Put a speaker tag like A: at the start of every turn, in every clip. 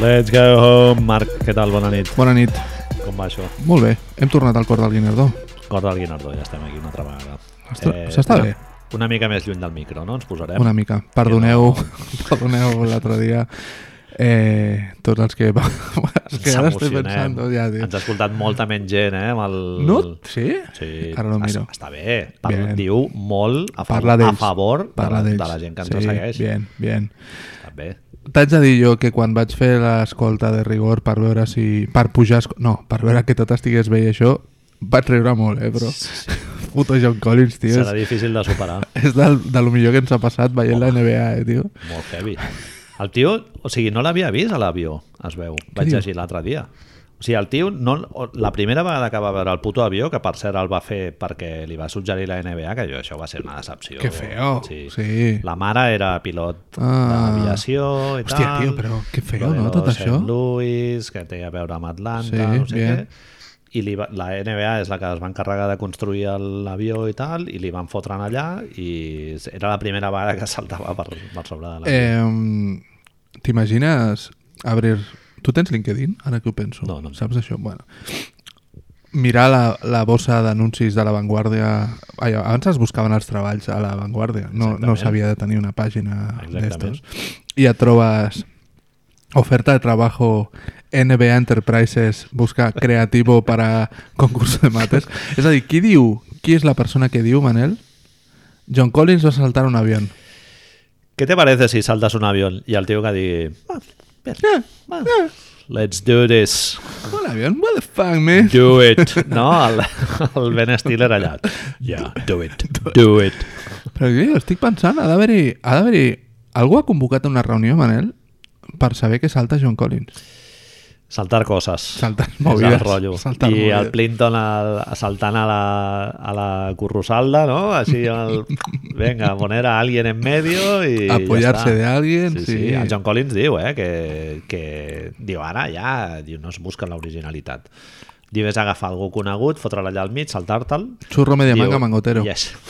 A: Let's go home. Marc, què tal? Bona nit.
B: Bona nit.
A: Com va això?
B: Molt bé, hem tornat al cor del Guinardó.
A: Cor del Guinardó, ja estem aquí una altra vegada. Eh,
B: Ostres, s'està
A: una-
B: bé.
A: Una mica més lluny del micro, no? Ens posarem.
B: Una mica. Perdoneu, perdoneu l'altre dia eh, tots els que... els que ara estic
A: S'emocionem.
B: pensant, ja, tio.
A: Ens ha escoltat molta menys gent, eh? Amb el...
B: No? Sí?
A: Sí,
B: Ara no
A: es-
B: miro.
A: està bé. Parla,
B: Bien.
A: diu molt a, favor,
B: Parla
A: a
B: d'ells.
A: favor de,
B: Parla
A: la, de
B: d'ells.
A: la gent que ens
B: sí,
A: segueix.
B: Bien, bien.
A: Està bé.
B: T'haig de dir jo que quan vaig fer l'escolta de rigor per veure si... per pujar... esco- No, per veure que tot estigués bé i això, vaig riure molt, eh, però... Puto John Collins, tio.
A: Serà
B: És,
A: difícil de superar.
B: és del, de lo millor que ens ha passat veient la NBA, eh, tio.
A: Molt heavy. El tio, o sigui, no l'havia vist a l'avió, es veu. Vaig
B: diu?
A: llegir l'altre dia. O sigui, el tio, no, o- la primera vegada que va veure el puto avió, que per cert el va fer perquè li va suggerir la NBA, que jo, això va ser una decepció.
B: Que feo. Sí.
A: La mare era pilot
B: Ah.
A: d'aviació i
B: Hòstia,
A: tal.
B: tio, però que feo,
A: Lo de
B: no,
A: los
B: tot
A: St.
B: això?
A: Louis, que té a veure amb Atlanta,
B: Sí,
A: no sé
B: bien.
A: què. I li va, la NBA és la que es va encarregar de construir el- l'avió i tal, i li van fotre allà, i era la primera vegada que saltava per, per sobre de l'avió.
B: Eh, T'imagines abrir... Tu tens LinkedIn, ara que ho penso?
A: No, no en
B: Saps això? Bueno. Mirar la, la bossa d'anuncis de La Vanguardia... Ai, abans es buscaven els treballs a La Vanguardia. No, no
A: Exactament.
B: s'havia de tenir una pàgina
A: Exactament.
B: d'estos. I et trobes oferta de trabajo NBA Enterprises busca creativo para concurso de mates. És a dir, qui diu? Qui és la persona que diu, Manel? John Collins va saltar un avión.
A: ¿Qué te parece si saltas un avión y al tío que diga, Eh, let's do this,
B: Un avión, what the fuck, man?
A: do it, no? El, el Ben Stiller allà, yeah, do it, do it.
B: Però jo estic pensant, ha d'haver-hi... Ha d'haver-hi... Algú ha convocat una reunió, Manel, per saber què salta John Collins.
A: Saltar coses.
B: Saltar
A: És
B: movides,
A: El rotllo.
B: saltar
A: I
B: movides.
A: el Plinton al, saltant a la, a la currusalda, no? Així, el, venga, poner a alguien en medio i
B: Apoyarse
A: ja està.
B: de alguien,
A: Sí, sí.
B: sí.
A: El John Collins diu, eh, que, que diu ara ja, diu, no es busca l'originalitat. Diu, és agafar algú conegut, fotre'l allà al mig, saltar-te'l.
B: Churro media
A: diu,
B: manga mangotero.
A: I això,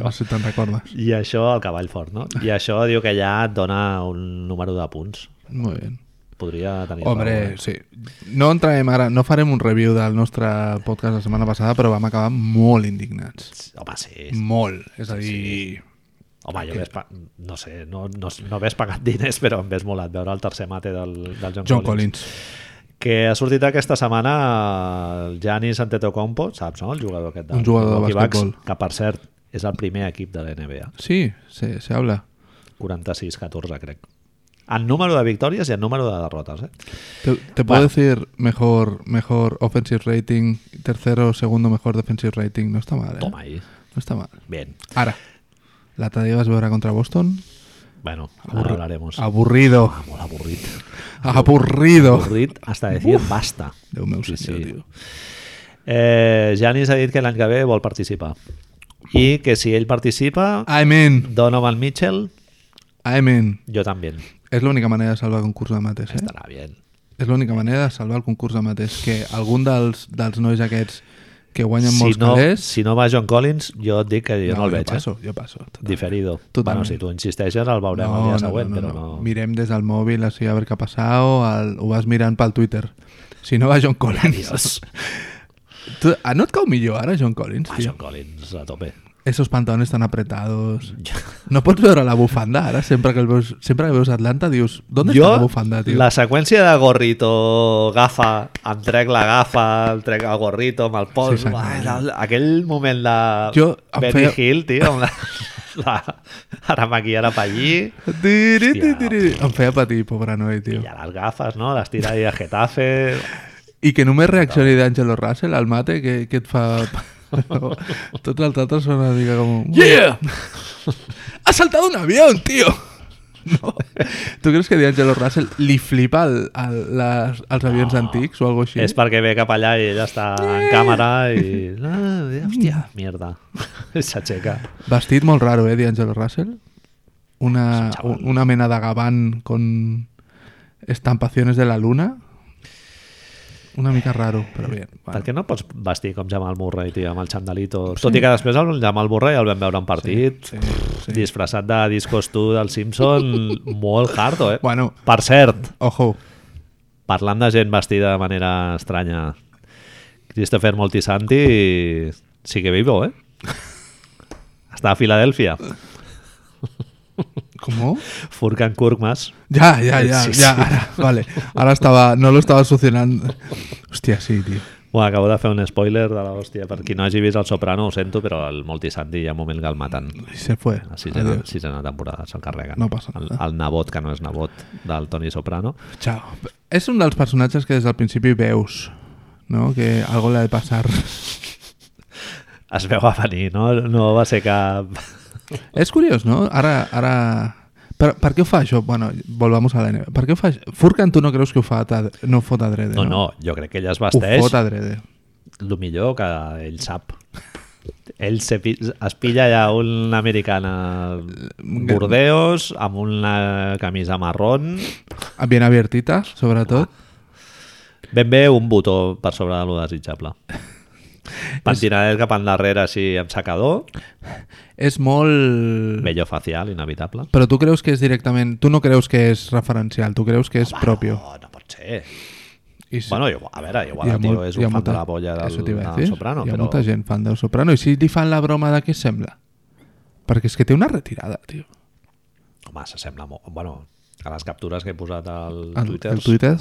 B: No sé si te'n recordes.
A: I això al cavall fort, no? I això diu que ja et dona un número de punts.
B: Molt bé.
A: Podria tenir... raó, eh?
B: Hombre, sí. No entrarem ara, no farem un review del nostre podcast la setmana passada, però vam acabar molt indignats.
A: Home, sí,
B: Molt. És a dir...
A: Home, jo hagués pa... no sé, no, no, no hagués pagat diners, però em hagués molat veure el tercer mate del, del John,
B: John
A: Collins.
B: Collins.
A: Que ha sortit aquesta setmana el Giannis Antetokounmpo, saps, no? El jugador aquest del
B: Un jugador de
A: Milwaukee Bucks,
B: basquetbol.
A: Que, per cert, és el primer equip de la NBA.
B: Sí, se, se habla.
A: 46-14, crec. En número de victòries i en número de derrotes, eh?
B: Te, te puedo decir mejor, mejor offensive rating, tercero, segundo mejor defensive rating. No está mal, ¿eh?
A: Toma ahí.
B: No está mal.
A: Bien.
B: Ahora, la tarde vas a ver contra Boston.
A: Bueno,
B: Aburri-
A: ahora hablaremos. Ah,
B: Aburrido.
A: Molt avorrit.
B: Aburrido.
A: Avorrit hasta decir basta.
B: Déu meu
A: Sí,
B: senyor,
A: sí.
B: tio.
A: Eh, Giannis ha dit que l'any que ve vol participar. I que si ell participa,
B: I'm in.
A: Donovan Mitchell,
B: I'm in.
A: yo también.
B: És l'única manera de salvar el concurs de mates, eh?
A: Estará bien.
B: És l'única manera de salvar el concurs de mates. Que algun dels, dels nois aquests que guanyen
A: Si
B: molts
A: no,
B: calés...
A: si no va John Collins, jo et dic que jo no, el
B: jo
A: veig.
B: passo, jo passo.
A: eh? Diferido. Bueno,
B: Totalment.
A: si tu insisteixes, el veurem el dia següent, però no...
B: Mirem des del mòbil així a veure què ha passat o el, ho vas mirant pel Twitter. Si no va John Collins.
A: Dios.
B: Tu, ah, no et cau millor ara John Collins,
A: Va,
B: tio?
A: John Collins, a tope.
B: Esos pantalones tan apretados. No pots veure la bufanda ara? Sempre que, el veus, sempre que veus Atlanta dius d'on està la bufanda, tio?
A: la seqüència de gorrito, gafa, em trec la gafa, em trec el gorrito amb el pols...
B: Sí, senyor.
A: Uah, era el- aquell moment de
B: Jo em
A: Benny
B: feia-
A: Hill, tio, amb la, la, ara maqui, ara pa allí,
B: Tiri, tiri,
A: Hòstia.
B: tiri. Em feia patir, pobre noi, tio.
A: i a les gafes, no? Les tira ahí a Getafe...
B: I que només reaccioni d'Angelo Russell al mate, que, que et fa... No. Tots els altres són una mica com...
A: Yeah!
B: ¡Ha saltado un avión, tío! No. ¿Tú crees que D'Angelo Russell li flipa el, el, les, els avions no. antics o algo així?
A: És perquè ve cap allà i ella està
B: Eh!
A: en càmera i... Ah, hòstia, mierda. S'aixeca.
B: Vestit molt raro, eh, D'Angelo Russell? Una,
A: chaval.
B: una mena de gabán con estampaciones de la luna? Una mica raro, però bé.
A: Per
B: Bueno.
A: què no pots vestir com Jamal Murray, tio, amb el xandalito? Tot i que després el Jamal Murray el vam veure en partit,
B: Sí, sí.
A: disfressat de discos tu del Simpson, molt harto, eh?
B: Bueno.
A: Per cert,
B: Ojo,
A: Parlant de gent vestida de manera estranya, Christopher Moltisanti sigue vivo, ¿eh? Está a Filadelfia.
B: ¿Cómo?
A: Furkan Kurkmas.
B: Ya, ya, ya,
A: Sí,
B: ya.
A: sí.
B: Ahora, vale. Ahora estaba, no lo estaba solucionando. Hostia, sí, tío.
A: Bueno, acabo de fer un spoiler de l'hòstia. Per qui no hagi vist El Soprano, ho sento, però el Moltisanti hi ha un moment que el maten.
B: Y se fue.
A: A sisena,
B: Adiós.
A: sisena temporada s'encarreguen.
B: No passa
A: el,
B: nada.
A: el nebot, que no és nebot, del Tony Soprano.
B: Chao. És un dels personatges que des del principi veus, no? Que algo le ha de passar.
A: Es veu a venir, no? No va ser cap...
B: És curiós, no? Ara... ara... Per, per què ho fa això? Bueno, volvamos a la NBA. Per què ho fa això? Furkan, tu no creus que ho fa tad... no ho fot adrede,
A: No,
B: no?
A: no, jo crec que ell es
B: Ho
A: vesteix
B: fot adrede.
A: el millor que ell sap. Ell se pi es pilla ja una americana Burdeos amb una camisa marrón,
B: Ah, Bien abiertita, sobretot.
A: ben bé un botó per sobre de lo desitjable. Pentinadet cap endarrere així amb secador,
B: És molt...
A: vello facial, inevitable.
B: Però tu creus que és directament... Tu no creus que és referencial, tu creus que és propio.
A: Ah, No, no pot ser.
B: I sí.
A: Bueno, igual, a veure, igual
B: Hi ha
A: el tio
B: molt-
A: és
B: hi ha
A: un fan
B: molta-
A: de la polla del,
B: Això t'hi va a
A: del
B: dir.
A: Soprano,
B: Hi ha
A: però
B: molta gent fan del Soprano. I si li fan la broma de què sembla? Perquè és que té una retirada, tio.
A: home, s'assembla molt. Bueno, a les captures que he posat al
B: El,
A: Twitter,
B: el Twitter...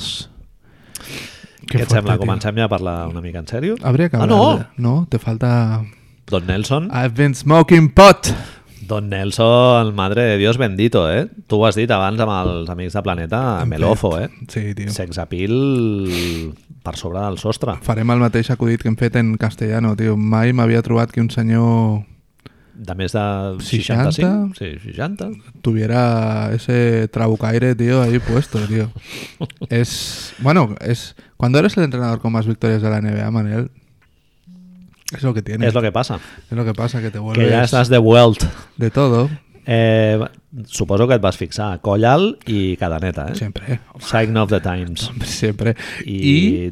A: què et sembla? Comencem ja a parlar una mica en sèrio?
B: Habría que
A: ah,
B: hablar. Ah.
A: no!
B: No, te falta...
A: Don Nelson,
B: I've been smoking pot!
A: Don Nelson, madre de Dios bendito, eh? Tu ho has dit abans amb els amics de Planeta, Melofo, eh?
B: Sí, tio.
A: Sexapil per sobre del sostre.
B: Farem el mateix acudit que hem fet en castellano, tio. Mai m'havia trobat que un senyor
A: De més de
B: 60?
A: 65? Sí, 60.
B: tuviera ese trabucaire, tío, ahí puesto, tío. Es. Bueno, es. Cuando eres el entrenador con más victorias de la NBA, Manel, es lo que tienes.
A: És lo que passa,
B: Es lo que pasa, que te
A: que
B: vuelves
A: ja estàs de world.
B: de todo.
A: Eh, suposo que et vas fixar coll alt i cadeneta, eh?
B: Siempre,
A: Sign of the Times.
B: siempre. Y,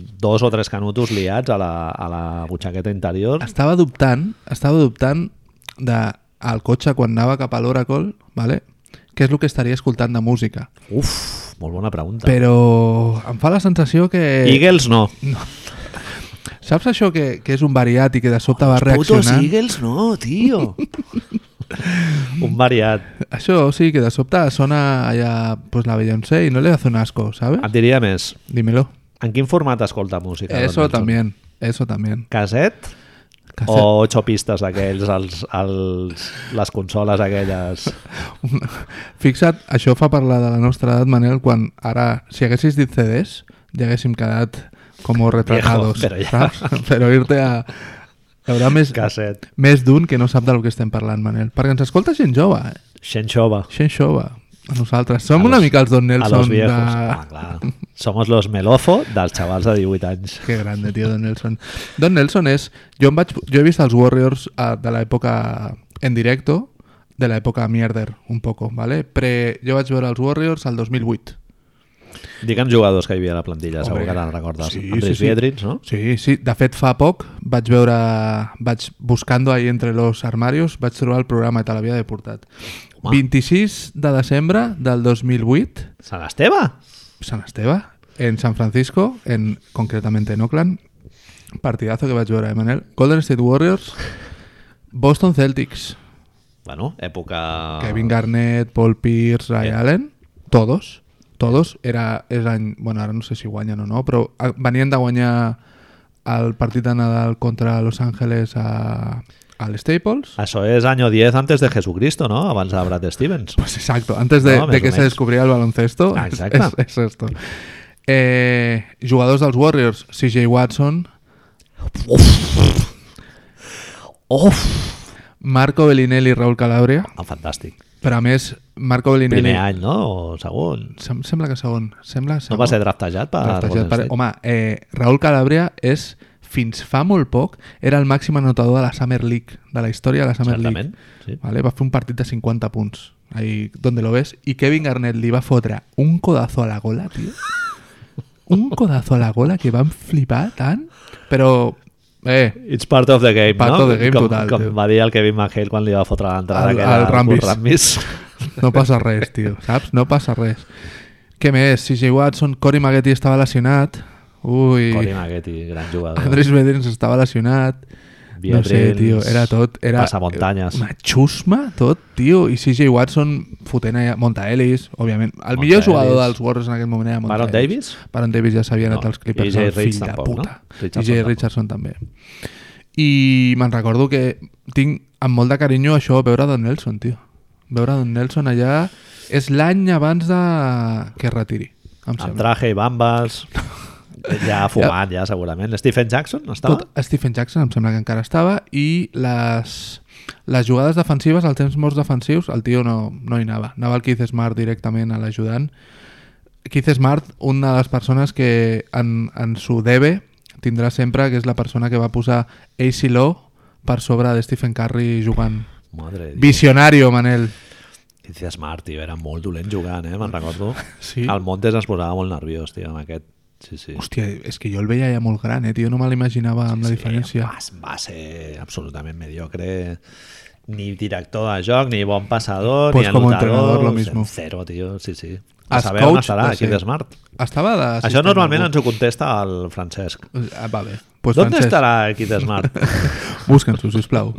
A: I, dos o tres canutos liats a la, a la butxaqueta interior.
B: estava dubtant, estava dubtant de al cotxe quan anava cap a l'Oracle, vale? què és el que estaria escoltant de música.
A: Uf, molt bona pregunta.
B: Però em fa la sensació que...
A: Eagles no.
B: Saps això que, que és un variat i que de sobte va reaccionant?
A: Eagles no, tio. Un variat.
B: Això sí, que de sobte sona allà pues, la Beyoncé i no le hace un asco, ¿sabes?
A: Et diria més.
B: Dímelo.
A: En quin format escolta música? Don
B: Eso
A: Nelson?
B: también, eso también.
A: Caset?
B: Cassette.
A: O ocho pistes aquells, els, els, les consoles aquelles.
B: Fixa't, això fa parlar de la nostra edat, Manel, quan ara, si haguessis dit CDs, ja haguéssim quedat com retratados.
A: Viejo, però ja.
B: saps? però irte a... Hi haurà més,
A: Caset.
B: més d'un que no sap del que estem parlant, Manel. Perquè ens escolta gent jove, eh?
A: Xenxova.
B: gent jove, a nosaltres. Som
A: A
B: una
A: los-
B: mica els Don
A: A los
B: Nelson
A: viejos.
B: de...
A: Ah, clar. Somos los melofo dels xavals de 18 anys.
B: Que grande, tio, Don Nelson. Don Nelson és... Jo, em vaig, jo he vist els Warriors eh, de l'època en directo, de l'època Mierder, un poco, ¿vale? Pre, jo vaig veure els Warriors al 2008.
A: Digue'm jugadors que hi havia a la plantilla, Home, segur
B: Hombre.
A: que te'n recordes.
B: Sí,
A: Andrés
B: sí, sí.
A: Biedrins, no?
B: Sí, sí. De fet, fa poc vaig veure... Vaig buscando ahí entre los armarios, vaig trobar el programa i te l'havia deportat.
A: Home.
B: 26 de desembre del 2008,
A: Sant Esteve?
B: Sant Esteve, en San Francisco, en, concretament en Oakland. Partidazo que vaig veure, eh, Manel? Golden State Warriors, Boston Celtics,
A: Bueno, època...
B: Kevin Garnett, Paul Pierce, Ray
A: Eh.
B: Allen, todos, todos. Era, és any, bueno, ara no sé si guanyen o no, però eh, venien de guanyar el partit de Nadal contra Los Angeles a, al Staples.
A: Això és año 10 antes de Jesucristo, no? Abans de Brad Stevens.
B: Pues exacto, antes de,
A: No,
B: de
A: més
B: que
A: o
B: se
A: menys.
B: descubriera el baloncesto.
A: Ah,
B: es-
A: exacte.
B: Es, es esto. Eh, jugadors dels Warriors, CJ Watson,
A: Uf!
B: Marco Bellinelli i Raúl Calabria.
A: Ah, fantàstic.
B: Però a més, Marco Bellinelli...
A: Primer any, no? O segon?
B: Sem sembla que segon. Sembla segon.
A: No va ser draftejat per
B: Draftejat
A: Golden
B: per-
A: State?
B: Home, eh, Raúl Calabria és, fins fa molt poc, era el màxim anotador de la Summer League, de la història de la Summer
A: Certament, sí.
B: League. Vale? Va fer un partit de 50 punts, ahí donde lo ves, i Kevin Garnett li va fotre un codazo a la gola, tio. Un codazo a la gola que vam flipar tant, però... Eh,
A: It's part of the game,
B: Part
A: no?
B: of the game
A: com,
B: total,
A: Com
B: tio.
A: va dir el Kevin McHale quan li va fotre l'entrada
B: Al-
A: que
B: al
A: era
B: Rambis.
A: Rambis.
B: No passa res, tio, saps? No passa res. Què més? CJ Watson, Cory Maggetti estava lesionat. Ui,
A: Cory Maggetti, gran jugador.
B: Andrés Bedrins estava lesionat. no sé,
A: Viadrins,
B: tio, era tot... Era eh,
A: passamuntanyes.
B: Una xusma, tot, tio. I CJ Watson fotent allà... Monta Ellis, òbviament. El
A: Monta
B: millor jugador
A: Ellis.
B: dels Warriors en aquest moment era Monta
A: Baron
B: Ellis.
A: Davis?
B: Baron Davis ja s'havia anat
A: No.
B: als Clippers,
A: I Jay
B: el fill
A: Rich
B: de
A: tampoc,
B: puta.
A: no?
B: I
A: Richardson
B: Jay
A: tampoc.
B: Richardson també. I me'n recordo que tinc amb molt de carinyo això veure Don Nelson, tio. Veure Don Nelson allà és l'any abans de que es retiri. Em
A: Amb
B: sembla.
A: traje i bambes, ja fumant, ja, segurament. Stephen Jackson no estava?
B: Tot Stephen Jackson em sembla que encara estava i les, les jugades defensives, els temps morts defensius, el tio no, no hi anava. Anava el Keith Smart directament a l'ajudant. Keith Smart, una de les persones que en, en su debe tindrà sempre, que és la persona que va posar AC Law per sobre de Stephen Curry jugant.
A: Madre de Déu.
B: Visionario, Manel.
A: Dice Smart, tio, era molt dolent jugant, eh? Me'n recordo.
B: Sí.
A: El Montes es posava molt nerviós, tio, amb aquest. Sí, sí.
B: Hòstia, és que jo el veia ja molt gran, eh, tio? No me l'imaginava amb la diferència.
A: Va, va ser absolutament mediocre. Ni director de joc, ni bon passador,
B: Pues
A: ni
B: como
A: anotador.
B: entrenador, lo
A: o sigui,
B: mismo.
A: Cero, tio, sí, sí. A
B: As
A: saber on
B: coach,
A: estarà,
B: va
A: aquí
B: ser.
A: de Smart.
B: Estava de...
A: Això normalment ens ho contesta el Francesc.
B: Ah, va bé. Pues
A: ¿Dónde
B: Francesc,
A: estarà aquí de Smart?
B: Busquen-s'ho, sisplau.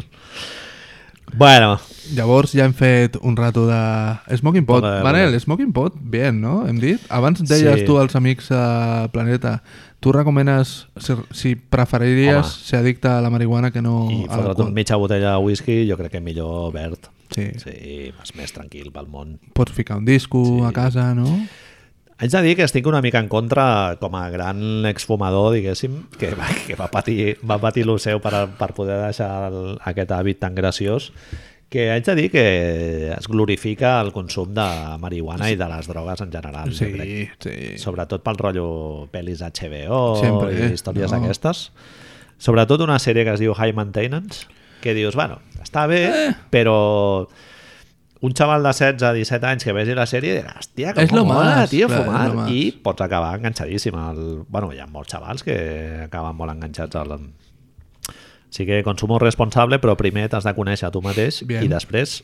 A: bueno,
B: Llavors ja hem fet un rato de Smoking Pot.
A: Hola,
B: Manel,
A: hola.
B: Smoking Pot, bien, no? Hem dit? Abans deies
A: Sí.
B: tu als amics a Planeta, tu recomanes si, si preferiries
A: Home.
B: ser addicte a la marihuana que no
A: i
B: a l'alcohol?
A: fotre't mitja botella de whisky, jo crec que millor verd.
B: Sí. sí.
A: Sí, vas més tranquil pel món.
B: Pots ficar un disco
A: Sí.
B: a casa, no?
A: Haig de dir que estic una mica en contra, com a gran exfumador, diguéssim, que va, que va patir, va patir lo seu per, per poder deixar el, aquest hàbit tan graciós, que haig de dir que es glorifica el consum de marihuana i de les drogues en general,
B: Sí,
A: jo crec.
B: sí.
A: Sobretot pel rotllo pel·lis HBO
B: Sempre, eh?
A: i històries
B: No.
A: no. aquestes. Sobretot una sèrie que es diu High Maintenance, que dius, bueno, està bé,
B: Eh.
A: però un xaval de 16-17 anys que vegi la sèrie dirà, hòstia, com
B: És lo
A: mola,
B: más,
A: tio,
B: clar, és
A: fumar.
B: lo más.
A: I pots acabar enganxadíssim. Al... Bueno, hi ha molts xavals que acaben molt enganxats al... Sí que consumo responsable, però primer t'has de conèixer tu mateix
B: Bien.
A: i després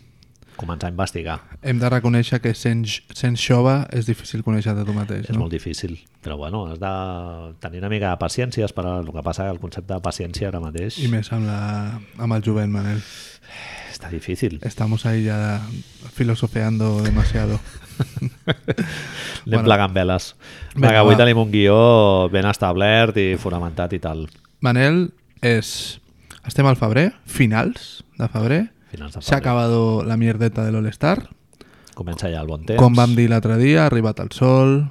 A: començar a investigar.
B: Hem de reconèixer que sent, sent jove és difícil conèixer-te tu mateix,
A: És
B: no?
A: molt difícil, però bueno, has de tenir una mica de paciència, esperar el que passa, que el concepte de paciència ara mateix
B: I més amb, la, amb el jovent, Manel.
A: està difícil.
B: Estamos ahí ya filosofeando demasiado.
A: Anem
B: Bueno.
A: bueno. plegant veles.
B: Vinga,
A: Vinga, avui
B: va.
A: tenim un guió ben establert i fonamentat i tal.
B: Manel, es, estem al febrer, finals de febrer.
A: Finals de
B: S'ha
A: febrer.
B: acabat la mierdeta de l'All-Star.
A: Comença ja el bon temps.
B: Com vam dir l'altre dia, ha arribat el sol,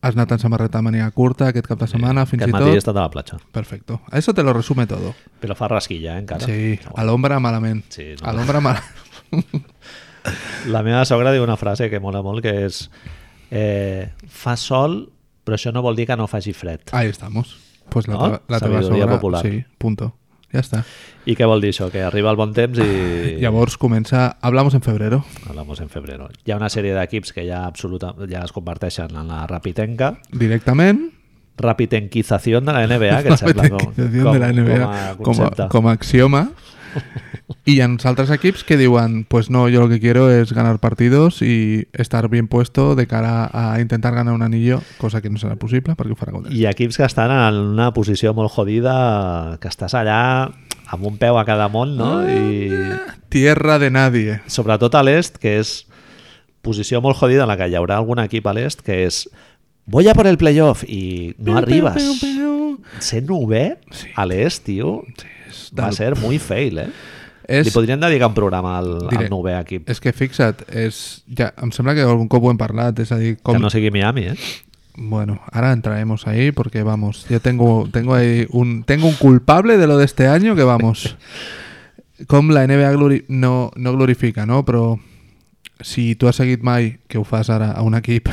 B: has anat en samarreta de mania curta aquest cap de setmana, fins i
A: Aquest matí he
B: tot...
A: estat a la platja.
B: Perfecto. Eso te lo resume todo.
A: Però fa rasquilla, eh, encara.
B: Sí, a l'ombra malament.
A: Sí, no.
B: A l'ombra malament.
A: La meva sogra diu una frase que mola molt, que és eh, fa sol, però això no vol dir que no faci fred.
B: Ahí estamos. Pues la,
A: No?
B: teva- la teva
A: Sabidoria
B: sogra...
A: popular.
B: Sí, punto. Ja està.
A: I què vol dir això? Que arriba el bon temps i...
B: Llavors comença... Hablamos en febrero.
A: Hablamos en febrero. Hi ha una sèrie d'equips que ja, absoluta, ja es converteixen en la rapitenca,
B: Directament,
A: rapitenquizació de la NBA, que et sembla com,
B: Repetició de la NBA
A: com a
B: com,
A: concepte.
B: a, com a axioma. I hi ha uns altres equips que diuen pues no, yo lo que quiero es ganar partidos y estar bien puesto de cara a intentar ganar un anillo, cosa que no serà possible perquè ho farà contra.
A: Hi ha equips que estan en una posició molt jodida, que estàs allà amb un peu a cada món, no? I,
B: Ah, Tierra de nadie.
A: sobretot a l'est, que és posició molt jodida en la que hi haurà algun equip a l'est, que és voy a por el playoff i no arribes.
B: Peu, peu, peu.
A: Sent novè
B: Sí.
A: a l'est, tio, va
B: del-
A: ser muy fail, eh?
B: És-
A: Li podrien dedicar un programa al,
B: Direc-
A: al novè equip.
B: És que fixa't, és, ja, em sembla que algun cop ho hem parlat, és a dir, com,
A: Que no sigui Miami, eh?
B: Bueno, ahora entraremos ahí porque vamos, yo tengo, tengo ahí un, tengo un culpable de lo de este año que vamos. Com la NBA glori no, no glorifica, no? Però si tu has seguit mai, que ho fas ara a un equip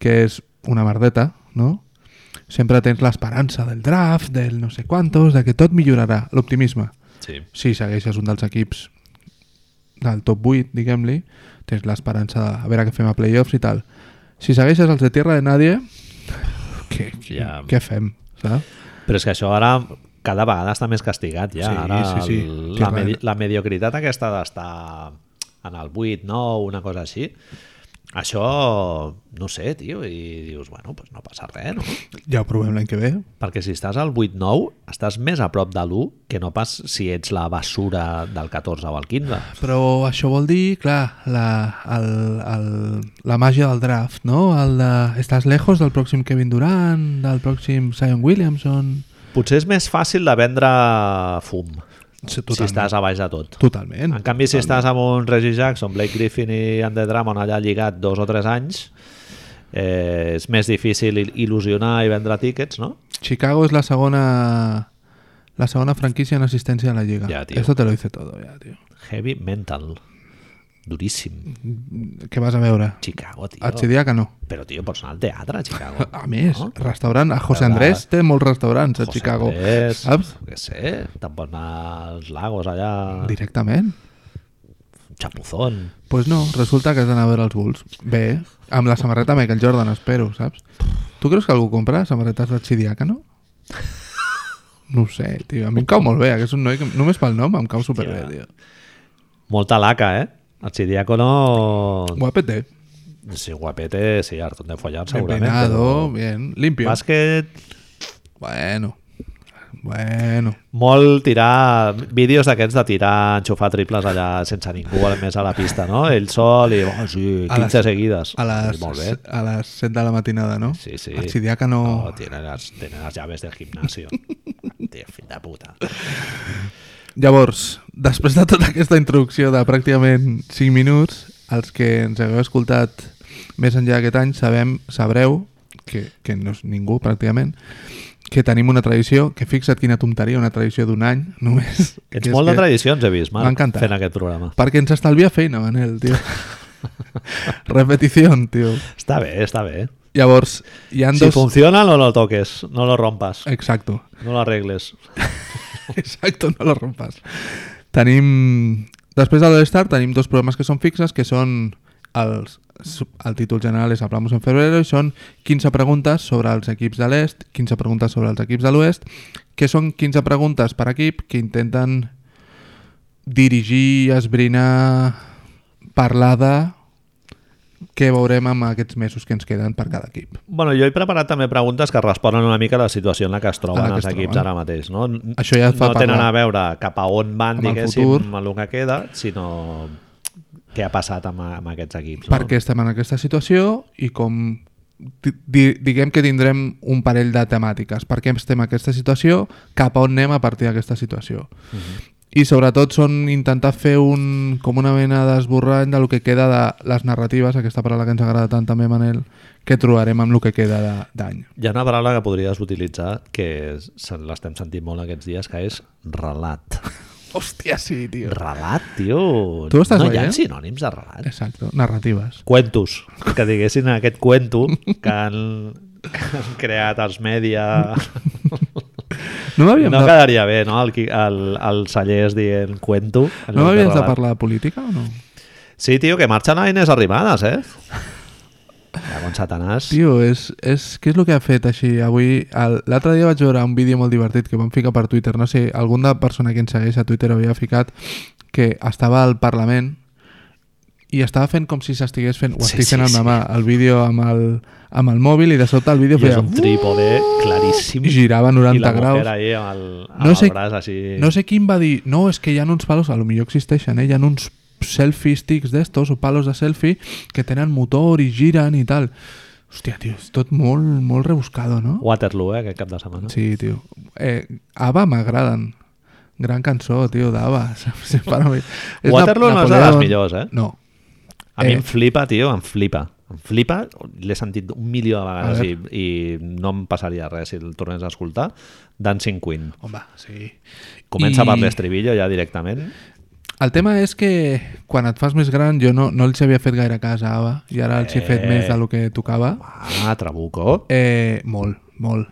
B: que és una merdeta, no? Sempre tens l'esperança del draft, del no sé quantos, de que tot millorarà, l'optimisme.
A: Sí.
B: Si segueixes un dels equips del top 8, diguem-li, tens l'esperança de a veure què fem a playoffs i tal. Si segueixes els de Tierra de Nadie, què,
A: Ja.
B: què fem? Saps?
A: Però és que això ara cada vegada està més castigat ja.
B: Sí,
A: ara
B: sí, sí.
A: el-
B: Té
A: La,
B: raó.
A: medi la mediocritat aquesta d'estar en el 8, 9, una cosa així, Això, no sé, tio, i dius, bueno, pues no passa res, no?
B: Ja ho provem l'any que ve.
A: Perquè si estàs al 8-9, estàs més a prop de l'1 que no pas si ets la basura del 14 o el 15.
B: Però això vol dir, clar, la, el, el, la màgia del draft, no? El de, estàs lejos del pròxim Kevin Durant, del pròxim Zion Williamson...
A: Potser és més fàcil de vendre fum
B: Sí,
A: si estàs a baix de tot.
B: Totalment.
A: En canvi, si estàs amb un Reggie Jackson, Blake Griffin i Andre Drummond allà lligat dos o tres anys, eh, és més difícil il- il·lusionar i vendre tíquets, no?
B: Chicago es la segona la segunda franquicia en asistencia a la liga.
A: Ya, tío.
B: Eso te lo dice todo ya, tío.
A: Heavy mental. Duríssim.
B: ¿Qué vas a ver ahora?
A: Chicago, tio.
B: Archidiácano.
A: Però, tio, pots anar al teatre, a Chicago.
B: A més,
A: No?
B: restaurant, a José
A: Verdad.
B: Andrés té molts restaurants a
A: José
B: Chicago,
A: Andrés,
B: saps?
A: jo Què sé, te'n pots anar als lagos allà,
B: Directament.
A: un xapuzón.
B: Pues no, resulta que has d'anar a veure els Bulls. Bé, amb la samarreta Michael Jordan, espero, saps? Tu creus que algú compra samarretes d'Archidiácano? No ho sé, tio. A mi em cau molt bé, que és un noi que només pel nom em cau superbé,
A: Hòstia.
B: tio.
A: Molta laca, eh? El Chidiácono...
B: Guapete,
A: Sí, guapete, sí, hartón de follar, segurament.
B: empinado, bien, limpio.
A: Bàsquet,
B: Bueno, bueno.
A: molt tirar... Vídeos d'aquests de tirar, enxufar triples allà sense ningú, al més a la pista, no? Ell sol i, oh, sí,
B: A les-
A: 15 seguides.
B: A les,
A: Sí, Molt bé.
B: a les 7 de la matinada, no?
A: Sí, sí.
B: El Sidiácano...
A: No, tenen les, tenen les llaves del gimnasio. Tio, fill de puta.
B: Llavors, després de tota aquesta introducció de pràcticament 5 minuts, els que ens hagueu escoltat més enllà d'aquest any sabem, sabreu, que, que no és ningú pràcticament, que tenim una tradició, que fixa't quina tonteria, una tradició d'un any només. que
A: Ets
B: és
A: molt de
B: que-
A: tradicions, he vist, Marc,
B: M'encanta.
A: fent aquest programa.
B: Perquè ens estalvia feina, Manel, tio. Repetició, tio.
A: Està bé, està bé.
B: Llavors, hi han
A: Si
B: dos... Eh.
A: funciona, no lo toques, no lo rompas,
B: Exacto.
A: no lo arregles.
B: Exacto, no lo rompas. Tenim... Després de l'All-Star tenim dos programes que són fixes, que són els... El títol general és Hablamos en febrero i són 15 preguntes sobre els equips de l'est, 15 preguntes sobre els equips de l'oest, que són 15 preguntes per equip que intenten dirigir, esbrinar, parlar de què veurem amb aquests mesos que ens queden per cada equip.
A: Bueno, jo he preparat també preguntes que responen una mica a la situació en la que es troben
B: En la que
A: els
B: es
A: equips
B: troben.
A: ara mateix. No,
B: Ah, Això ja et fa
A: no tenen
B: parlar.
A: a veure cap a on van,
B: Amb el
A: diguéssim,
B: futur.
A: amb el que queda, sinó què ha passat amb, amb aquests equips.
B: per què estem en aquesta situació i com di- di- diguem que tindrem un parell de temàtiques, per què estem en aquesta situació, cap a on anem a partir d'aquesta situació. I sobretot són intentar fer un, com una mena d'esborrany del que queda de les narratives, aquesta paraula que ens agrada tant també, Manel, que trobarem amb el que queda de- d'any.
A: No? Hi ha una paraula que podries utilitzar que és- se- l'estem sentint molt aquests dies, que és relat.
B: Hòstia, sí, tio.
A: Relat, tio.
B: Tu ho estàs
A: no hi ha
B: veient?
A: sinònims de relat.
B: Exacte, narratives.
A: Cuentos, que diguessin aquest cuento que han, que han creat els mèdia
B: No m'havíem
A: No
B: de,
A: quedaria bé, no?, el, qui- el, el Sallés dient cuento. en
B: no
A: lloc
B: m'havies de
A: relat.
B: parlar de política o no?
A: Sí, tio, que marxen a Inés Arrimadas, eh? Ja, bon satanàs. Tio.
B: Tio, és, és, què és el que ha fet així avui? El- L'altre dia vaig veure un vídeo molt divertit que van ficar per Twitter, no sé, alguna persona que ens segueix a Twitter havia ficat que estava al Parlament i estava fent com si s'estigués fent, ho
A: Sí,
B: estic
A: sí,
B: fent amb la
A: sí.
B: mà, el vídeo amb el, amb el mòbil i de sobte el vídeo
A: I és
B: feia...
A: un trípode claríssim.
B: Uh! I girava 90
A: I la
B: graus.
A: mujer ahí amb el, amb
B: No
A: no
B: sé-
A: sé, el braç així...
B: "Uh", No sé quin va dir, no, és que hi ha uns palos, a lo millor existeixen, eh? hi ha uns selfie sticks d'estos o palos de selfie que tenen motor i giren i tal. Hòstia, tio, és tot molt, molt rebuscado, no?
A: Waterloo, eh, aquest cap de setmana.
B: Sí, tio. Eh, ABBA m'agraden. Gran cançó, tio, d'ABBA. Sí, per a mi. És
A: Waterloo no és de les
B: Napoleón.
A: millors, eh?
B: No.
A: A mi
B: Eh.
A: em flipa, tio, em flipa. Em flipa, l'he sentit un milió de
B: A
A: vegades i,
B: veure.
A: i no em passaria res si el tornés a escoltar. Dancing Queen.
B: Home, sí.
A: Comença I...
B: I-
A: per l'estribillo ja directament.
B: El tema és que quan et fas més gran jo no, no els havia fet gaire cas a ABBA i ara els he fet
A: Eh.
B: més del que tocava.
A: Ah, Trabuco.
B: Eh, molt, molt.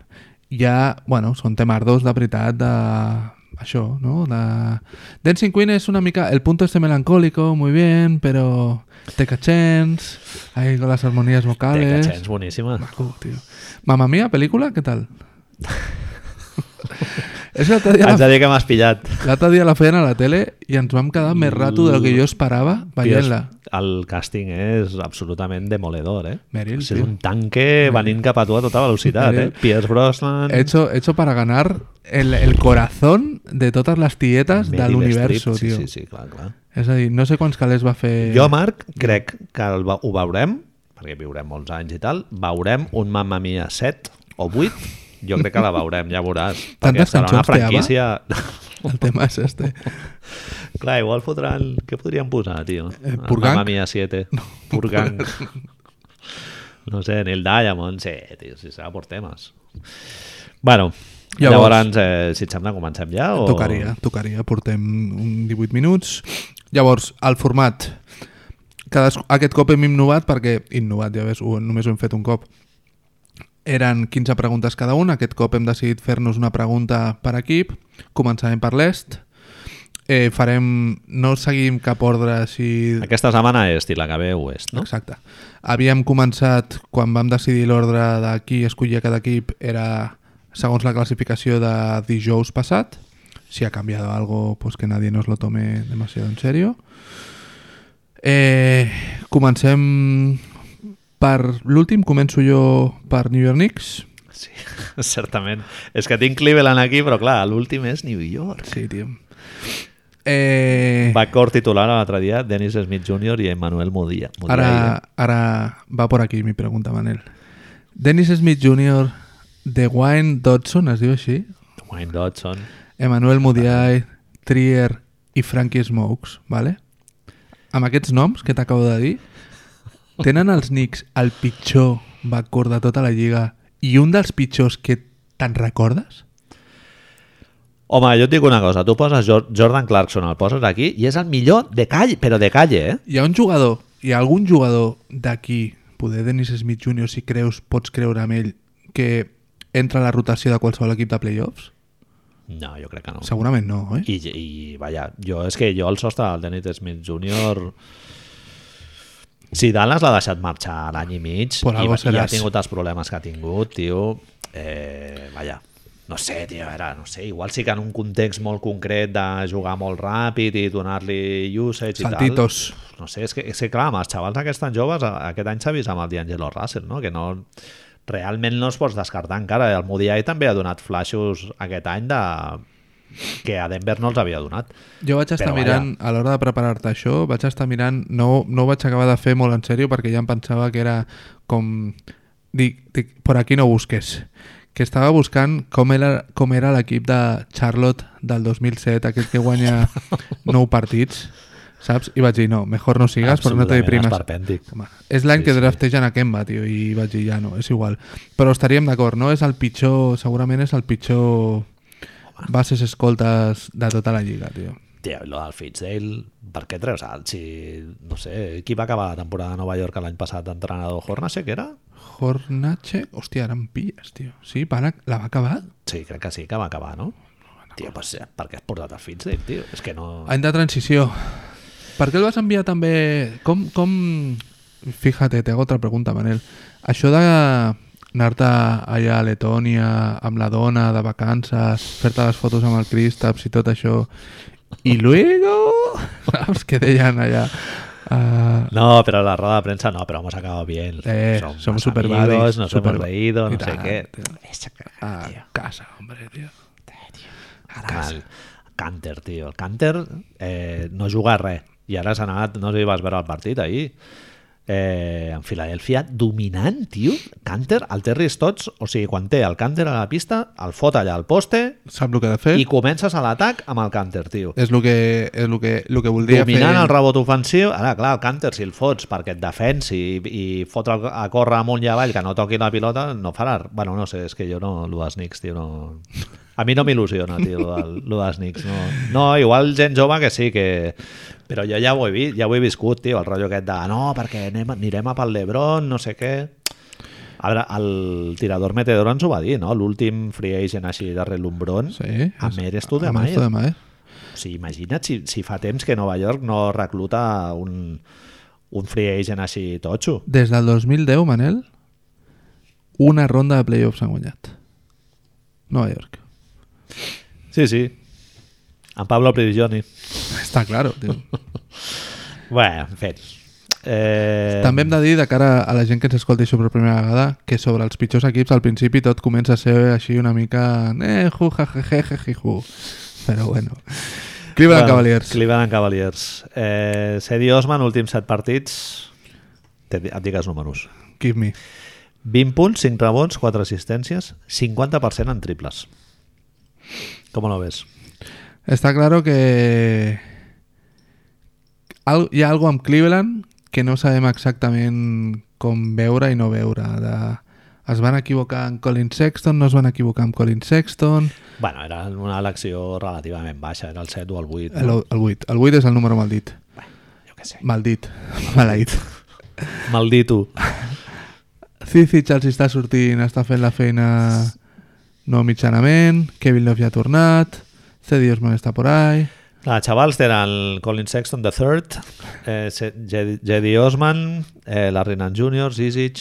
B: Ja, bueno, són temardos de veritat de... Això, no? De... Dancing Queen és una mica... El punto este melancólico, muy bien, pero... Te cachens, ahí con las armonías
A: Té
B: vocales... Uh,
A: catxens, boníssima.
B: Maco, tio. Mamma mia, pel·lícula, què tal? És l'altre dia,
A: Haig de
B: la,
A: dir que m'has pillat.
B: l'altre dia la feien a la tele i ens vam quedar més rato del que jo esperava veient-la.
A: Tio, és- El càsting és absolutament demoledor, eh?
B: Meryl,
A: és
B: tio.
A: un tanque venint cap a tu a tota velocitat, eh?
B: Meryl.
A: Pierce Brosnan...
B: Hecho, hecho para ganar el, el corazón de totes les tietes
A: Meryl
B: de l'universo,
A: Streep,
B: tio.
A: Sí,
B: Eh.
A: sí, sí, clar, clar.
B: És a dir, no sé quants calés va fer...
A: Jo, Marc, crec que el, ve- ho veurem, perquè viurem molts anys i tal, veurem un Mamma Mia 7 o 8, jo crec que la veurem, ja veuràs. perquè
B: Tantes
A: serà una
B: cançons té ABBA?
A: franquícia...
B: El tema és este.
A: Clar, igual fotran... Què podríem posar, tio?
B: Eh, Purgang?
A: Mamma Mia 7. Purgang. No sé, Neil Diamond, sí, tio, si serà per temes. Bueno,
B: Llavors-
A: llavors, llavors eh, si et sembla, comencem ja? O...
B: Tocaria, tocaria. Portem un 18 minuts. Llavors, el format. Cadasc... Aquest cop hem innovat perquè... Innovat, ja ves, ho, només ho hem fet un cop. Eren 15 preguntes cada un. Aquest cop hem decidit fer-nos una pregunta per equip. Començarem per l'est. Eh, farem... No seguim cap ordre així...
A: Aquesta setmana és, i la que ve ho és, no?
B: Exacte. Havíem començat, quan vam decidir l'ordre de qui escollia cada equip, era segons la classificació de dijous passat. Si ha cambiado algo, pues doncs que nadie nos lo tome demasiado en serio. Eh, comencem per l'últim. Començo jo per New York Knicks.
A: Sí, certament. És que tinc Cleveland aquí, però clar, l'últim és New York.
B: Sí, tio. Eh,
A: Va cor titular l'altre dia Dennis Smith Jr. i Emmanuel Mudia.
B: Ahora,
A: eh?
B: ahora va por aquí mi pregunta, Manel. Dennis Smith Jr., DeWayne Dodson, es diu així?
A: Wayne Dodson.
B: Emmanuel Mudiay, Trier i Frankie Smokes, vale? amb aquests noms que t'acabo de dir, tenen els Knicks el pitjor backcourt de tota la lliga i un dels pitjors que te'n recordes?
A: Home, jo et dic una cosa. Tu poses Jor- Jordan Clarkson, el poses aquí i és el millor de calle, però de calle, eh?
B: Hi ha un jugador, hi ha algun jugador d'aquí, poder Dennis Smith Jr., si creus, pots creure en ell, que entra a la rotació de qualsevol equip de playoffs?
A: No, jo crec que no.
B: Segurament no, oi?
A: I, i vaja, jo és que jo el sostre del Dennis Smith Jr. Si Dallas l'ha deixat marxar l'any i mig
B: Por
A: i,
B: algo
A: va- i ha
B: seràs.
A: tingut els problemes que ha tingut, tio, eh, vaja, no sé, tio, era, no sé, igual sí que en un context molt concret de jugar molt ràpid i donar-li usage
B: Saltitos.
A: i tal. No sé, és que, és que clar, amb els xavals aquests tan joves, a- aquest any s'ha vist amb el D'Angelo Russell, no? Que no, realment no es pots descartar encara. El Mudiay també ha donat flashos aquest any de, que a Denver no els havia donat.
B: Jo vaig estar
A: Però vaja.
B: mirant, a l'hora de preparar-te això, vaig estar mirant, no, no ho vaig acabar de fer molt en sèrio perquè ja em pensava que era com... Dic, dic per aquí no busques. Que estava buscant com era, com era l'equip de Charlotte del 2007, aquell que guanya nou partits, saps? I vaig dir, no, mejor no sigues perquè no te
A: Absolutament
B: deprimes.
A: esperpèntic.
B: Home, és l'any
A: Sí,
B: que
A: sí.
B: draftegen a Kemba, tio, i vaig dir, ja no, és igual. Però estaríem d'acord, no? És el pitjor, segurament és el pitjor bases escoltes de tota la lliga, tio.
A: Tio, i lo del Fitzdale, per què treus alt? Si, no sé, qui va acabar la temporada de Nova York l'any passat d'entrenador? Hornacek era?
B: Hornache, hòstia, ara em pilles, tio. Sí, van a... la va acabar?
A: Sí, crec que sí, que va acabar, no? Tio, pues, per què has portat el Fitzdale, tio? És que no...
B: Any de transició. Per què el vas enviar també... Com... com... Fíjate, te hago otra pregunta, Manel. Això de anar-te allà a Letònia amb la dona de vacances, fer-te les fotos amb el Kristaps i tot això, i luego... Saps què deien allà? Uh,
A: No, pero la rueda de prensa no, pero hemos acabado bien.
B: Eh, somos
A: más
B: super
A: amigos,
B: buddies,
A: nos
B: super-
A: hemos reído,
B: y
A: no sé
B: tal,
A: qué.
B: tío. Ah.
A: Esa cagada,
B: a
A: tío.
B: casa, hombre, tio.
A: Ara el Canter, tio. El Canter eh, no juga res. I ara s'ha anat, no sé si vas veure el partit ahir, eh, en Filadèlfia, dominant, tio. Canter, el Terry Stotts, o sigui, quan té el Canter a la pista, el fot allà al poste
B: Sap el que ha de fer?
A: i comences a l'atac amb el Canter, tio.
B: És el que, és el que, el que voldria
A: Dominant
B: fer...
A: el rebot ofensiu, ara clar, el Canter si el fots perquè et defensi i, i fotre a córrer amunt i avall que no toqui la pilota, no farà... Bueno, no sé, és que jo no, lo dels Knicks, tio, no... A mi no m'il·lusiona, tio, lo, del- lo dels Knicks. No. no, igual gent jove que sí, que... Però jo ja ho he vist, ja ho he viscut, tio, el rotllo aquest de no, perquè anem, anirem a pel Lebron, no sé què... A veure, el tirador Meteorón ens ho va dir, no? L'últim free agent així darrere l'Ombron.
B: Sí,
A: a
B: Eh? és-
A: Mer tu de
B: Amb esto de Maer.
A: O sigui, imagina't si, si fa temps que Nova York no recluta un, un free agent així totxo.
B: Des del 2010, Manel, una ronda de playoffs han guanyat. Nova York.
A: Sí, sí. En Pablo Prigioni.
B: Està claro, tio.
A: Bueno, en fet. Eh,
B: També hem de dir, de cara a la gent que ens escolti això per primera vegada, que sobre els pitjors equips al principi tot comença a ser així una mica... Eh, ju, ja, je, je, je, je, ju. Però bueno. Cleveland
A: bueno,
B: Cavaliers.
A: Cleveland Cavaliers. Eh, Cedi Osman, últims set partits. Te, et dic els números.
B: Give me.
A: 20 punts, 5 rebons, 4 assistències, 50% en triples. Com lo ves?
B: Está claro que al- hi ha algo amb Cleveland que no sabem exactament com veure i no veure. De... Es van equivocar amb Colin Sexton, no es van equivocar amb Colin Sexton...
A: Bueno, era una elecció relativament baixa, era el 7 o el 8.
B: El, el 8. El 8 és el número maldit.
A: Jo què sé.
B: Maldit. Maleït.
A: Maldito.
B: Cici Charles està sortint, està fent la feina no mitjanament, Kevin Love ja ha tornat, Cedi Osman està por ahí...
A: Clar, xavals, Ah, tenen el Colin Sexton, The Third, eh, Se- Jedi Jedi Osman, eh, la Renan Junior, Zizic,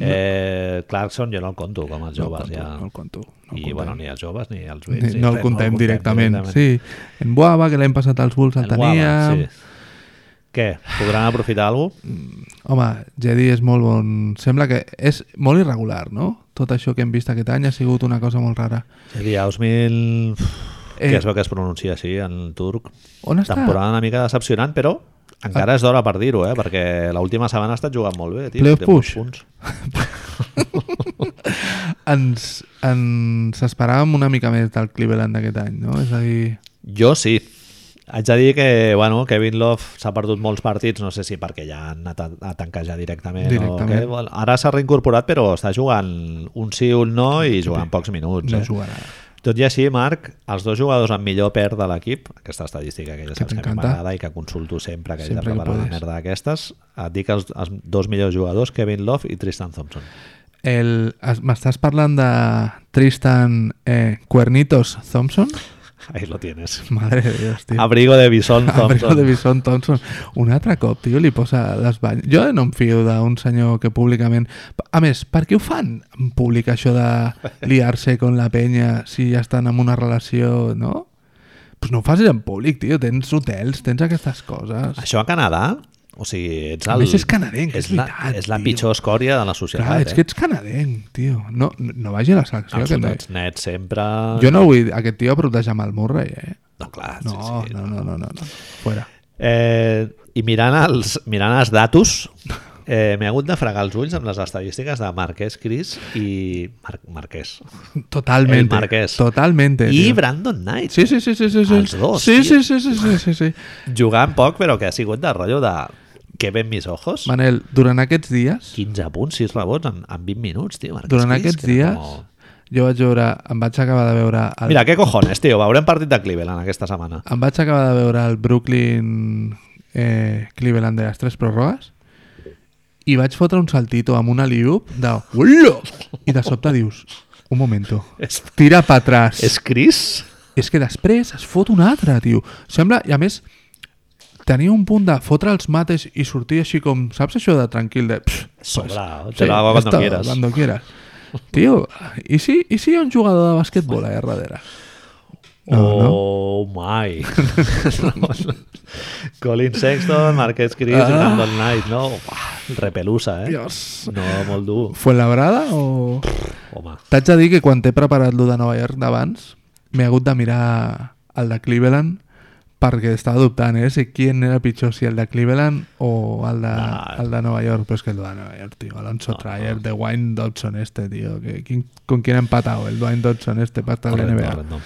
A: eh, Clarkson, jo no el conto com els
B: No el
A: joves,
B: conto,
A: ja.
B: no el conto. No el
A: I
B: contem.
A: bueno, ni els joves ni els vells.
B: Ni-
A: ni
B: no
A: res,
B: el contem directament.
A: directament.
B: Sí, en Boava, que l'hem passat als Bulls, el,
A: El guava,
B: tenia...
A: sí. Què? Podran aprofitar alguna cosa?
B: Home, Jedi és molt bon... Sembla que és molt irregular, no? Tot això que hem vist aquest any ha sigut una cosa molt rara.
A: Seria Osmil...
B: Eh.
A: Eh. Que es veu que es pronuncia així en turc.
B: On està? Ah.
A: Temporada una mica decepcionant, però encara és d'hora per dir-ho, eh? perquè l'última setmana ha estat jugant molt bé. Tio,
B: Playoff
A: té molts
B: push.
A: punts.
B: Ens, ens esperàvem una mica més del Cleveland d'aquest any, no? És a dir...
A: Jo sí. Haig de dir que bueno, Kevin Love s'ha perdut molts partits, no sé si perquè ja han anat a, a tancar ja directament. O
B: Directament.
A: què. Bueno, ara s'ha reincorporat, però està jugant un sí, un no i jugant pocs minuts.
B: No
A: eh?
B: jugarà.
A: Tot i així, Marc, els dos jugadors amb millor per de l'equip, aquesta estadística que ja saps que a mi
B: t'encanta.
A: m'agrada i que consulto sempre que he de
B: Sempre que
A: preparar una
B: puedes.
A: merda d'aquestes, et dic els, els dos millors jugadors, Kevin Love i Tristan Thompson.
B: El- es- M'estàs parlant de Tristan eh, Cuernitos Thompson?
A: Ahí lo tienes.
B: Madre de Dios, tio.
A: Abrigo de Bison
B: Abrigo
A: Thompson.
B: de Bison Thompson. Un altre cop, tio, li posa les banyes. Jo no em fio d'un senyor que públicament... A més, per què ho fan en públic, això de liar-se con la penya si ja estan en una relació, no? Pues no ho facis en públic, tio. Tens hotels, tens aquestes coses.
A: Això a Canadà, o sigui, ets
B: A
A: el...
B: més, és canadenc, és
A: la,
B: veritat,
A: és la
B: tio.
A: pitjor escòria de la societat. eh?
B: Clar, és que ets canadenc, tio. No, no, no vagi a la selecció.
A: Els
B: Que no.
A: ets net sempre...
B: Jo no vull aquest tio protejar amb el Murray, eh?
A: No, clar,
B: No,
A: sí, sí,
B: no, no, no, no, no. Fuera.
A: Eh, I mirant els, mirant els datos, eh, m'he hagut de fregar els ulls amb les estadístiques de Marquès Cris i Mar Marquès. El
B: Totalmente.
A: Marquès.
B: Totalmente.
A: I
B: tio.
A: Brandon Knight.
B: Sí, sí, sí, sí, sí. sí.
A: Els dos,
B: Sí,
A: tio.
B: sí, sí, sí, sí, sí, sí.
A: Jugant poc, però que ha sigut de rotllo de... Que ven mis ojos?
B: Manel, durant aquests dies,
A: 15 punts, 6 rebots en, en 20 minuts, tio. Marquès
B: durant
A: Cris,
B: aquests
A: que era
B: dies, jo vaig veure, em vaig acabar de veure el,
A: Mira, què cojones, tio? Veurem partit de Cleveland aquesta setmana.
B: em vaig acabar de veure el Brooklyn eh, Cleveland de les tres pròrrogues i vaig fotre un saltito amb una liup de Ullo! i de sobte dius un momento,
A: És,
B: tira pa atrás
A: és Cris?
B: és que després es fot un altre, tio. Sembla, i a més, tenia un punt de fotre els mates i sortir així com, saps això de tranquil, de... Pff,
A: Sobrao, te lo hago cuando quieras.
B: Cuando quieras. Tio, i si, i si hi ha un jugador de bàsquetbol allà darrere? No, no.
A: oh my. Colin Sexton, Marquès Cris,
B: Ah.
A: Brandon Knight, no? Uah, repelusa, eh?
B: Dios.
A: No, molt dur.
B: Fue labrada o...
A: Home,
B: T'haig de dir que quan t'he preparat lo de Nova York d'abans, m'he hagut de mirar el de Cleveland perquè estava dubtant, eh, si quin era pitjor, si el de Cleveland o el de,
A: No.
B: el de Nova York, però és que el de Nova York, tio, Alonso
A: No,
B: no, Trier, de Wayne Dodson este, tio, que, quin, con quien ha empatado el Wayne Dodson este para estar en la
A: horrendo,
B: NBA.
A: horrendo.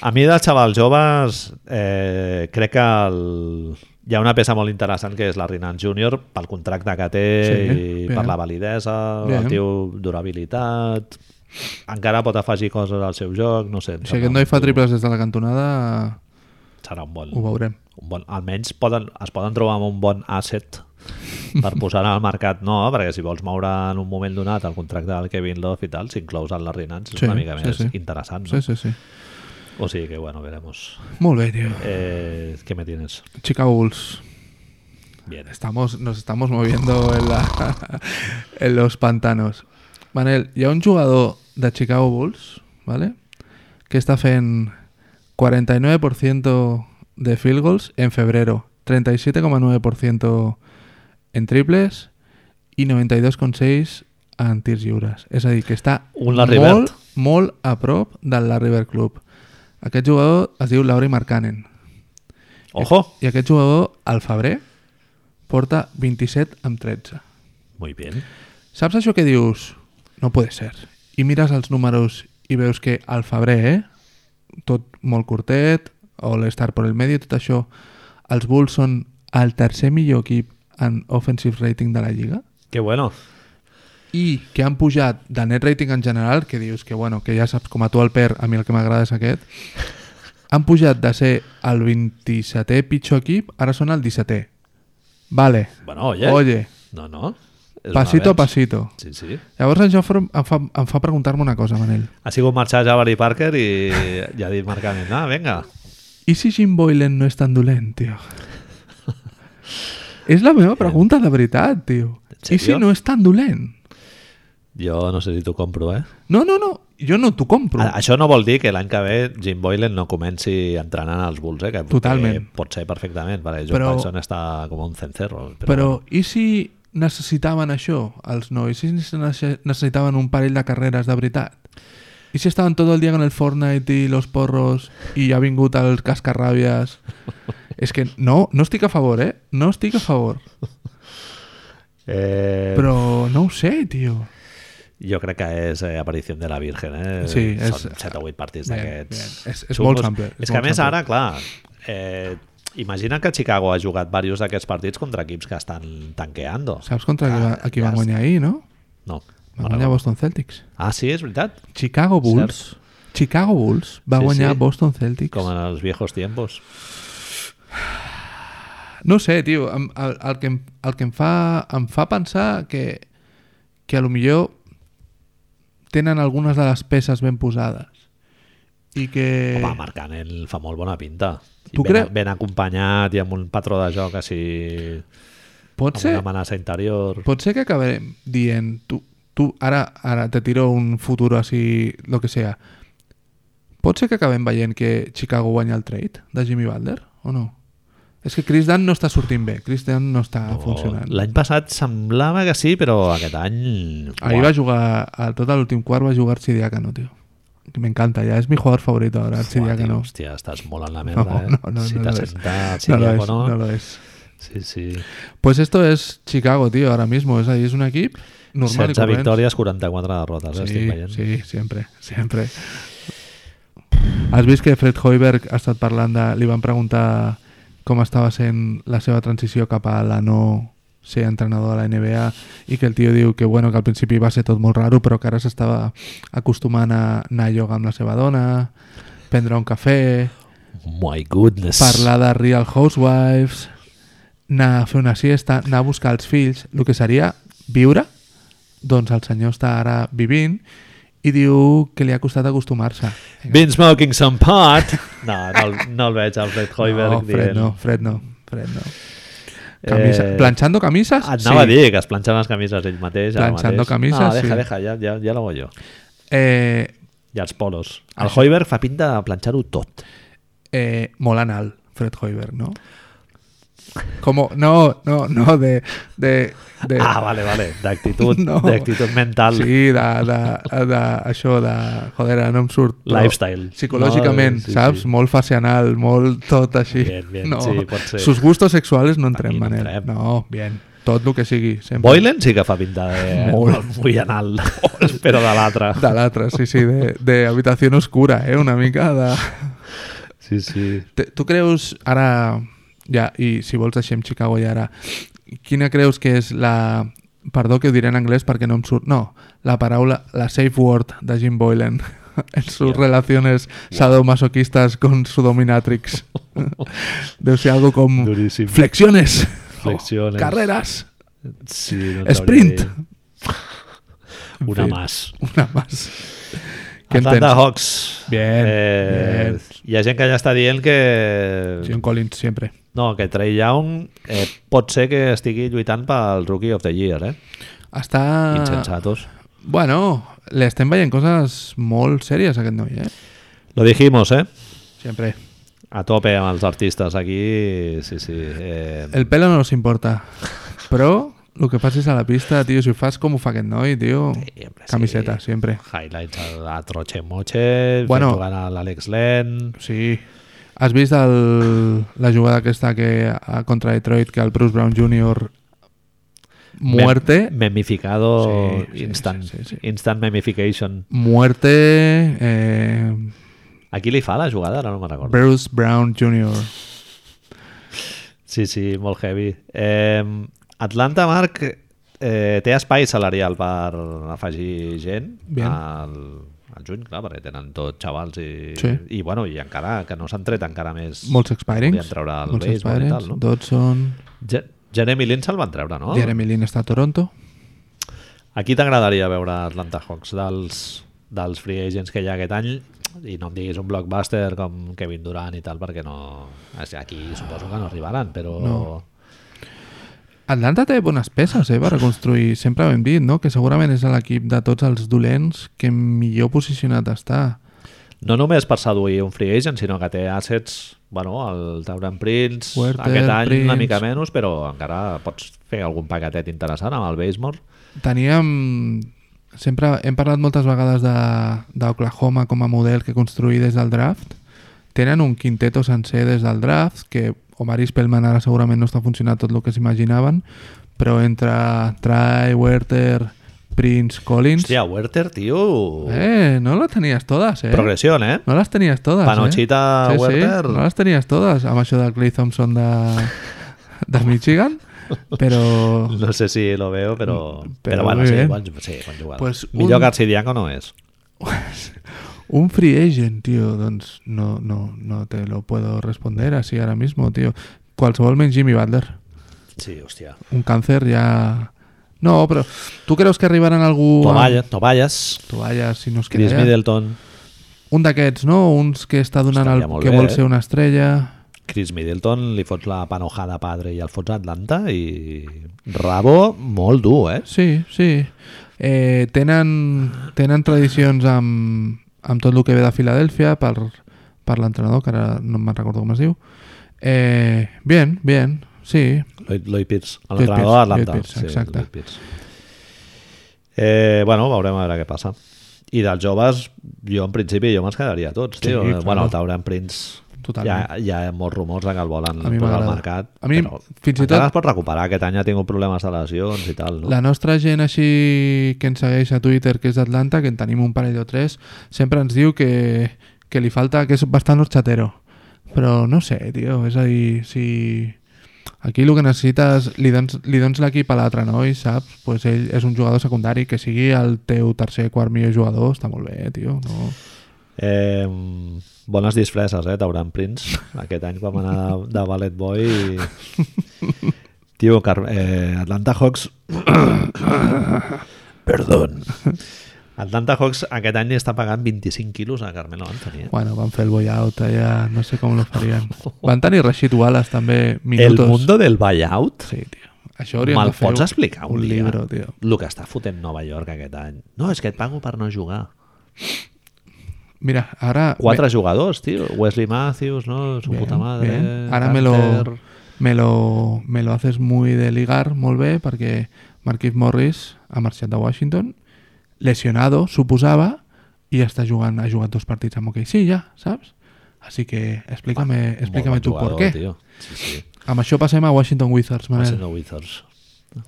A: A mi dels xavals joves eh, crec que el... hi ha una peça molt interessant que és la Rinan Júnior pel contracte que té
B: Sí,
A: i
B: bé.
A: per la validesa,
B: Bé.
A: el teu durabilitat encara pot afegir coses al seu joc, no sé. em
B: Si aquest
A: sembla
B: noi fa
A: un-
B: triples des de la cantonada,
A: Serà un bon,
B: ho veurem.
A: un bon... Almenys poden, es poden trobar amb un bon asset per posar al mercat, no? Perquè si vols moure en un moment donat el contracte del Kevin Love i tal, si inclous en la Rinan, és
B: Sí,
A: una mica
B: sí,
A: més
B: sí.
A: interessant, no?
B: Sí, sí, sí.
A: O sigui que, bueno, veremos.
B: Molt bé, tio.
A: Eh, ¿Qué me tienes?
B: Chicago Bulls.
A: Bien.
B: Estamos, nos estamos moviendo en, la- en los pantanos. Manel, hi ha un jugador de Chicago Bulls, ¿vale? que està fent 49% de field goals en febrero, 37,9% en triples i 92,6 en tirs lliures. És a dir, que està
A: Un Larry
B: molt,
A: Bird.
B: molt a prop del Larry Bird Club. Aquest jugador es diu Lauri Markkanen.
A: Ojo.
B: I aquest jugador, al febrer, porta 27 amb 13.
A: Muy bien.
B: Saps això que dius? No puede ser. I mires els números i veus que al febrer, eh? tot molt curtet, All-Star per el medi, tot això, els Bulls són el tercer millor equip en offensive rating de la Lliga
A: Qué bueno.
B: i que han pujat de net rating en general, que dius que, bueno, que ja saps com a tu el per, a mi el que m'agrada és aquest, han pujat de ser el 27è pitjor equip, ara són el 17è. Vale.
A: Bueno, oye.
B: Oye.
A: No, no. És un
B: Pasito a
A: avenç.
B: pasito.
A: Sí, sí.
B: Llavors això em fa, em fa preguntar-me una cosa, Manel.
A: Ha sigut marxar ja Barry Parker i ja ha dit Marc Cannon, ah, vinga.
B: I si Jim Boylan no és tan dolent, tio? és la meva pregunta de veritat, tio.
A: En
B: I si
A: serio?
B: no és tan dolent?
A: Jo no sé si t'ho compro, eh?
B: No, no, no, jo no t'ho compro.
A: A- Això no vol dir que l'any que ve Jim Boylan no comenci entrenant als Bulls, eh? Que,
B: Totalment.
A: Que pot ser perfectament, perquè John
B: Però-
A: Paxson està com un cencerro. Però,
B: Però i si necessitaven això, els nois? I si nece- necessitaven un parell de carreres de veritat? I si estaven tot el dia en el Fortnite i los porros i ha vingut el cascarràbies? És que no, no estic a favor, eh? No estic a favor.
A: eh,
B: Però no ho sé, tio.
A: jo crec que és eh, aparició de la Virgen, eh?
B: Sí, és-
A: Són 7 o 8 partits
B: Bien,
A: d'aquests.
B: bien. És- és
A: xungos.
B: molt sample, és
A: És que a
B: molt
A: més
B: sample.
A: ara, clar, eh, imagina que Chicago ha jugat diversos d'aquests partits contra equips que estan tanqueando.
B: Saps contra qui,
A: Ah,
B: va, a qui van guanyar ahir, no?
A: No.
B: Van guanyar Boston Celtics.
A: Ah, sí, és veritat.
B: Chicago Bulls. Chicago Bulls va
A: Sí,
B: guanyar
A: sí.
B: Boston Celtics.
A: Com en els viejos tiempos.
B: No ho sé, tio, em- el, el, que, em- el que em fa, em fa pensar que, que a lo millor tenen algunes de les peces ben posades i que...
A: Home, Marc Canel fa molt bona pinta. I
B: Eh. Tu
A: ben,
B: creus-
A: ben acompanyat i amb un patró de joc així...
B: pot,
A: Amb
B: ser,
A: una amenaça interior.
B: pot ser que acabarem dient tu, tu ara, ara te tiro un futur així, lo que sea. Pot ser que acabem veient que Chicago guanya el trade de Jimmy Butler o no? És que Chris Dunn no està sortint bé, Chris Dunn no està
A: No,
B: ah, funcionant.
A: L'any passat semblava que sí, però aquest any...
B: Ahí
A: Uah,
B: va jugar, a todo el último cuarto va a jugar Archidiácano, tío. Que Me encanta, ya es mi jugador favorito ahora,
A: uah, tio,
B: Archidiácano.
A: Hòstia, estàs molt en la
B: No,
A: merda,
B: no,
A: eh?
B: no, no,
A: si
B: no
A: t'has
B: lo es.
A: sentat, si
B: No
A: no,
B: lo es,
A: no.
B: no lo es.
A: Sí, sí.
B: Pues esto es Chicago, tío, ahora mismo. Es ahí, es un equipo normal y
A: 16
B: corrent.
A: victòries, 44 derrotes, sí, eh, estic
B: Sí,
A: veient. Sí.
B: sí, siempre, siempre. Has vist que Fred Hoiberg ha estat parlant de... Li van preguntar com estava sent la seva transició cap a la no ser entrenador a la NBA i que el tio diu que, bueno, que al principi va ser tot molt raro però que ara s'estava acostumant a anar a ioga amb la seva dona, prendre un cafè,
A: Oh My goodness.
B: parlar de Real Housewives, anar a fer una siesta, anar a buscar els fills, el que seria viure, doncs el senyor està ara vivint i diu que li ha costat acostumar-se.
A: Been smoking some pot. No, no, el- no el veig, el Fred Hoiberg
B: No, Fred
A: dient.
B: no, Fred no, Fred no. Camisa,
A: Eh,
B: Planchando camises?
A: Et anava sí. a dir que es planxen les camises ell mateix. ara
B: Planxando
A: mateix.
B: camises,
A: no, deja,
B: sí.
A: deja, ja, ja, ja la voy jo.
B: Eh,
A: I els polos.
B: Ah,
A: El Hoiberg fa pinta de planxar-ho tot.
B: eh, molt anal, Fred Hoiberg, no? Como, no, no, no, de... de, de
A: Ah, vale, vale. D'actitud
B: Eh. No.
A: no. d'actitud mental. Sí.
B: Sí, de, de, de, això de... Joder, ara no em surt. però
A: Lifestyle.
B: Psicològicament,
A: No, sí,
B: saps?
A: sí.
B: Molt facianal, molt tot així.
A: Bien, bien,
B: no.
A: sí, pot ser.
B: Sus gustos sexuals no entrem,
A: Aquí no
B: Manel.
A: entrem.
B: No, bien. Tot el que sigui, sempre.
A: Boylan sí que fa pinta de
B: Molt.
A: molt anal, però de l'altre.
B: De l'altre, sí, sí, de, de habitació oscura, eh? Una mica de...
A: Sí, sí.
B: Te- Tu creus, ara, ja, i si vols deixem Chicago ja ara, quina creus que és la... Perdó que ho diré en anglès perquè no em surt... No, la paraula, la safe word de Jim Boylan en sus relaciones sadomasoquistas con su dominatrix. Deu ser algo com...
A: Duríssim.
B: Flexiones. Oh,
A: Flexiones.
B: Carreras.
A: sí no t'hauria
B: Sprint.
A: de dir. Una
B: En fi.
A: más.
B: Una más. Què en
A: Atlanta
B: tens?
A: Hawks. Eh,
B: Bien, bien.
A: Hi ha gent que ja està dient que...
B: John Collins, sempre.
A: No, que Trey Young eh, pot ser que estigui lluitant pel Rookie of the Year, eh?
B: Està...
A: Insensatos.
B: Bueno, li estem veient coses molt sèries a aquest noi, eh?
A: Lo dijimos, eh?
B: Siempre.
A: A tope amb els artistes aquí, sí, sí. Eh,
B: El pelo no nos importa. Pero lo que pases a la pista, tío, si ho fas com ho fa aquest noi, tio,
A: Sí, hombre, sí.
B: camiseta, siempre.
A: Highlights a, a Troche Moche, bueno,
B: Bueno.
A: jugant a l'Àlex Len...
B: Sí. Has vist el, la jugada aquesta que a, contra Detroit que el Bruce Brown Jr. muerte,
A: Mem memificado,
B: Sí, sí,
A: instant,
B: sí, sí, sí.
A: instant memification.
B: muerte eh,
A: A qui li fa la jugada? Ara no me'n recordo.
B: Bruce Brown Jr.
A: Sí, sí, molt heavy. Eh, Atlanta, Marc, eh, té espai salarial per afegir gent
B: Bien.
A: al, al juny, clar, perquè tenen tots xavals i,
B: Sí.
A: i, bueno, i encara que no s'han tret encara més...
B: Molts expirings.
A: Podien treure el
B: molts
A: baseball i
B: expirings.
A: tal, no? Ah.
B: Dodson,
A: Je Jeremy Lin se'l van treure, no?
B: Jeremy Lin està a Toronto.
A: A qui t'agradaria veure Atlanta Hawks dels, dels free agents que hi ha aquest any? I no em diguis un blockbuster com Kevin Durant i tal, perquè no... Aquí suposo que no arribaran, però...
B: No. Atlanta té bones peces eh, per reconstruir, sempre ho hem dit, no? que segurament és l'equip de tots els dolents que millor posicionat està.
A: no només per seduir un free agent, sinó que té assets, bueno, el Tauran Prince,
B: Huerta,
A: aquest any
B: Prince.
A: una mica menys, però encara pots fer algun paquetet interessant amb el Basemore.
B: Teníem... Sempre hem parlat moltes vegades de- d'Oklahoma com a model que construir des del draft. Tenen un quinteto sencer des del draft, que Omar Spellman ara segurament no està funcionant tot el que s'imaginaven, però entre Trae, Werther, Prince, Collins...
A: Hòstia, Werther, tio...
B: Eh, no las tenías todas, eh?
A: Progressió, eh?
B: No las tenías todas,
A: Panochita,
B: eh?
A: Werther.
B: no las tenías todas. Amb això de Clay Thompson de, de Michigan, però...
A: No sé si lo veo, però... Però,
B: Oh. Però
A: bueno,
B: muy
A: sí,
B: bien.
A: bon, sí, bon jugador.
B: Pues
A: Millor
B: un-
A: que Arcidiaco no és.
B: Un free agent, tío, doncs no, no, no te lo puedo responder así ahora mismo, tío. Qualsevol menys Jimmy Butler.
A: Sí, hòstia.
B: Un càncer ja... No, però tu creus que arribaran algú...
A: Toballa, Toballes,
B: Tovalles, si no es
A: Chris
B: queda ja.
A: Middleton.
B: Un d'aquests, no? Uns que està donant
A: Estaria
B: el...
A: molt
B: que
A: bé,
B: vol
A: eh?
B: ser una estrella.
A: Chris Middleton li fots la panojada padre i el fots a Atlanta i... Rabo, molt dur, eh?
B: Sí, sí. Eh, tenen, tenen tradicions amb, amb tot el que ve de Filadèlfia per, per l'entrenador, que ara no me'n recordo com es diu. Eh, bien, bien, sí.
A: Lloyd, Lloyd Pierce,
B: Lloyd
A: l'entrenador
B: Pierce,
A: d'Atlanta.
B: Lloyd Pierce, exacte.
A: Lloyd Pierce. Eh, bueno, veurem a veure què passa. I dels joves, jo en principi jo me'ls quedaria a tots,
B: Sí,
A: tio. Eh,
B: claro.
A: Bueno, el Tauran Prince...
B: Totalment.
A: Hi ha, hi ha molts rumors de que el volen
B: A mi
A: posar al
B: m'agrada.
A: mercat.
B: A mi,
A: però
B: fins i
A: encara
B: tot-
A: es pot recuperar. Aquest any ha tingut problemes de lesions i tal, no?
B: La nostra gent així que ens segueix a Twitter, que és d'Atlanta, que en tenim un parell o tres, sempre ens diu que, que li falta, que és bastant horchatero. Però no sé, tio, és a dir, si aquí el que necessites, li dones, li dones l'equip a l'altre noi, saps? Pues ell és un jugador secundari, que sigui el teu tercer, quart millor jugador, està molt bé, tio. No?
A: Eh, bones disfresses, eh, Tauran Prince. Aquest any vam anar de, de Ballet Boy i... Tio, Car eh, Atlanta Hawks... Perdón. Atlanta Hawks aquest any està pagant 25 quilos a Carmelo Anthony. Eh?
B: Bueno, van fer el boyout allà, no sé com lo farien. Van tenir Rashid Wallace també,
A: El
B: minutos.
A: mundo del buyout?
B: Sí, tio. Això hauríem
A: Me'l
B: de fer
A: pots explicar un,
B: un
A: dia?
B: libro, tio.
A: El que està fotent Nova York aquest any. No, és que et pago per no jugar.
B: Mira, ara...
A: Quatre jugadors, tio. Wesley Matthews, no? Su
B: Bien,
A: puta madre.
B: bien. Ahora me lo,
A: Carter.
B: me, lo, me lo haces muy de ligar, molt bé, perquè Marquis Morris ha marxat de Washington, lesionado, suposava, i està jugant, ha jugat dos partits amb OKC ja, saps? Així que explícame, explícame
A: Molt
B: tu
A: bon
B: per
A: jugador,
B: què.
A: Tio. Sí, sí.
B: Amb això passem a Washington Wizards, Manel.
A: Washington Wizards.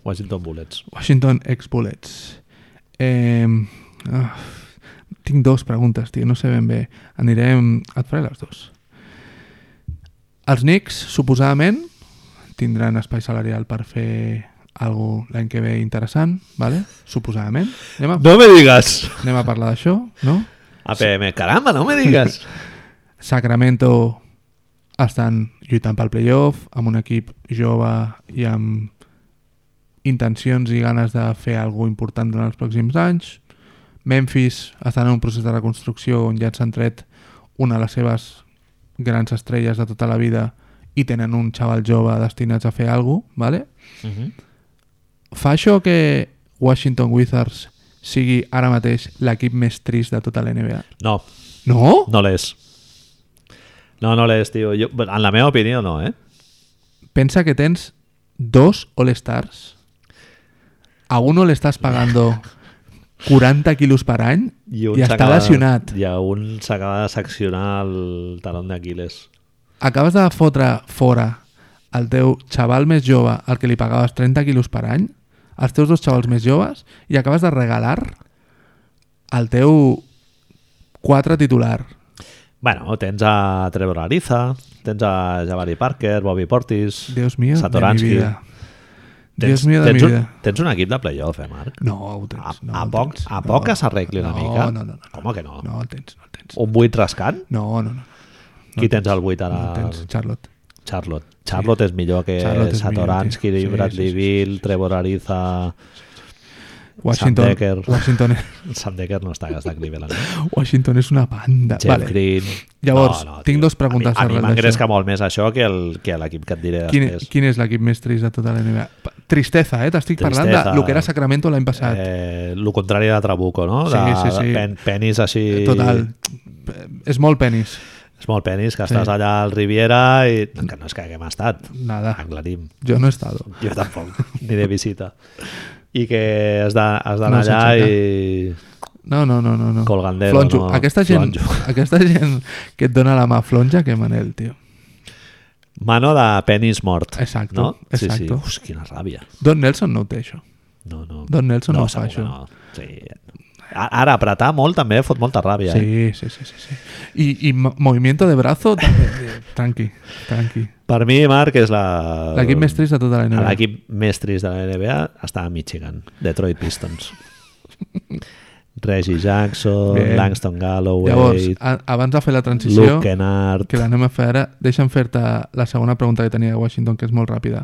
A: Washington Bullets.
B: Washington ex-Bullets. Eh, ah, tinc dos preguntes, tio, no sé ben bé. Anirem... Et faré les dues. Els Knicks, suposadament, tindran espai salarial per fer algo l'any que ve interessant, vale? suposadament. Anem a,
A: No me digas.
B: anem a parlar d'això, no?
A: APM, caramba, no me digas.
B: Sacramento estan lluitant pel playoff amb un equip jove i amb intencions i ganes de fer alguna important durant els pròxims anys. Memphis estan en un procés de reconstrucció on ja s'han tret una de les seves grans estrelles de tota la vida i tenen un xaval jove destinats a fer alguna cosa, ¿vale? fa això que Washington Wizards sigui ara mateix l'equip més trist de tota la NBA?
A: No,
B: No?
A: No l'és. No, no l'és, tio. Jo, en la meva opinió, no, eh?
B: Pensa que tens dos All-Stars. A uno le estás pagando 40 kilos per any i,
A: un
B: i està
A: s'acaba-
B: lesionat.
A: I a un s'acaba de seccionar el talon d'Aquiles.
B: Acabes de fotre fora el teu xaval més jove, al que li pagaves 30 quilos per any, els teus dos xavals més joves, i acabes de regalar el teu quatre titular.
A: Bueno, tens a Trevor Ariza, tens a Jabari Parker, Bobby Portis,
B: Dios mío,
A: Satoransky.
B: de mi vida.
A: Tens,
B: Dios mío, de mi
A: tens, un,
B: vida.
A: tens un equip de playoff, eh, Marc?
B: No, ho tens.
A: A,
B: no,
A: a,
B: ho
A: poc,
B: tens.
A: a poc que s'arregli una
B: no,
A: mica.
B: No, no, no. no.
A: Com que no?
B: No el tens, no el tens.
A: Un buit rascant?
B: No, no, no.
A: Qui tens al buit
B: No
A: ara?
B: el tens, Charlotte.
A: Charlotte. Charlotte és millor que
B: Charlotte és
A: Satoransky,
B: millor, tio. Sí,
A: Bradley
B: sí, sí,
A: Beal, Trevor Ariza...
B: Washington,
A: Sam Decker.
B: Washington,
A: Sam Decker no està, que està a Cleveland.
B: Washington és una banda.
A: Jeff
B: vale.
A: Green...
B: Llavors, tinc
A: tio.
B: dos preguntes
A: A mi, a mi
B: arrel
A: m'engresca
B: d'això.
A: molt més això que el- que l'equip que et diré
B: Quin, e-
A: després.
B: quin és l'equip més trist de tota la NBA? Pa- Tristesa, eh? T'estic parlant de
A: Tristesa.
B: lo que era Sacramento l'any passat.
A: Eh, el contrari de Trabuco, no?
B: Sí,
A: de,
B: sí, sí.
A: Pen, penis així...
B: Eh, Total. Eh, És molt penis.
A: És molt penis, que
B: Sí.
A: estàs allà al Riviera i... Que no és que haguem estat.
B: Nada.
A: Aclarim.
B: Ah. Jo no he estat.
A: Jo tampoc, ni de visita. I que has de- has d'anar allà
B: No s'aixeca.
A: i...
B: No, no, no, no. no.
A: Colgandero,
B: Flonjo.
A: no.
B: Aquesta gent,
A: Flonjo.
B: aquesta gent que et dona la mà flonja, que Manel, tio.
A: Mano de penis mort.
B: Exacto,
A: No? Sí, sí.
B: exacto.
A: Uf, quina ràbia.
B: Don Nelson no ho té, això.
A: No, no.
B: Don Nelson no fa
A: segur que
B: això.
A: No. Sí. A- Ara, apretar molt també fot molta ràbia. Eh?
B: Sí, sí, sí, sí, sí. I, i mo- movimiento de brazo, també, tio. tranqui, tranqui.
A: Per mi, Marc, és la...
B: L'equip més trist de tota la NBA.
A: Ehm, L'equip més trist de la NBA està a Michigan, Detroit Pistons. Reggie Jackson,
B: Bien.
A: Langston Galloway,
B: Llavors, a, abans de fer la
A: Luke
B: transició,
A: Kennard...
B: que l'anem a fer ara, deixa'm fer-te la segona pregunta que tenia de Washington, que és molt ràpida.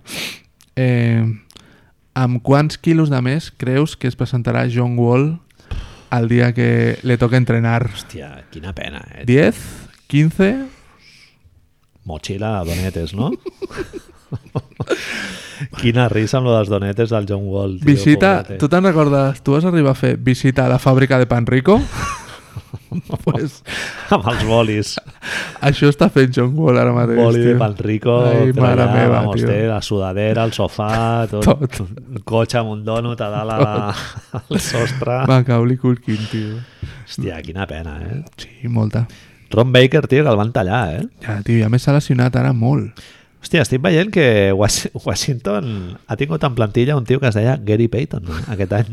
B: Eh, amb quants quilos de més creus que es presentarà John Wall el dia que li toca entrenar?
A: Hòstia, quina pena, eh?
B: 10? 15?
A: Mochila, donetes, no? quina risa amb lo dels donetes del John Wall. Tio,
B: Visita,
A: pobrete.
B: tu te'n recordes, tu vas arribar a fer visita a la fàbrica de Pan Rico? pues,
A: Amb els bolis.
B: això està fent John Wall ara mateix.
A: Boli de
B: tio.
A: Panrico,
B: Ai,
A: però
B: mare
A: allà,
B: meva,
A: vamos,
B: tio.
A: té la sudadera, el sofà, tot,
B: Tot.
A: un cotxe amb un dònut a dalt a la, al sostre.
B: Macaulay Culkin, tio.
A: Hòstia, quina pena, eh?
B: Sí, molta.
A: Ron Baker, tio, que el van tallar, eh?
B: Ja, tio, ja m'he seleccionat ara molt.
A: Hòstia, estic veient que Was- Washington ha tingut en plantilla un tio que es deia Gary Payton eh, aquest any.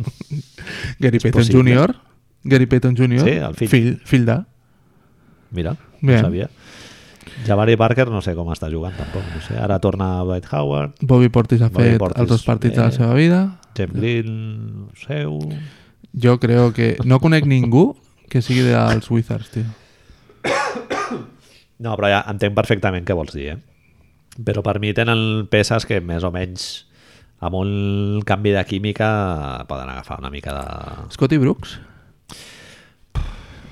B: Gary Payton
A: possible.
B: Jr. Gary Payton Jr.
A: Sí, el fill.
B: Fill, fill de...
A: Mira,
B: Bien.
A: no sabia. Jabari Parker no sé com està jugant tampoc, no sé. Ara torna Dwight Howard,
B: Bobby Portis ha
A: Bobby
B: fet
A: Portis, Eh.
B: els dos partits de la
A: bé.
B: seva vida.
A: Jeff Green, seu...
B: Jo crec que... No conec ningú que sigui dels Wizards, tio.
A: No, però ja entenc perfectament què vols dir, eh? Però per mi tenen peces que més o menys amb un canvi de química poden agafar una mica de...
B: Scotty Brooks?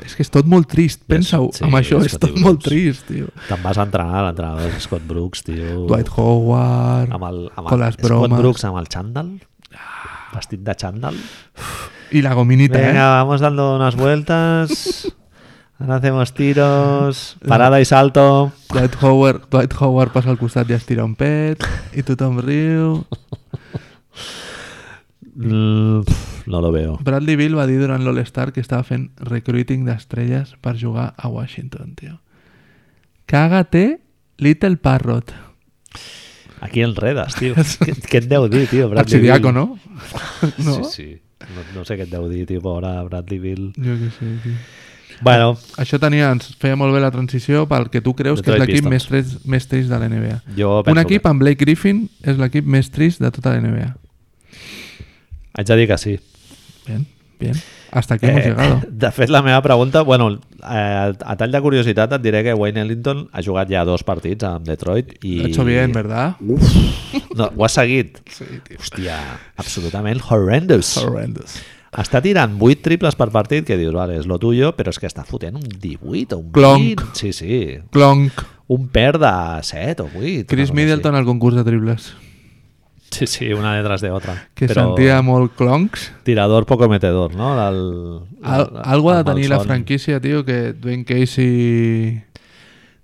B: És que és tot molt trist, pensa-ho.
A: sí,
B: amb això és
A: Scotty
B: tot
A: Brooks.
B: molt trist, tio.
A: Te'n vas a entrenar, l'entrenador és Scott Brooks, tio.
B: Dwight Howard,
A: amb el, amb
B: con
A: el,
B: les
A: Scott
B: bromes.
A: Brooks amb el xandall vestit de xandall
B: i la gominita,
A: venga
B: eh?
A: vamos dando unas vueltas ahora hacemos tiros parada y salto
B: Dwight Howard, Dwight Howard passa al costat i es tira un pet i tothom riu.
A: Mm, pf, no lo veo
B: Bradley Bill va dir durant l'All-Star que estava fent recruiting d'estrelles per jugar a Washington, tio. Càgate, Little Parrot.
A: aquí enredas tío què, què et deu dir tio Bradley
B: Arxidiaco,
A: Beal?
B: no? no?
A: sí, sí. No, no sé què et deu dir tio pobre Bradley Bill
B: Jo què sé, tio.
A: bueno
B: Això tenia, ens feia molt bé la transició pel que tu creus que és
A: Detroit
B: l'equip
A: Pistons.
B: més, trist- més trist de la NBA.
A: jo
B: Un
A: penso
B: equip amb Blake Griffin és l'equip més trist de tota la NBA.
A: que haig de dir que sí
B: Bien, bien. Hasta aquí hemos
A: Eh,
B: llegado.
A: De fet, la meva pregunta... Bueno, eh, a tall de curiositat et diré que Wayne Ellington ha jugat ja dos partits amb Detroit i...
B: Lo he hecho bien, ¿verdad?
A: No, ho has seguit.
B: Sí, tio.
A: Hòstia, absolutament horrendous.
B: Horrendous.
A: Està tirant 8 triples per partit que dius, vale, és lo tuyo, però és que està fotent un 18 o un
B: Clonk.
A: 20. Sí, sí.
B: Clonk.
A: Un per de 7 o 8.
B: Chris Middleton al concurs de triples.
A: Sí, sí, una detrás de otra.
B: que
A: Però
B: sentia molt cloncs.
A: Tirador poco metedor, no? Del-
B: Al,
A: del-
B: algo ha de
A: del
B: tenir la
A: malson.
B: franquícia, tio, que Dwayne Casey...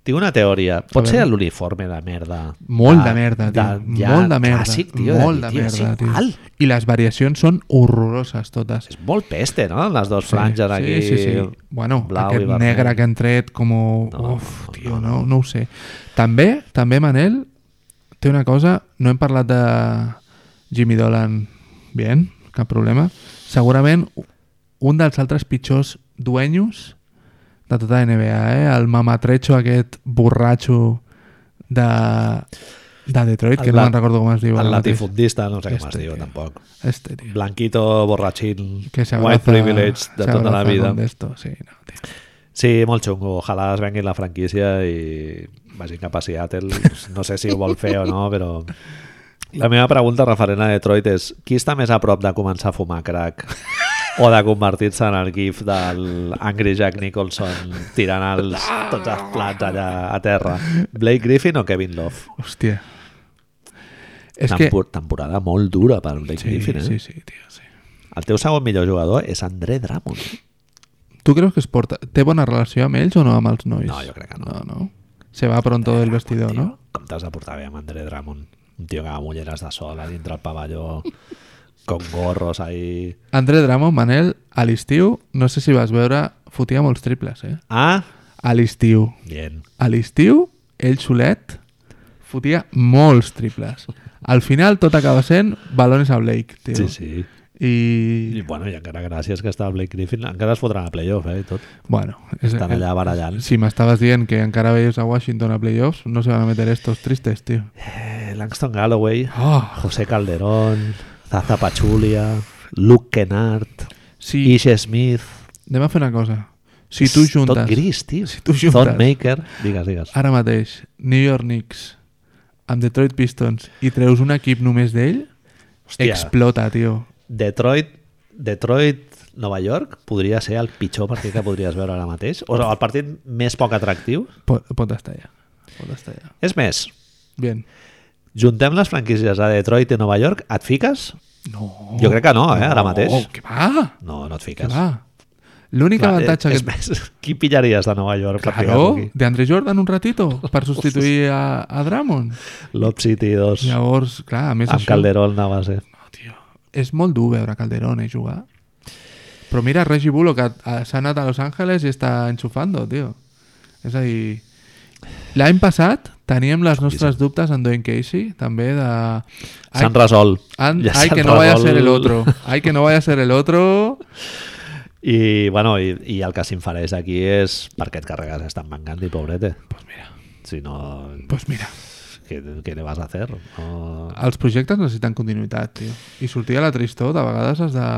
A: Tinc una teoria. Pot ser
B: veure.
A: l'uniforme de merda. Ah,
B: Molt de merda, tio.
A: ja
B: molt de merda.
A: Clàssic, tio.
B: molt
A: dir,
B: de
A: tio, és
B: merda, tio.
A: igual.
B: I les variacions són horroroses totes.
A: És molt peste, no? Amb les dues franges
B: sí,
A: aquí.
B: Sí, sí. Bueno,
A: blau i
B: aquest
A: vermell.
B: negre que han tret com...
A: No,
B: No, Uf, tio, no, no, ho sé. També, també Manel, té una cosa, no hem parlat de Jimmy Dolan bien, cap problema. Segurament un dels altres pitjors duenyos de tota la NBA, eh? el mamatrecho aquest borratxo de, de Detroit, que
A: El
B: no
A: la-
B: me'n recordo com es diu.
A: El
B: ara mateix.
A: latifundista, no sé com es
B: Este,
A: diu,
B: tio.
A: tampoc.
B: Este, tio.
A: Blanquito, borratxín,
B: Que se
A: white
B: abraza,
A: privilege de
B: se
A: tota la
B: abraza
A: vida.
B: con esto, sí, no, tio.
A: Sí, molt xungo. Ojalà es vengui la franquícia i vagin cap a Seattle. No sé si ho vol fer o no, però... La meva pregunta referent a Detroit és qui està més a prop de començar a fumar crack o de convertir-se en el gif del Angry Jack Nicholson tirant els, tots els plats allà a terra? Blake Griffin o Kevin Love?
B: Hòstia. És que...
A: Tempor Temporada molt dura per Blake
B: Sí,
A: Griffin, eh?
B: sí, sí, tio, sí.
A: El teu segon millor jugador és André Drummond.
B: Tu creus que es porta... Té bona relació amb ells o no amb els nois?
A: No, jo crec que no.
B: No, no. Se va pronto del vestidor,
A: tio,
B: no?
A: Com t'has de portar bé amb André Drummond? Un tio que va amb ulleres de sol a dintre el pavelló, con gorros ahí...
B: André Drummond, Manel, a l'estiu, no sé si vas veure, fotia molts triples, eh?
A: Ah,
B: A l'estiu.
A: bien.
B: A l'estiu, ell solet fotia molts triples. Al final tot acaba sent balones a Blake, tio.
A: Sí, sí. I,
B: I...
A: bueno, i encara gràcies que està Blake Griffin. Encara es fotran a playoff, eh, i tot.
B: Bueno, és,
A: Estan allà barallant.
B: si m'estaves dient que encara veies a Washington a playoffs, no se van a meter estos tristes, tio.
A: Eh, Langston Galloway,
B: Oh,
A: José Calderón, Zaza Pachulia, Luke Kennard,
B: Sí.
A: Ish Smith...
B: Anem a fer una cosa. Si
A: És
B: tu juntes
A: Tot gris, tio.
B: Si tu juntes-
A: Thought Maker... Digues, digues.
B: ara mateix New York Knicks amb Detroit Pistons i treus un equip només d'ell,
A: Hòstia.
B: explota, tio.
A: Detroit, Detroit, Nova York podria ser el pitjor partit que podries veure ara mateix, o el partit més poc atractiu.
B: Pot, pot estar allà. Pot estar allà.
A: És més,
B: Bien.
A: juntem les franquícies de Detroit i Nova York, et fiques?
B: No.
A: Jo crec que no, eh, ara mateix.
B: Oh, que va!
A: No, no et
B: Que
A: fiques.
B: va! L'únic
A: Clar, eh,
B: avantatge
A: és,
B: que...
A: és més, qui pillaries de Nova York? per
B: Claro,
A: ficar-lo aquí?
B: de Andre Jordan un ratito per substituir a, a Drummond.
A: Lob City 2,
B: Llavors, clar, a més
A: amb
B: això...
A: Calderón eh. a base.
B: No, tio. És molt dur veure Calderón eh, jugar. Però mira, Reggie Bullock a- a- s'ha anat a Los Angeles i està enxufando, tio. És a dir... L'any passat teníem les nostres dubtes en Dwayne Casey, també de... Ai,
A: S'han resolt.
B: an-
A: Ja
B: ai,
A: s'han
B: que no vaya a
A: resolt.
B: ser el otro. Ai, que no vaya a ser el otro.
A: I, bueno, i, i el que s'infereix aquí és per què et carregues a Stan Van Gundy, pobrete.
B: Pues mira,
A: Si no,
B: pues mira.
A: ¿qué, qué le vas a hacer? No,
B: Els projectes necessiten continuïtat, tio. I sortir a la tristor, de vegades has de...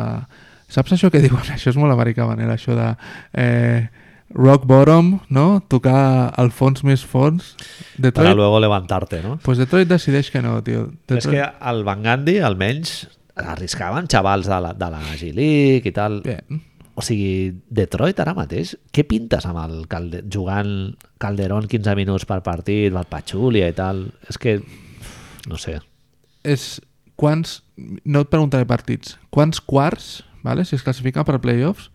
B: Saps això que diuen? Això és molt americà, Manel, això de... Eh, rock bottom, no? Tocar el fons més fons.
A: para
B: Detroit,
A: luego levantarte, ¿no?
B: pues Detroit decideix que no, tio.
A: És
B: Detroit...
A: que el Van Gandhi, almenys, arriscaven xavals de la, de la G League i tal.
B: Bé,
A: O sigui, Detroit ara mateix, què pintes amb el Calde jugant Calderón 15 minuts per partit, el Pachulia i tal? És que, no sé,
B: és quants... No et preguntaré partits. Quants quarts, vale? si es classifica per playoffs,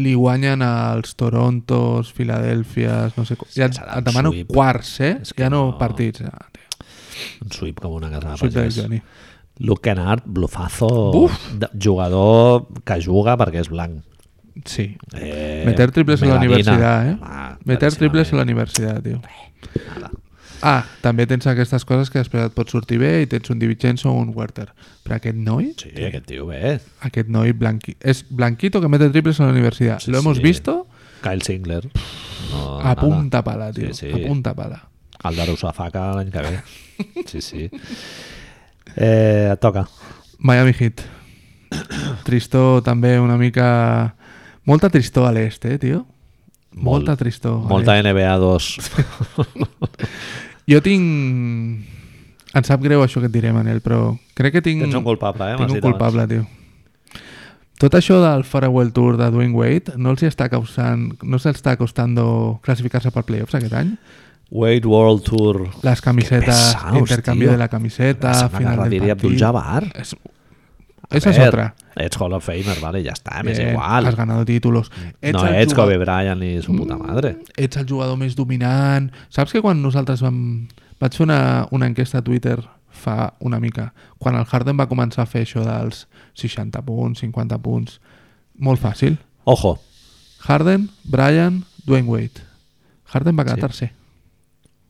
B: li guanyen als Torontos, Filadèlfies, no sé... com- Ja et,
A: serà un
B: et demano
A: sweep.
B: quarts, eh?
A: És que
B: Ja no,
A: no.
B: partits. Ah, tio.
A: un sweep com una casa de
B: Sweep del
A: pagès.
B: Johnny.
A: Luke Kennard, blufazo,
B: Buf!
A: de- jugador que juga perquè és blanc.
B: Sí.
A: Eh,
B: Meter triples en la
A: melanina.
B: universitat, eh?
A: Ah,
B: Meter triples a la
A: claríssimament.
B: universitat, tio.
A: Pues. Nada.
B: Ah, també tens aquestes coses que després et pot sortir bé i tens un DiVincenzo o un Werther. Però aquest noi,
A: Sí, aquest tio bé.
B: aquest noi blanqui, és blanquito que mete triples a la universitat.
A: Sí,
B: Lo hemos
A: sí.
B: visto
A: Kyle Singler. No,
B: a
A: nada.
B: punta pala, tio.
A: Sí, sí.
B: A punta pala.
A: El d'Arusafaka l'any que ve. Sí, sí. Eh, et toca.
B: Miami Heat. Tristó també una mica... Molta tristó a l'est, eh, tio?
A: Molt.
B: Molta tristó. a
A: Molta NBA 2.
B: Jo tinc... Em sap greu això que et diré, Manel, però crec que tinc...
A: Tens un culpable, eh? m'has
B: tinc un
A: dit abans.
B: culpable, tio. Tot això del Farewell Tour de Dwayne Wade no els hi està causant... No s'està costant classificar-se per playoffs aquest any?
A: Wade World Tour. Ah,
B: Las camisetas,
A: pesaos,
B: intercambio
A: tío.
B: de la camiseta,
A: Pensaba que
B: final del
A: Radiri
B: partido.
A: Abdul-Jabbar.
B: Es-
A: A
B: esa es
A: ver,
B: otra.
A: Ets Hall of Famer, vale, ja està, m'és
B: Bien,
A: igual.
B: Has ganado títulos.
A: No
B: el
A: ets Kobe
B: jugador-
A: Bryant ni su
B: Mm.
A: puta madre.
B: ets el jugador més dominant. Saps que quan nosaltres vam... Vaig fer una, una enquesta a Twitter fa una mica, quan el Harden va començar a fer això dels 60 punts, 50 punts, molt fàcil.
A: Ojo,
B: Harden, Bryant, Dwayne Wade. Harden va quedar tercer.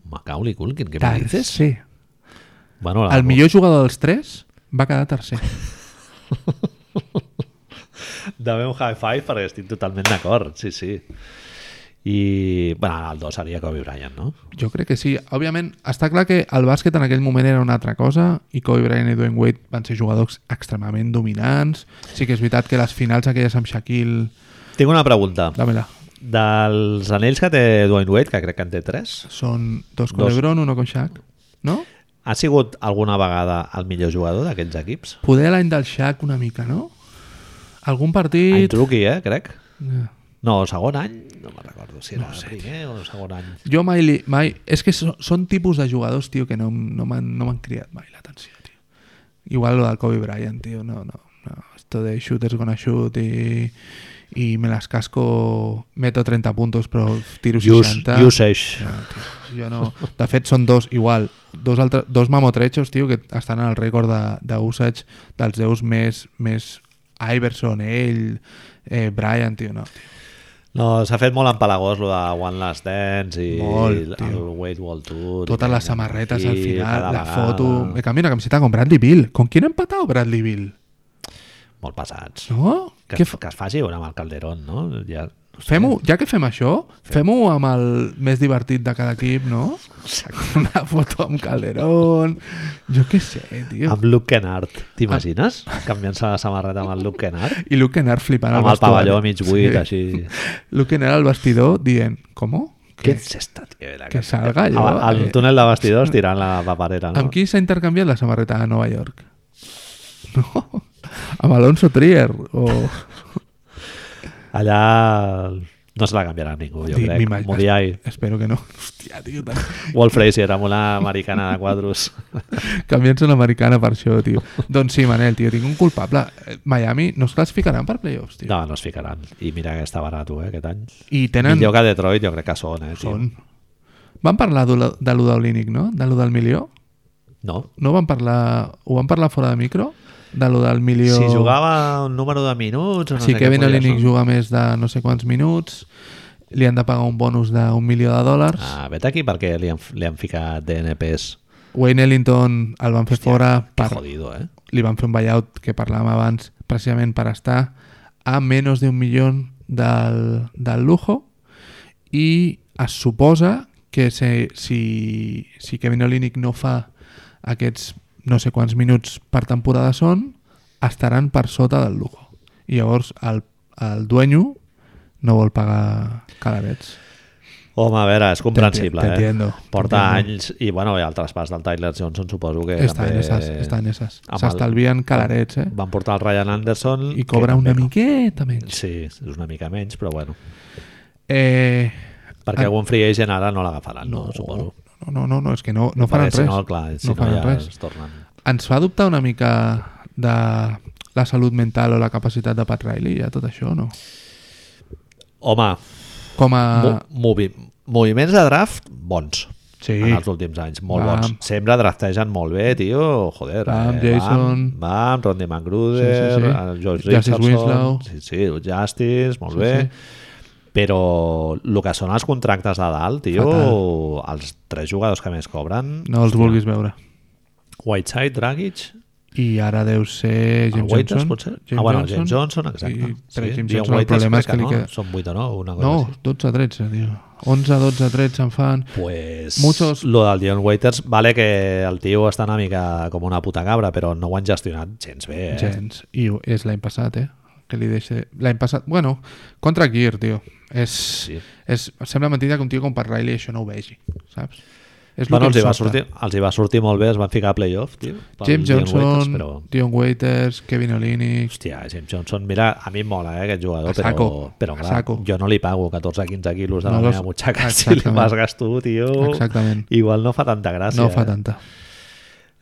A: Macaulay Culkin, què me dices?
B: Tercer.
A: Bueno, la-
B: El millor jugador dels tres va quedar tercer.
A: Dame un high five perquè estic totalment d'acord, sí, sí. I, bueno, el 2 seria Kobe Bryant, no?
B: Jo crec que sí. Òbviament, està clar que el bàsquet en aquell moment era una altra cosa i Kobe Bryant i Dwayne Wade van ser jugadors extremament dominants. Sí que és veritat que les finals aquelles amb Shaquille...
A: Tinc una pregunta.
B: Dame-la.
A: Dels anells que té Dwayne Wade, que crec que en té 3,
B: Són dos con
A: Dos.
B: LeBron, uno con Shaq. No?
A: ha sigut alguna vegada el millor jugador d'aquests equips?
B: Poder l'any del Shaq una mica, no? Algun
A: Any
B: partit...
A: truqui, eh, crec.
B: Ja.
A: No, segon any, no me'n recordo si era no sé. primer o segon any.
B: Jo mai... Li, mai... És que so, són tipus de jugadors, tio, que no, m- no m'han no m'han cridat mai l'atenció, tio. Igual lo del Kobe Bryant, tio. No, no, no. Esto de shooters gonna shoot i, i me las casco, meto 30 puntos, però tiro
A: Use,
B: 60.
A: usage.
B: No, tio, jo no... De fet, són dos igual. Dos, altre, dos mamotrechos, tio, que estan en el rècord de- d'usage dels deus més... més Iverson, ell, eh, Brian, tio, no. Tio.
A: No, s'ha fet molt empalagós lo de One Last Dance i
B: Molt, tio.
A: el Wade Wall Tour. i
B: Totes les
A: cada-
B: samarretes al
A: i
B: final,
A: cada
B: la
A: vegada.
B: foto... Me canvio una camiseta con Bradley Bill. ¿Con quién ha empatado Bradley Bill?
A: Molt pesats.
B: No?
A: Que,
B: Què fa-
A: que es faci una amb el Calderón, no? Ja,
B: Fem-ho, ja que fem això, fem-ho amb el més divertit de cada equip, no? Una foto amb Calderón... Jo què sé, tio. Ah.
A: amb Luke Kennard, t'imagines? Canviant-se la samarreta amb el Luke Kennard?
B: I Luke Kennard flipant al
A: amb el
B: vestuari.
A: pavelló mig buit, així.
B: Luke Kennard al vestidor dient... ¿Cómo?
A: Què
B: ¿Qué?
A: és esta, tio? Era
B: Que salga allò,
A: Al, al
B: eh?
A: túnel de vestidors tirant la paperera, no?
B: Amb qui s'ha intercanviat la samarreta a Nova York? No? Amb Alonso Trier? O...
A: Allà no se la canviarà ningú, jo
B: Di-
A: crec.
B: m'imagino-
A: Modiai.
B: Espero que no. Hòstia, tio, tan...
A: Walt Frazier amb una americana de quadros.
B: Canviant-se una americana per això, tio. doncs sí, Manel, tio, tinc un culpable. Eh, Miami no es classificaran per playoffs, tio.
A: No, no es ficaran. I mira que està barat, eh, aquest any.
B: I tenen...
A: Millor que Detroit, jo crec que són, eh, tio.
B: Són... Van parlar de lo- de lo del Línic, no? De lo del milió?
A: No.
B: No van parlar... Ho van parlar fora de micro? De lo del milió...
A: Si jugava un número de minuts... o No
B: si
A: sé
B: Kevin
A: què podia
B: Olínic
A: ser.
B: juga més de no sé quants minuts, li han de pagar un bonus d'un milió de dòlars. Ah.
A: Ah, vet aquí perquè li han, li han ficat DNPs.
B: Wayne Ellington el van fer fora
A: Per...
B: per...
A: Jodido, eh?
B: Li van fer un buyout que parlàvem abans precisament per estar a menys d'un milió del, del lujo i es suposa que se, si, si Kevin Olínic no fa aquests no sé quants minuts per temporada són, estaran per sota del lujo. I llavors el, el dueño no vol pagar calarets.
A: Home, a veure, és comprensible,
B: Te
A: eh?
B: entiendo.
A: Porta
B: Te entiendo.
A: anys i, bueno, i el traspàs del Tyler Johnson suposo que
B: Està en
A: també...
B: esas, està en esas.
A: amb el-
B: S'estalvien calarets, eh?
A: Van portar el Ryan Anderson...
B: I
A: que
B: cobra
A: també
B: una
A: no.
B: miqueta menys.
A: Sí, és una mica menys, però bueno.
B: Eh,
A: Perquè
B: Ah.
A: algun free agent ara no l'agafaran, no,
B: no,
A: suposo.
B: no, no, no, no, és que no, no faran
A: Perquè
B: res.
A: Si no, clar, si
B: No
A: no,
B: faran
A: ja
B: res.
A: es tornen...
B: Ens fa dubtar una mica de la salut mental o la capacitat de Pat Riley, ja tot això, no?
A: Home,
B: Com a...
A: mo- movi moviments de draft bons
B: sí,
A: en els últims anys, molt
B: Bam.
A: bons. Sempre draftegen molt bé, tio, joder.
B: Bam,
A: eh?
B: Jason.
A: Bam, Bam Rodney McGruder,
B: Sí, sí, sí.
A: el George
B: Justice
A: Richardson.
B: Winslow.
A: Sí, sí, el Justice, molt
B: Sí,
A: bé.
B: sí.
A: Però el que són els contractes de dalt, tio, els tres jugadors que més cobren,
B: no els vulguis veure.
A: Whiteside, Dragic,
B: I ara deu ser
A: el
B: James
A: Waiters,
B: Johnson.
A: potser? ah, bueno, James Johnson, exacte.
B: I, però
A: Sí,
B: James
A: i
B: Johnson, el
A: Waiters
B: problema és
A: crec
B: que li
A: no,
B: queda...
A: Són 8 o 9, una cosa
B: No,
A: així.
B: 12-13, tio. 11-12-13 en fan.
A: Pues
B: Muchos-
A: lo del Dion Waiters, vale que el tio està una mica com una puta cabra, però no ho han gestionat gens bé, eh?
B: Gens. I ho- és l'any passat, eh? Que li deixa... L'any passat... Bueno, contra Gear, tio. És,
A: Sí.
B: és, sembla mentida que un tio com per Riley això no ho vegi, saps? És
A: bueno,
B: el
A: els,
B: que
A: hi va
B: em
A: sortir,
B: sobta.
A: els hi va sortir molt bé, es van ficar a playoff, tio. pel
B: Jim
A: Dion
B: Johnson,
A: Waiters, però...
B: Dion Waiters, Kevin Olynyk...
A: Hòstia, Jim Johnson, mira, a mi em mola eh, aquest jugador,
B: A saco,
A: però, però
B: a
A: clar,
B: saco.
A: jo no li pago 14-15 quilos de
B: No
A: la
B: los-
A: meva butxaca si li
B: Exactament.
A: vas tu, tio.
B: Exactament.
A: Igual no fa tanta gràcia.
B: no fa
A: eh?
B: tanta.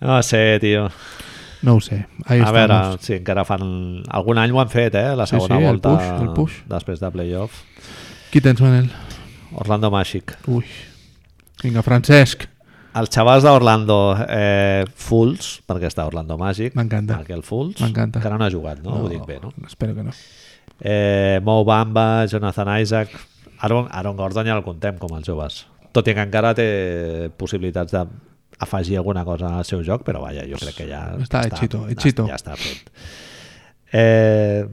A: No sé, tio.
B: No ho sé. Ahí doncs.
A: a veure
B: estamos.
A: si encara fan... Algun any ho han fet, eh? La
B: Sí,
A: segona
B: sí, el
A: volta
B: push, el push.
A: després de playoff.
B: Qui tens, Manel?
A: Orlando Magic.
B: Ui. Vinga, Francesc.
A: Els xavals d'Orlando, eh, Fools, perquè està Orlando Magic.
B: M'encanta.
A: Michael Fools.
B: M'encanta.
A: Encara no ha jugat, no? Ho dic bé, no?
B: Espero que no.
A: Eh, Mo Bamba, Jonathan Isaac... Aaron, Aaron Gordon ja el contem com els joves. Tot i que encara té possibilitats de afegir alguna cosa al seu joc, però vaja, jo crec que ja
B: Està hechito, hechito.
A: Ja, està fet. Eh,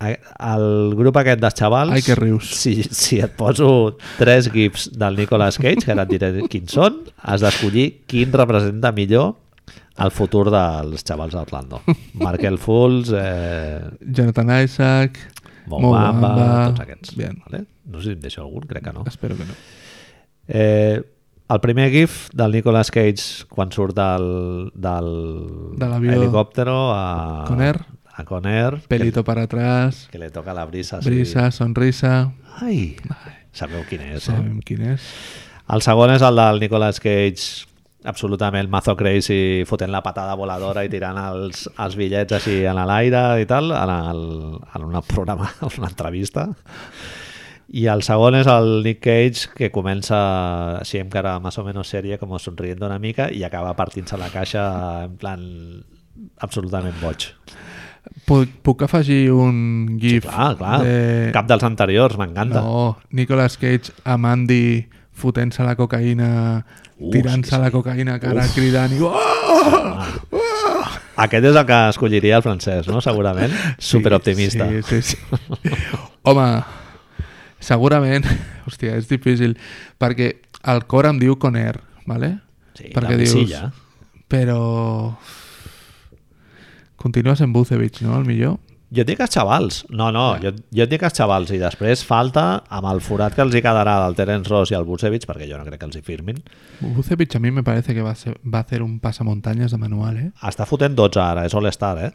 A: a- el grup aquest dels xavals
B: Ai, que rius.
A: si, si et poso tres gifs del Nicolas Cage, que ara et diré quins són has d'escollir quin representa millor el futur dels xavals d'Orlando Markel Fools eh,
B: Jonathan Isaac,
A: Mo
B: Mo
A: Bamba,
B: Bamba,
A: tots aquests.
B: bien.
A: Vale? No sé si em deixo algun, crec que no.
B: espero que no.
A: Eh, el primer gif del Nicolas Cage quan surt del, del
B: De l'avió.
A: helicòptero a
B: Con Air.
A: A Conair, que,
B: Pelito para atrás,
A: que li toca la brisa. sí.
B: brisa, sonrisa...
A: Ai, sabeu quin és. Eh?
B: Sabem quin és.
A: El segon és el del Nicolas Cage absolutament mazo crazy fotent la patada voladora i tirant els, els bitllets així en l'aire i tal en, el, en un programa, en una entrevista i el segon és el Nick Cage que comença així amb cara més o menys sèria com somrient una mica i acaba partint-se la caixa en plan absolutament boig
B: Puc, puc afegir un
A: sí,
B: gif
A: clar, clar,
B: de...
A: cap dels anteriors m'encanta
B: Eh, No, Nicolas Cage amb Andy fotent-se la cocaïna,
A: Uf,
B: tirant-se
A: sí,
B: la cocaïna, cara cridant i... Oh!
A: aquest és el que escolliria el francès, no? segurament, superoptimista
B: Sí, sí, sí. Home, segurament, hòstia, és difícil, perquè el cor em diu Conair, ¿vale?
A: Sí,
B: perquè
A: la
B: dius,
A: missilla.
B: però... Continues en Bucevic, no? El millor?
A: Jo et dic els xavals. No,
B: Ah.
A: no, jo, jo et dic els xavals i després falta amb el forat que els hi quedarà del Terence Ross i el Busevich, perquè jo no crec que els hi firmin.
B: Bucevic a mi me parece que va, a ser- va a hacer un pasamontañas de manual, ¿eh?
A: Està fotent 12 ara, és All-Star, eh?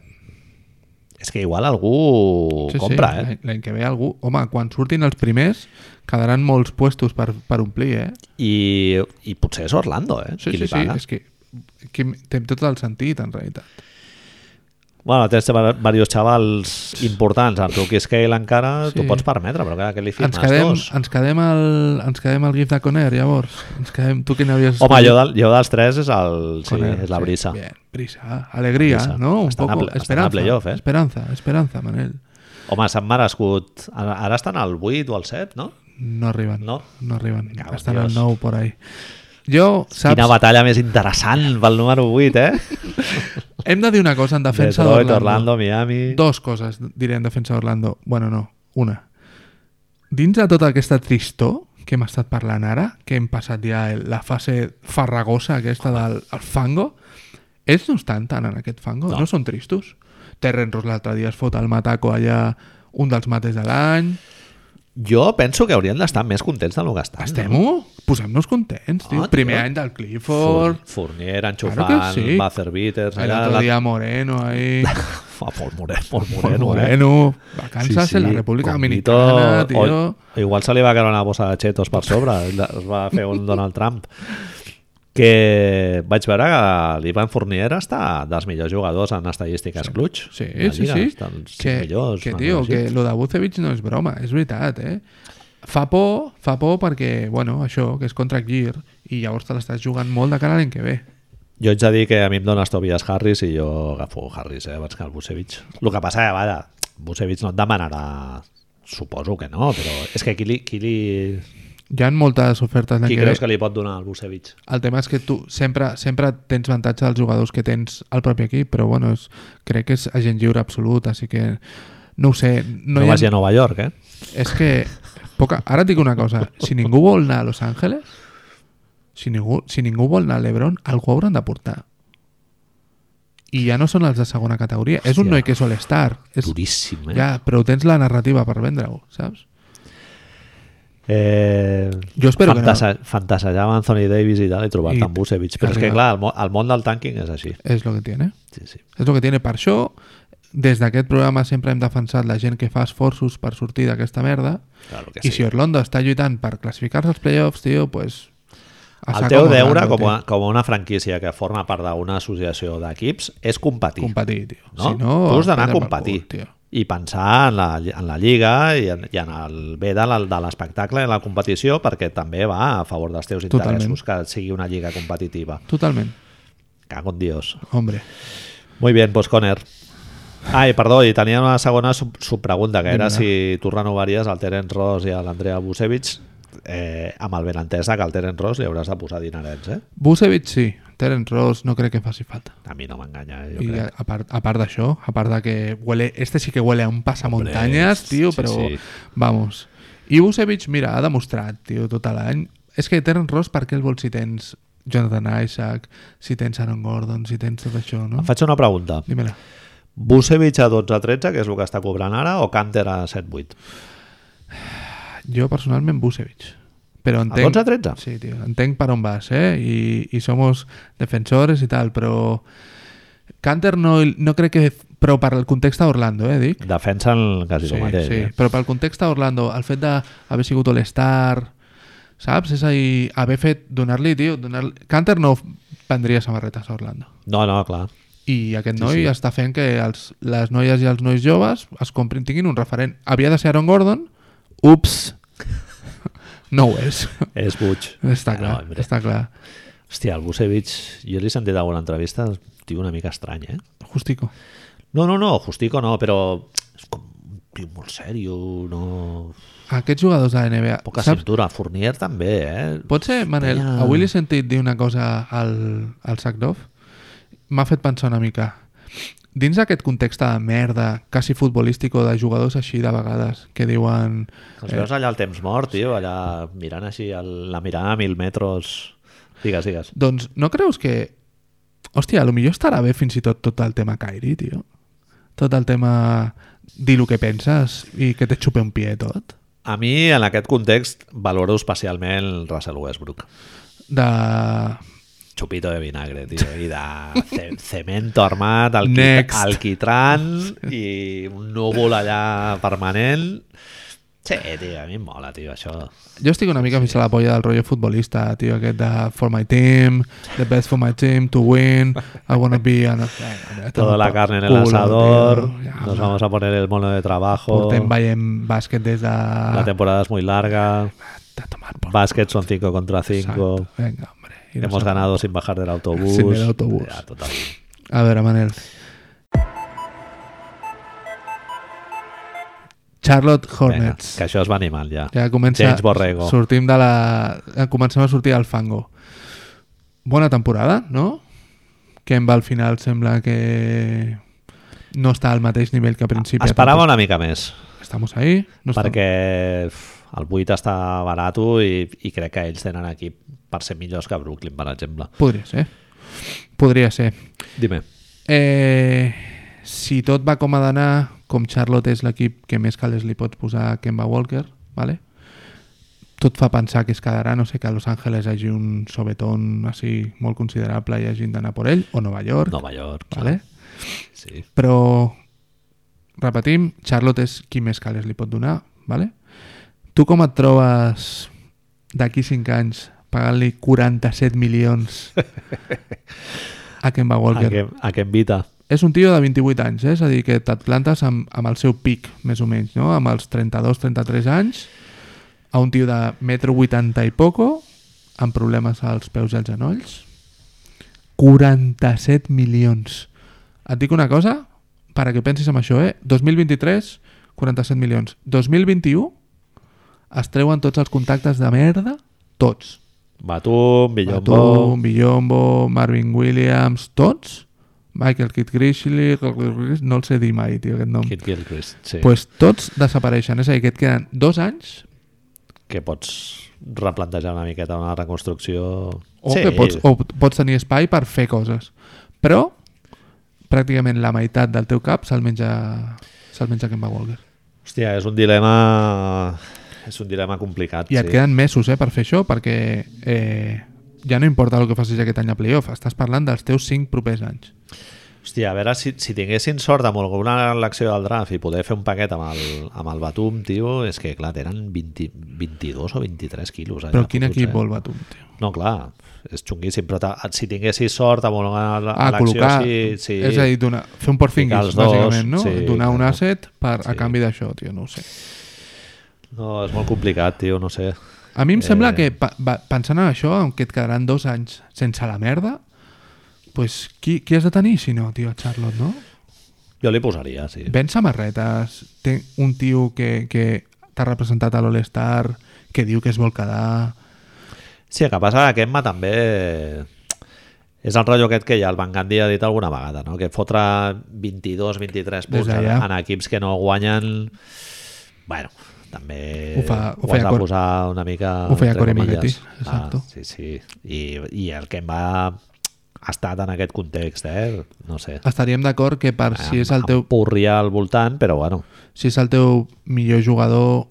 A: És que igual algú compra, eh?
B: l'any- L'any que ve algú... Home, quan surtin els primers, quedaran molts puestos per, per omplir, eh?
A: I, I potser és Orlando, eh?
B: Sí,
A: Qui
B: sí,
A: li
B: sí,
A: paga.
B: és que, que té tot el sentit, en realitat.
A: Bueno, tens diversos xavals importants en rookie scale encara,
B: Sí.
A: t'ho pots permetre, però clar, que li firmes
B: ens, quedem,
A: dos.
B: ens, quedem al, ens quedem al GIF de Conner, llavors. Ens quedem... Tu quin havies...
A: Home, jo,
B: escollit?
A: del, jo dels tres és, el, sí,
B: Conner,
A: és la brisa.
B: bien, brisa, alegría,
A: Brisa.
B: ¿no? Un
A: Estan a
B: poco.
A: ple- estan a
B: esperanza,
A: playoff, eh?
B: esperanza, esperanza, Manel.
A: Home, s'han merescut... Ara ara estan al 8 o al 7, no?
B: No arriban.
A: No.
B: No arriban.
A: cago en
B: Están
A: Dios.
B: al no por ahí. Yo,
A: Quina
B: saps,
A: batalla més interessant pel número 8, eh?
B: hem de dir una cosa en defensa
A: Detroit,
B: d'Orlando.
A: Orlando, Miami...
B: Dos coses diré en defensa d'Orlando. Bueno, no, una. Dins de tota aquesta tristor que hem estat parlant ara, que hem passat ja el- la fase farragosa aquesta del el fango, ells no estan tant en aquest fango, no,
A: No.
B: no són tristos. Terrence Ross l'altre dia es fot el mataco allà, un dels mates de l'any.
A: Jo penso que haurien d'estar més contents del que estan.
B: Estem-ho? Posem-nos contents, tio.
A: Ah, tio.
B: Primer any del
A: Fur,
B: Clifford,
A: Fournier, enxufant,
B: Claro que sí.
A: buzzer beaters...
B: l'altre
A: la-
B: dia Moreno ahí...
A: Fa molt moreno, molt
B: Moreno,
A: moreno, eh?
B: Moreno, vacances en la República
A: Convito,
B: Dominicana, tio...
A: o- o igual se li va caure una bossa de xetos per sobre, es va fer un Donald Trump. Que vaig veure que l'Ivan Fournier està dels millors jugadors en estadístiques sí. clutch.
B: Sí,
A: de la
B: sí,
A: lliga,
B: sí.
A: està dels cinc
B: Que,
A: millors,
B: que
A: una
B: tio,
A: cosa així.
B: que lo de Vucevic no és broma, és veritat, eh? Fa por, fa por perquè, bueno, això, que és contra Gear, i llavors te l'estàs jugant molt de cara a l'any que ve.
A: Jo ets a dir que a mi em dones Tobias Harris i jo agafo Harris, eh, abans que el Busevich. El que passa, a veure, Busevich no et demanarà... Suposo que no, però és que qui, li, qui, li,
B: Hi ha moltes ofertes l'any
A: qui
B: que ve.
A: creus que li pot donar el Busevich?
B: El tema és que tu sempre, sempre tens avantatge dels jugadors que tens al propi equip, però bueno, és, crec que és agent lliure absolut, així que no ho sé.
A: No, no
B: No, hi ha,
A: vagi a Nova York, eh?
B: És que... Poca... Ara et dic una cosa. Si ningú vol anar a Los Angeles, si ningú, si ningú vol anar a l'Ebron, algú hauran de portar. I ja no són els de segona categoria. és un
A: Hòstia.
B: noi que és all-star. És...
A: Duríssim, eh?
B: Ja, però tens la narrativa per vendre-ho, saps?
A: Eh,
B: Jo espero que no.
A: Fantasejava Anthony Davis i tal, i trobar
B: I
A: en Busevich. Però és que,
B: arribar.
A: clar, el, mo- el món del tanking és així.
B: És el que tiene.
A: Sí, sí.
B: És el que tiene. Per això, des d'aquest programa sempre hem defensat la gent que fa esforços per sortir d'aquesta merda.
A: Claro que
B: I
A: sí.
B: si Orlando està lluitant per classificar-se als playoffs, tio, pues... a
A: El
B: saco
A: teu
B: amb
A: deure
B: Orlando,
A: com
B: tio.
A: a, com a una franquícia que forma part d'una associació d'equips és competir.
B: Competir, tio.
A: No?
B: Si no,
A: tu has d'anar a
B: prendre pel
A: competir
B: cul, tio.
A: i pensar en la, en la lliga i en, i en el bé de la- de l'espectacle i la competició perquè també va a favor dels teus
B: Totalment.
A: interessos que sigui una lliga competitiva.
B: Totalment.
A: Cago en Dios.
B: Hombre.
A: Muy bien, pues Conner. Ai, perdó, i tenia una segona sub subpregunta, que era
B: Vinga.
A: si tu renovaries el Terence Ross i a l'Andrea Busevich eh, amb el benentès de que al Terence Ross li hauràs de posar dinerets, eh?
B: Busevich sí. Terence Ross no crec que faci falta.
A: A mi no m'enganya, eh, jo
B: I
A: crec.
B: a part, a part d'això, a part de que huele, este sí que huele a un passamuntanyes,
A: Hombre,
B: tio,
A: sí,
B: però
A: sí.
B: vamos. I Busevich, mira, ha demostrat, tio, tot l'any. És que Terence Ross, per què el vols si tens Jonathan Isaac, si tens Aaron Gordon, si tens tot això, no?
A: Em faig una pregunta.
B: Dímela.
A: Busevich a 12-13, que és el que està cobrant ara, o Canter a 7-8?
B: Jo personalment Busevich. Però
A: A
B: entenc...
A: 12-13?
B: Sí, tio, entenc per on vas, eh? I, i somos defensores i tal, però... Canter no, no crec que... Però per el context a Orlando, eh, dic?
A: Defensen quasi sí, el mateix.
B: sí.
A: Sí. Eh?
B: però pel context a Orlando, el fet d'haver sigut All-Star, saps? És a dir, haver fet, donar-li, tio, donar Canter no vendria samarretes a Orlando.
A: No, no, clar.
B: I aquest noi sí, sí. està fent que els, les noies i els nois joves es comprin, tinguin un referent. Havia de ser Aaron Gordon? Ups! No ho és.
A: És Buig.
B: Està
A: Ah,
B: clar,
A: no,
B: no,
A: hombre.
B: està clar.
A: Hòstia, el Busevich, jo l'he sentit a alguna entrevista, tio, una mica estrany, eh?
B: Justico.
A: No, no, no, Justico no, però és com un tio molt sèrio, no...
B: Aquests jugadors de la NBA,
A: Poca
B: saps?
A: cintura. Fournier també, eh?
B: Pot ser, Manel,
A: Penya.
B: avui li he sentit dir una cosa al, al Sagdov. M'ha fet pensar una mica. Dins d'aquest context de merda, quasi futbolístic o de jugadors així de vegades, que diuen...
A: Els
B: eh.
A: veus allà al temps mort, tio, allà mirant així el, la mirada a mil metres... Digues, digues.
B: Doncs no creus que... Hòstia, potser estarà bé fins i tot tot el tema Kairi, tio. Tot el tema dir el que penses i que te xupe un pie tot.
A: A mi, en aquest context, valoro especialment Russell Westbrook.
B: De...
A: Chupito de vinagre, tío. I de ce- cemento armat, alqui
B: Next.
A: alquitrán i un núvol allà permanent. Sí, tio, a mi em mola, tio, això.
B: Jo estic una mica fins a la polla del rotllo futbolista, tio, aquest de for my team, the best for my team, to win, I wanna be... An...
A: Toda la carne en el
B: Culo,
A: asador,
B: tio, ja,
A: nos vamos a poner el mono de trabajo,
B: Portem veient bàsquet des de...
A: la temporada es muy larga,
B: T'ha tomat por.
A: básquet son 5 contra 5,
B: Exacto. Venga, hombre. I
A: hemos
B: sap-
A: ganado sin bajar del autobús.
B: Sin el autobús.
A: Ja, total.
B: A veure, Manel. Charlotte
A: Venga,
B: Hornets.
A: que això es va animant ja.
B: Ja comença...
A: James Borrego.
B: Sortim de la... eh, Comencem a sortir al fango. Bona temporada, no? Kemba al final sembla que no està al mateix nivell que a principi.
A: Esperava una mica més.
B: Estamos ahí. No estamos-
A: perquè uf, el 8 està barat i, i crec que ells tenen equip per ser millors que Brooklyn, per exemple.
B: Podria ser. Podria ser.
A: Dime.
B: Eh, si tot va com ha d'anar, com Charlotte és l'equip que més calés li pots posar a Kemba Walker, vale? tot fa pensar que es quedarà, no sé, que a Los Angeles hi hagi un sobetón així molt considerable i hagin d'anar per ell, o Nova York,
A: Nova York. clar.
B: vale?
A: Sí.
B: però repetim, Charlotte és qui més calés li pot donar, vale? Tu com et trobes d'aquí 5 anys pagant-li 47 milions a Kemba
A: A,
B: Walker?
A: que, a que invita.
B: És un tio de 28 anys, eh? és a dir, que et plantes amb, amb el seu pic, més o menys, no? amb els 32-33 anys, a un tio de metro 80 i poco, amb problemes als peus i als genolls. 47 milions. Et dic una cosa, per a que pensis en això, eh? 2023, 47 milions. 2021, es treuen tots els contactes de merda, tots.
A: Batum, Villombo...
B: Batum, Billombo, Marvin Williams, tots. Michael Kidd Grishley, no el sé dir mai, tio, aquest nom.
A: Kid Gilchrist, sí.
B: pues tots desapareixen, és a dir, que et queden dos anys
A: Que pots replantejar una miqueta una reconstrucció...
B: o sí. que pots, o pots tenir espai per fer coses. Però pràcticament la meitat del teu cap se'l menja, se'l menja Kemba Walker.
A: Hòstia, és un dilema... És un dilema complicat.
B: I et
A: sí.
B: queden mesos eh, per fer això, perquè eh, ja no importa el que facis aquest any a playoff, estàs parlant dels teus 5 propers anys.
A: Hòstia, a veure si, si tinguessin sort amb alguna elecció del draft i poder fer un paquet amb el, amb el Batum, tio, és que, clar, tenen 20, 22 o 23 quilos. allà
B: Però quin
A: fotuts,
B: equip
A: eh?
B: vol Batum, tio?
A: No, clar, és xunguíssim, però ta, si tinguessis sort amb alguna
B: Ah,
A: elecció...
B: col·locar...
A: sí, sí.
B: És a dir, donar, fer un
A: Ficar
B: Porzingis,
A: els dos,
B: bàsicament, no?
A: sí,
B: donar un
A: clar.
B: asset per,
A: Sí.
B: a canvi d'això, tio, no ho sé.
A: No, és molt complicat, tio, no sé.
B: A mi em
A: Eh.
B: sembla que, pa, va- pensant en això, en què et quedaran dos anys sense la merda, pues, qui, qui has de tenir, si no, tio, a Charlotte, no?
A: Jo li posaria, sí.
B: Ven samarretes, té un tio que, que t'ha representat a l'All-Star, que diu que es vol quedar...
A: Sí, el que passa que Kemba també és el rotllo aquest que ja el Van Gandhi ha dit alguna vegada, no? que fotre 22-23
B: Des
A: punts en,
B: d'allà.
A: en equips que no guanyen bueno, també
B: Ho fa- ho
A: has
B: feia
A: de
B: Cor-
A: posar una mica
B: ho feia
A: entre
B: Corey
A: comilles.
B: Maggette, exacto.
A: Ah, sí, sí. I, I el Kemba ha estat en aquest context, eh? No sé.
B: Estaríem d'acord que
A: Ah,
B: per si Ah, és el teu
A: Purria al voltant, però bueno.
B: si és el teu millor jugador,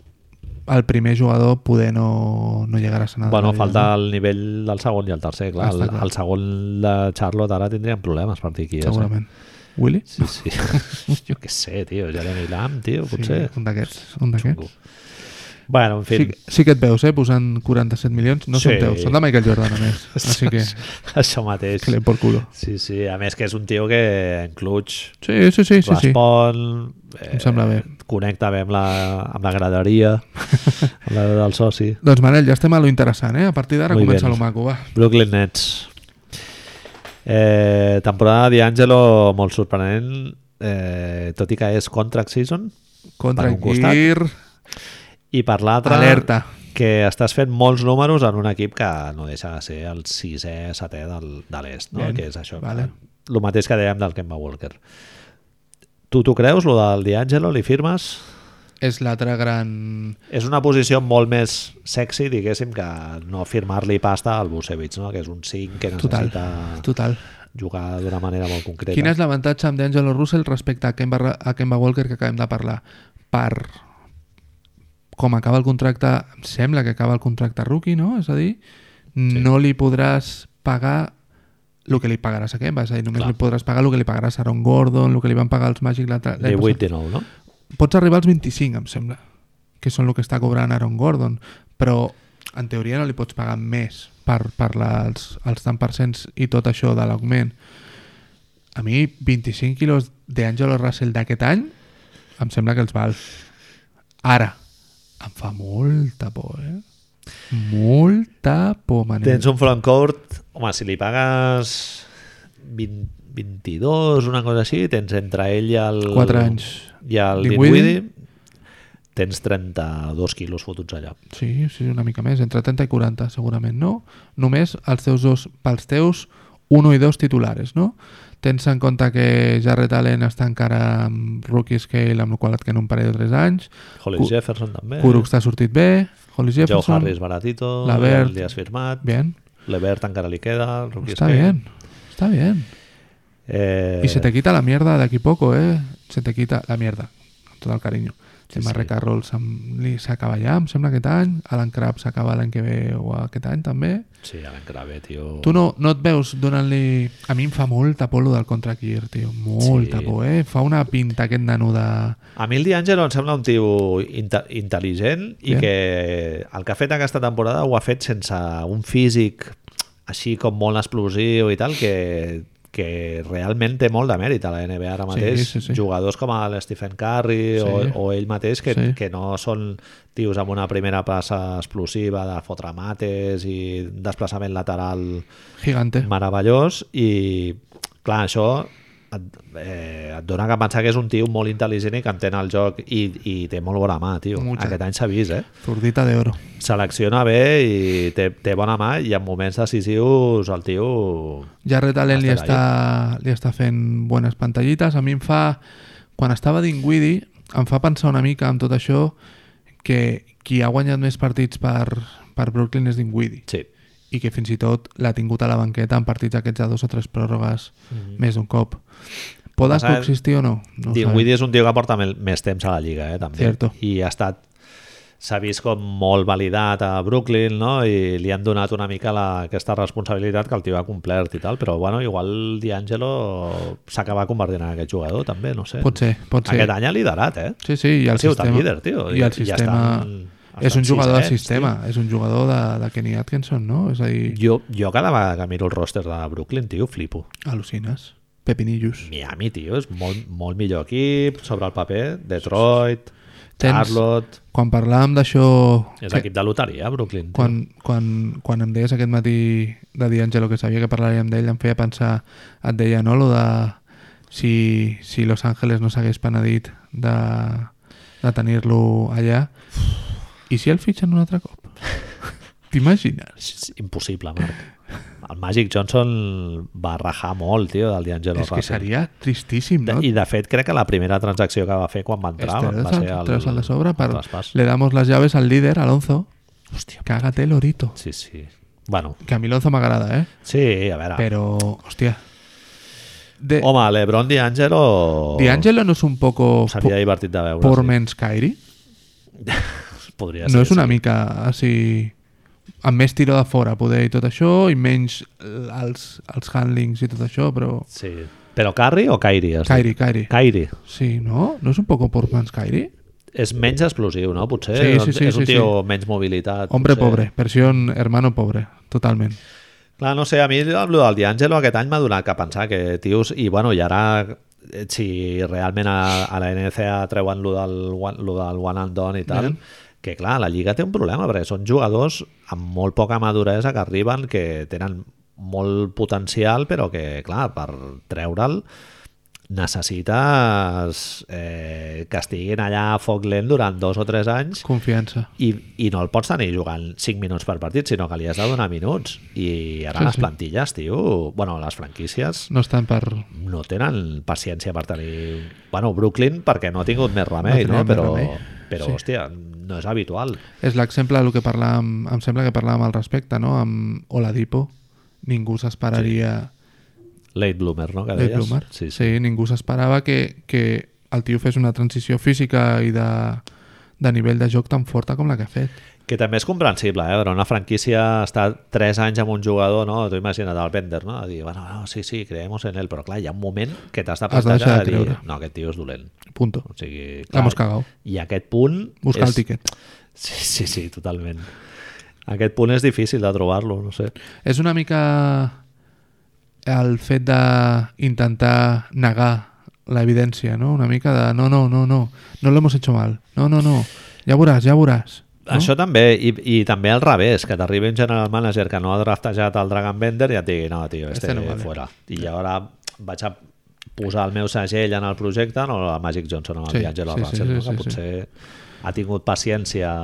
B: el primer jugador, poder no, no llegaràs a nada.
A: Bueno,
B: de la vida,
A: falta el nivell del segon i el tercer, clar.
B: Ah, Està
A: El,
B: clar.
A: el segon de Charlotte ara tindrien problemes per dir qui
B: no?
A: és. eh?
B: Segurament. Willy?
A: Sí, sí. jo què sé, tio. Jeremy Lamb, tio, potser.
B: Sí, un d'aquests. Un d'aquests.
A: Bueno, en fi.
B: Sí, que- sí que et veus, eh, posant 47 milions. No
A: Sí.
B: són teus, són de Michael Jordan, a més. Així que,
A: Això mateix.
B: que l'hem por culo.
A: Sí, sí. A més que és un tio que en clutch
B: Sí, sí, sí, sí, sí.
A: respon... Eh,
B: Em sembla bé.
A: Connecta bé amb la, amb la graderia, amb la del soci.
B: Doncs Manel, ja estem a lo interessant, eh? A partir d'ara
A: Muy
B: comença
A: bien.
B: lo maco, va.
A: Brooklyn Nets. Eh, temporada d'Angelo molt sorprenent, eh, tot i que és contract season,
B: Contra
A: Per un costat.
B: Gear,
A: i per l'altre...
B: alerta.
A: que estàs fent molts números en un equip que no deixa de ser el sisè, setè del, de l'est, no?
B: Bien,
A: que és això.
B: vale.
A: El mateix que dèiem del Kemba Walker. Tu t'ho creus, lo del D'Angelo? Li firmes?
B: És l'altre gran...
A: És una posició molt més sexy, diguéssim, que no firmar-li pasta al Busevich, no? que és un 5 que
B: Total,
A: necessita Total.
B: total.
A: jugar d'una manera molt concreta.
B: Quin és l'avantatge amb D'Angelo Russell respecte a Kemba, Ra- a Kemba Walker que acabem de parlar? Per com acaba el contracte, em sembla que acaba el contracte rookie, no? És a dir, no li podràs pagar el que li pagaràs a Kemba, és a dir, només
A: Clar.
B: li podràs pagar el que li pagaràs a Aaron Gordon, el que li van pagar els Magic l'altre... l'any passat.
A: 18-19, no?
B: Pots arribar als 25, em sembla, que són el que està cobrant Aaron Gordon, però en teoria no li pots pagar més per, per la- els, els tant percents i tot això de l'augment. A mi, 25 quilos d'Angelo Russell d'aquest any, em sembla que els val. Ara, em fa molta por, eh? Molta por, Manel.
A: Tens un frontcourt, home, si li pagues 20, 22, una cosa així, tens entre ell i el...
B: Quatre anys.
A: I el
B: Dinwiddie.
A: Dinwiddie, tens 32 quilos fotuts allà.
B: Sí, sí, una mica més, entre 30 i 40 segurament, no? Només els teus dos, pels teus, 1 i 2 titulares, no? Tens en compte que Jarrett Allen està encara amb rookie scale, amb el qual et queden un parell o tres anys,
A: Hollis
B: Cu-
A: Jefferson també.
B: Kuruc t'ha sortit bé, Hollis
A: Eh. Joe
B: Jefferson...
A: Harris baratito,
B: Levert.
A: Levert, li has firmat,
B: Bien,
A: Levert encara li queda, el rookie
B: está
A: escape.
B: bien, está bien.
A: Eh,
B: Y se te quita la mierda de aquí poco, ¿eh? Se te quita la mierda, amb tot el carinyo. Sí,
A: sí.
B: Marre Carroll se'm- li- s'acaba ja, em sembla aquest any, Alan Crabb s'acaba l'any que ve o aquest any també,
A: Sí, Alan Crave, tio.
B: Tu no, no et veus donant-li... A mi em fa molta por lo del contra Kier, tio. Molta
A: Sí.
B: por, eh? Fa una pinta aquest nano de...
A: A mi el D'Angelo em sembla un tio inte intel·ligent i
B: Bien.
A: que el que ha fet aquesta temporada ho ha fet sense un físic així com molt explosiu i tal, que, que realment té molt de mèrit a la NBA ara
B: Sí,
A: mateix.
B: sí, sí.
A: Jugadors com el Stephen Curry
B: Sí.
A: o, o ell mateix, que,
B: Sí.
A: que no són tios amb una primera passa explosiva de fotre mates i desplaçament lateral
B: Gigante.
A: meravellós i clar, això et, eh, et dona que pensar que és un tio molt intel·ligent i que entén el joc i, i té molt bona mà, tio.
B: Mucha.
A: Aquest any s'ha vist, eh?
B: Zurdita de oro.
A: Selecciona bé i té, té bona mà i en moments decisius el tio...
B: Jarrett Allen li
A: Hasta
B: està, li està fent bones pantallites. A mi em fa... Quan estava Dinguidi, em fa pensar una mica amb tot això que qui ha guanyat més partits per, per Brooklyn és Dinguidi
A: Sí,
B: i que fins i tot l'ha tingut a la banqueta en partits aquests de dos o tres pròrrogues més d'un cop. Poden
A: Mhm. Passa-
B: coexistir o no? no ho sabem.
A: Dinwiddie és un tio que porta mel- més temps a la Lliga, eh, també.
B: Cierto.
A: I ha estat s'ha vist com molt validat a Brooklyn no? i li han donat una mica la, aquesta responsabilitat que el tio ha complert i tal, però bueno, igual D'Angelo s'acaba convertint en aquest jugador també, no sé.
B: Pot ser, pot ser.
A: Aquest any ha liderat, eh?
B: Sí, sí, i el
A: ha sigut
B: sistema...
A: el líder, tio.
B: I el
A: Ja
B: sistema...
A: estan,
B: és un
A: estan
B: jugador del
A: sisens,
B: sistema, és un jugador de, de Kenny Atkinson, no? És a dir,
A: tio. Jo, jo cada vegada que miro el roster de Brooklyn, tio, flipo.
B: al·lucines, pepinillos.
A: Miami, tio, és molt, molt millor equip sobre el paper. Detroit,
B: Tens-
A: Charlotte...
B: Quan parlàvem d'això...
A: És
B: que-
A: equip de loteria, Brooklyn. tio.
B: Quan, quan, quan em deies aquest matí de D'Angelo que sabia que parlaríem d'ell, em feia pensar, et deia, no?, lo de si, si Los Angeles no s'hagués penedit de, de tenir-lo allà. I si el fitxen un altre cop? T'imagines?
A: És és impossible, Marc. El Magic Johnson va rajar molt, tio, del D'Angelo
B: És que
A: Russell.
B: seria tristíssim,
A: De,
B: no?
A: I de fet crec que la primera transacció que va fer quan va entrar
B: Este,
A: va ser el,
B: tras al de sobre, per-
A: el traspàs.
B: le damos las llaves al líder, Alonso.
A: Hòstia,
B: Cágate, Lorito.
A: sí, sí. Bueno,
B: Que a mi Alonso m'agrada, eh?
A: sí, a veure.
B: Pero, hostia. De,
A: Home, l'Ebron D'Angelo...
B: D'Angelo no es un poco
A: S'havia divertit de veure.
B: por men's Kyrie?
A: sí. Podria
B: no
A: ser,
B: és una
A: sí.
B: mica així amb més tiro de fora poder i tot això i menys l- els, els handlings i tot això, però
A: Sí. Però Carri o Kairi? has dit?
B: Kyrie, Kyrie.
A: Kairi.
B: Sí, no? No és un poco por men's Kyrie?
A: És menys explosiu, no? Potser
B: Sí, sí,
A: Doncs
B: sí,
A: és un
B: sí,
A: tio menys mobilitat.
B: Hombre
A: potser.
B: pobre, versión hermano pobre, totalment.
A: Clar, no sé, a mi el del D'Angelo aquest any m'ha donat que pensar que tios... I bueno, i ara eh, si realment a, a la NCA treuen lo del, one- lo del one and done i tal, que clar, la Lliga té un problema perquè són jugadors amb molt poca maduresa que arriben, que tenen molt potencial, però que clar, per treure'l necessites eh, que estiguin allà a foc lent durant dos o tres anys
B: Confiança.
A: i, i no el pots tenir jugant 5 minuts per partit, sinó que li has de donar minuts. I ara
B: Sí,
A: sí, les
B: sí.
A: plantilles, tio, bueno, les franquícies
B: No estan per...
A: no tenen paciència per tenir... Bueno, Brooklyn perquè no ha tingut més remei,
B: No
A: no?
B: tenien més
A: Però,
B: remei.
A: però
B: Sí.
A: hòstia, no és habitual.
B: És l'exemple del que parlàvem, em sembla que parlàvem al respecte, no? Amb Oladipo, ningú s'esperaria...
A: Late bloomer, no? Que
B: Dave
A: deies?
B: Plummer.
A: Sí,
B: Sí,
A: sí.
B: ningú s'esperava que, que el tio fes una transició física i de, de nivell de joc tan forta com la que ha fet.
A: Que també és comprensible, eh? Però una franquícia està 3 anys amb un jugador, no? T'ho imagina't, el Bender, no? De dir, bueno, no, sí, sí, creemos en ell. Però clar, hi ha un moment que t'has de
B: Has de
A: plantar
B: deixar
A: de,
B: de
A: dir,
B: creure.
A: no, aquest tio és dolent.
B: Punto.
A: O sigui, clar,
B: L'hemos cagado.
A: I aquest punt...
B: Buscar
A: és...
B: el tiquet.
A: Sí, sí, sí, totalment. Aquest punt és difícil de trobar-lo, no sé.
B: És una mica el fet d'intentar negar la evidència, no? Una mica de no, no, no, no, no l'hemos hecho mal. No, no, no, ja veuràs, ja veuràs.
A: No? Això també, i, i també al revés, que t'arribi un general manager que no ha draftejat el Dragon Bender i et digui, no, tio, este,
B: Este
A: no
B: no vale."
A: fora. I ara vaig a posar el meu segell en el projecte, no el Magic Johnson, amb el
B: Sí,
A: sí, D'Angelo
B: sí, sí,
A: Russell, no?
B: sí,
A: que
B: sí,
A: potser ha tingut paciència...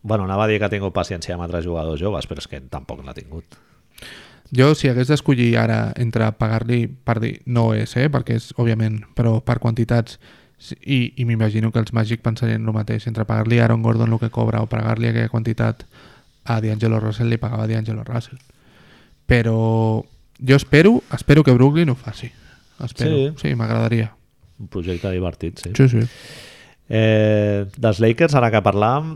A: Bueno, anava a dir que ha tingut paciència amb altres jugadors joves, però és que tampoc n'ha tingut.
B: Jo, si hagués d'escollir ara entre pagar-li per dir no és, eh, perquè és, òbviament, però per quantitats, si- i, i m'imagino que els Magic pensarien el mateix, entre pagar-li a Aaron Gordon el que cobra o pagar-li aquella quantitat a D'Angelo Russell, li pagava D'Angelo Russell. Però jo espero, espero que Brooklyn ho faci. Espero. Sí, sí m'agradaria.
A: Un projecte divertit, sí.
B: Sí, sí.
A: Eh, dels Lakers, ara que parlàvem,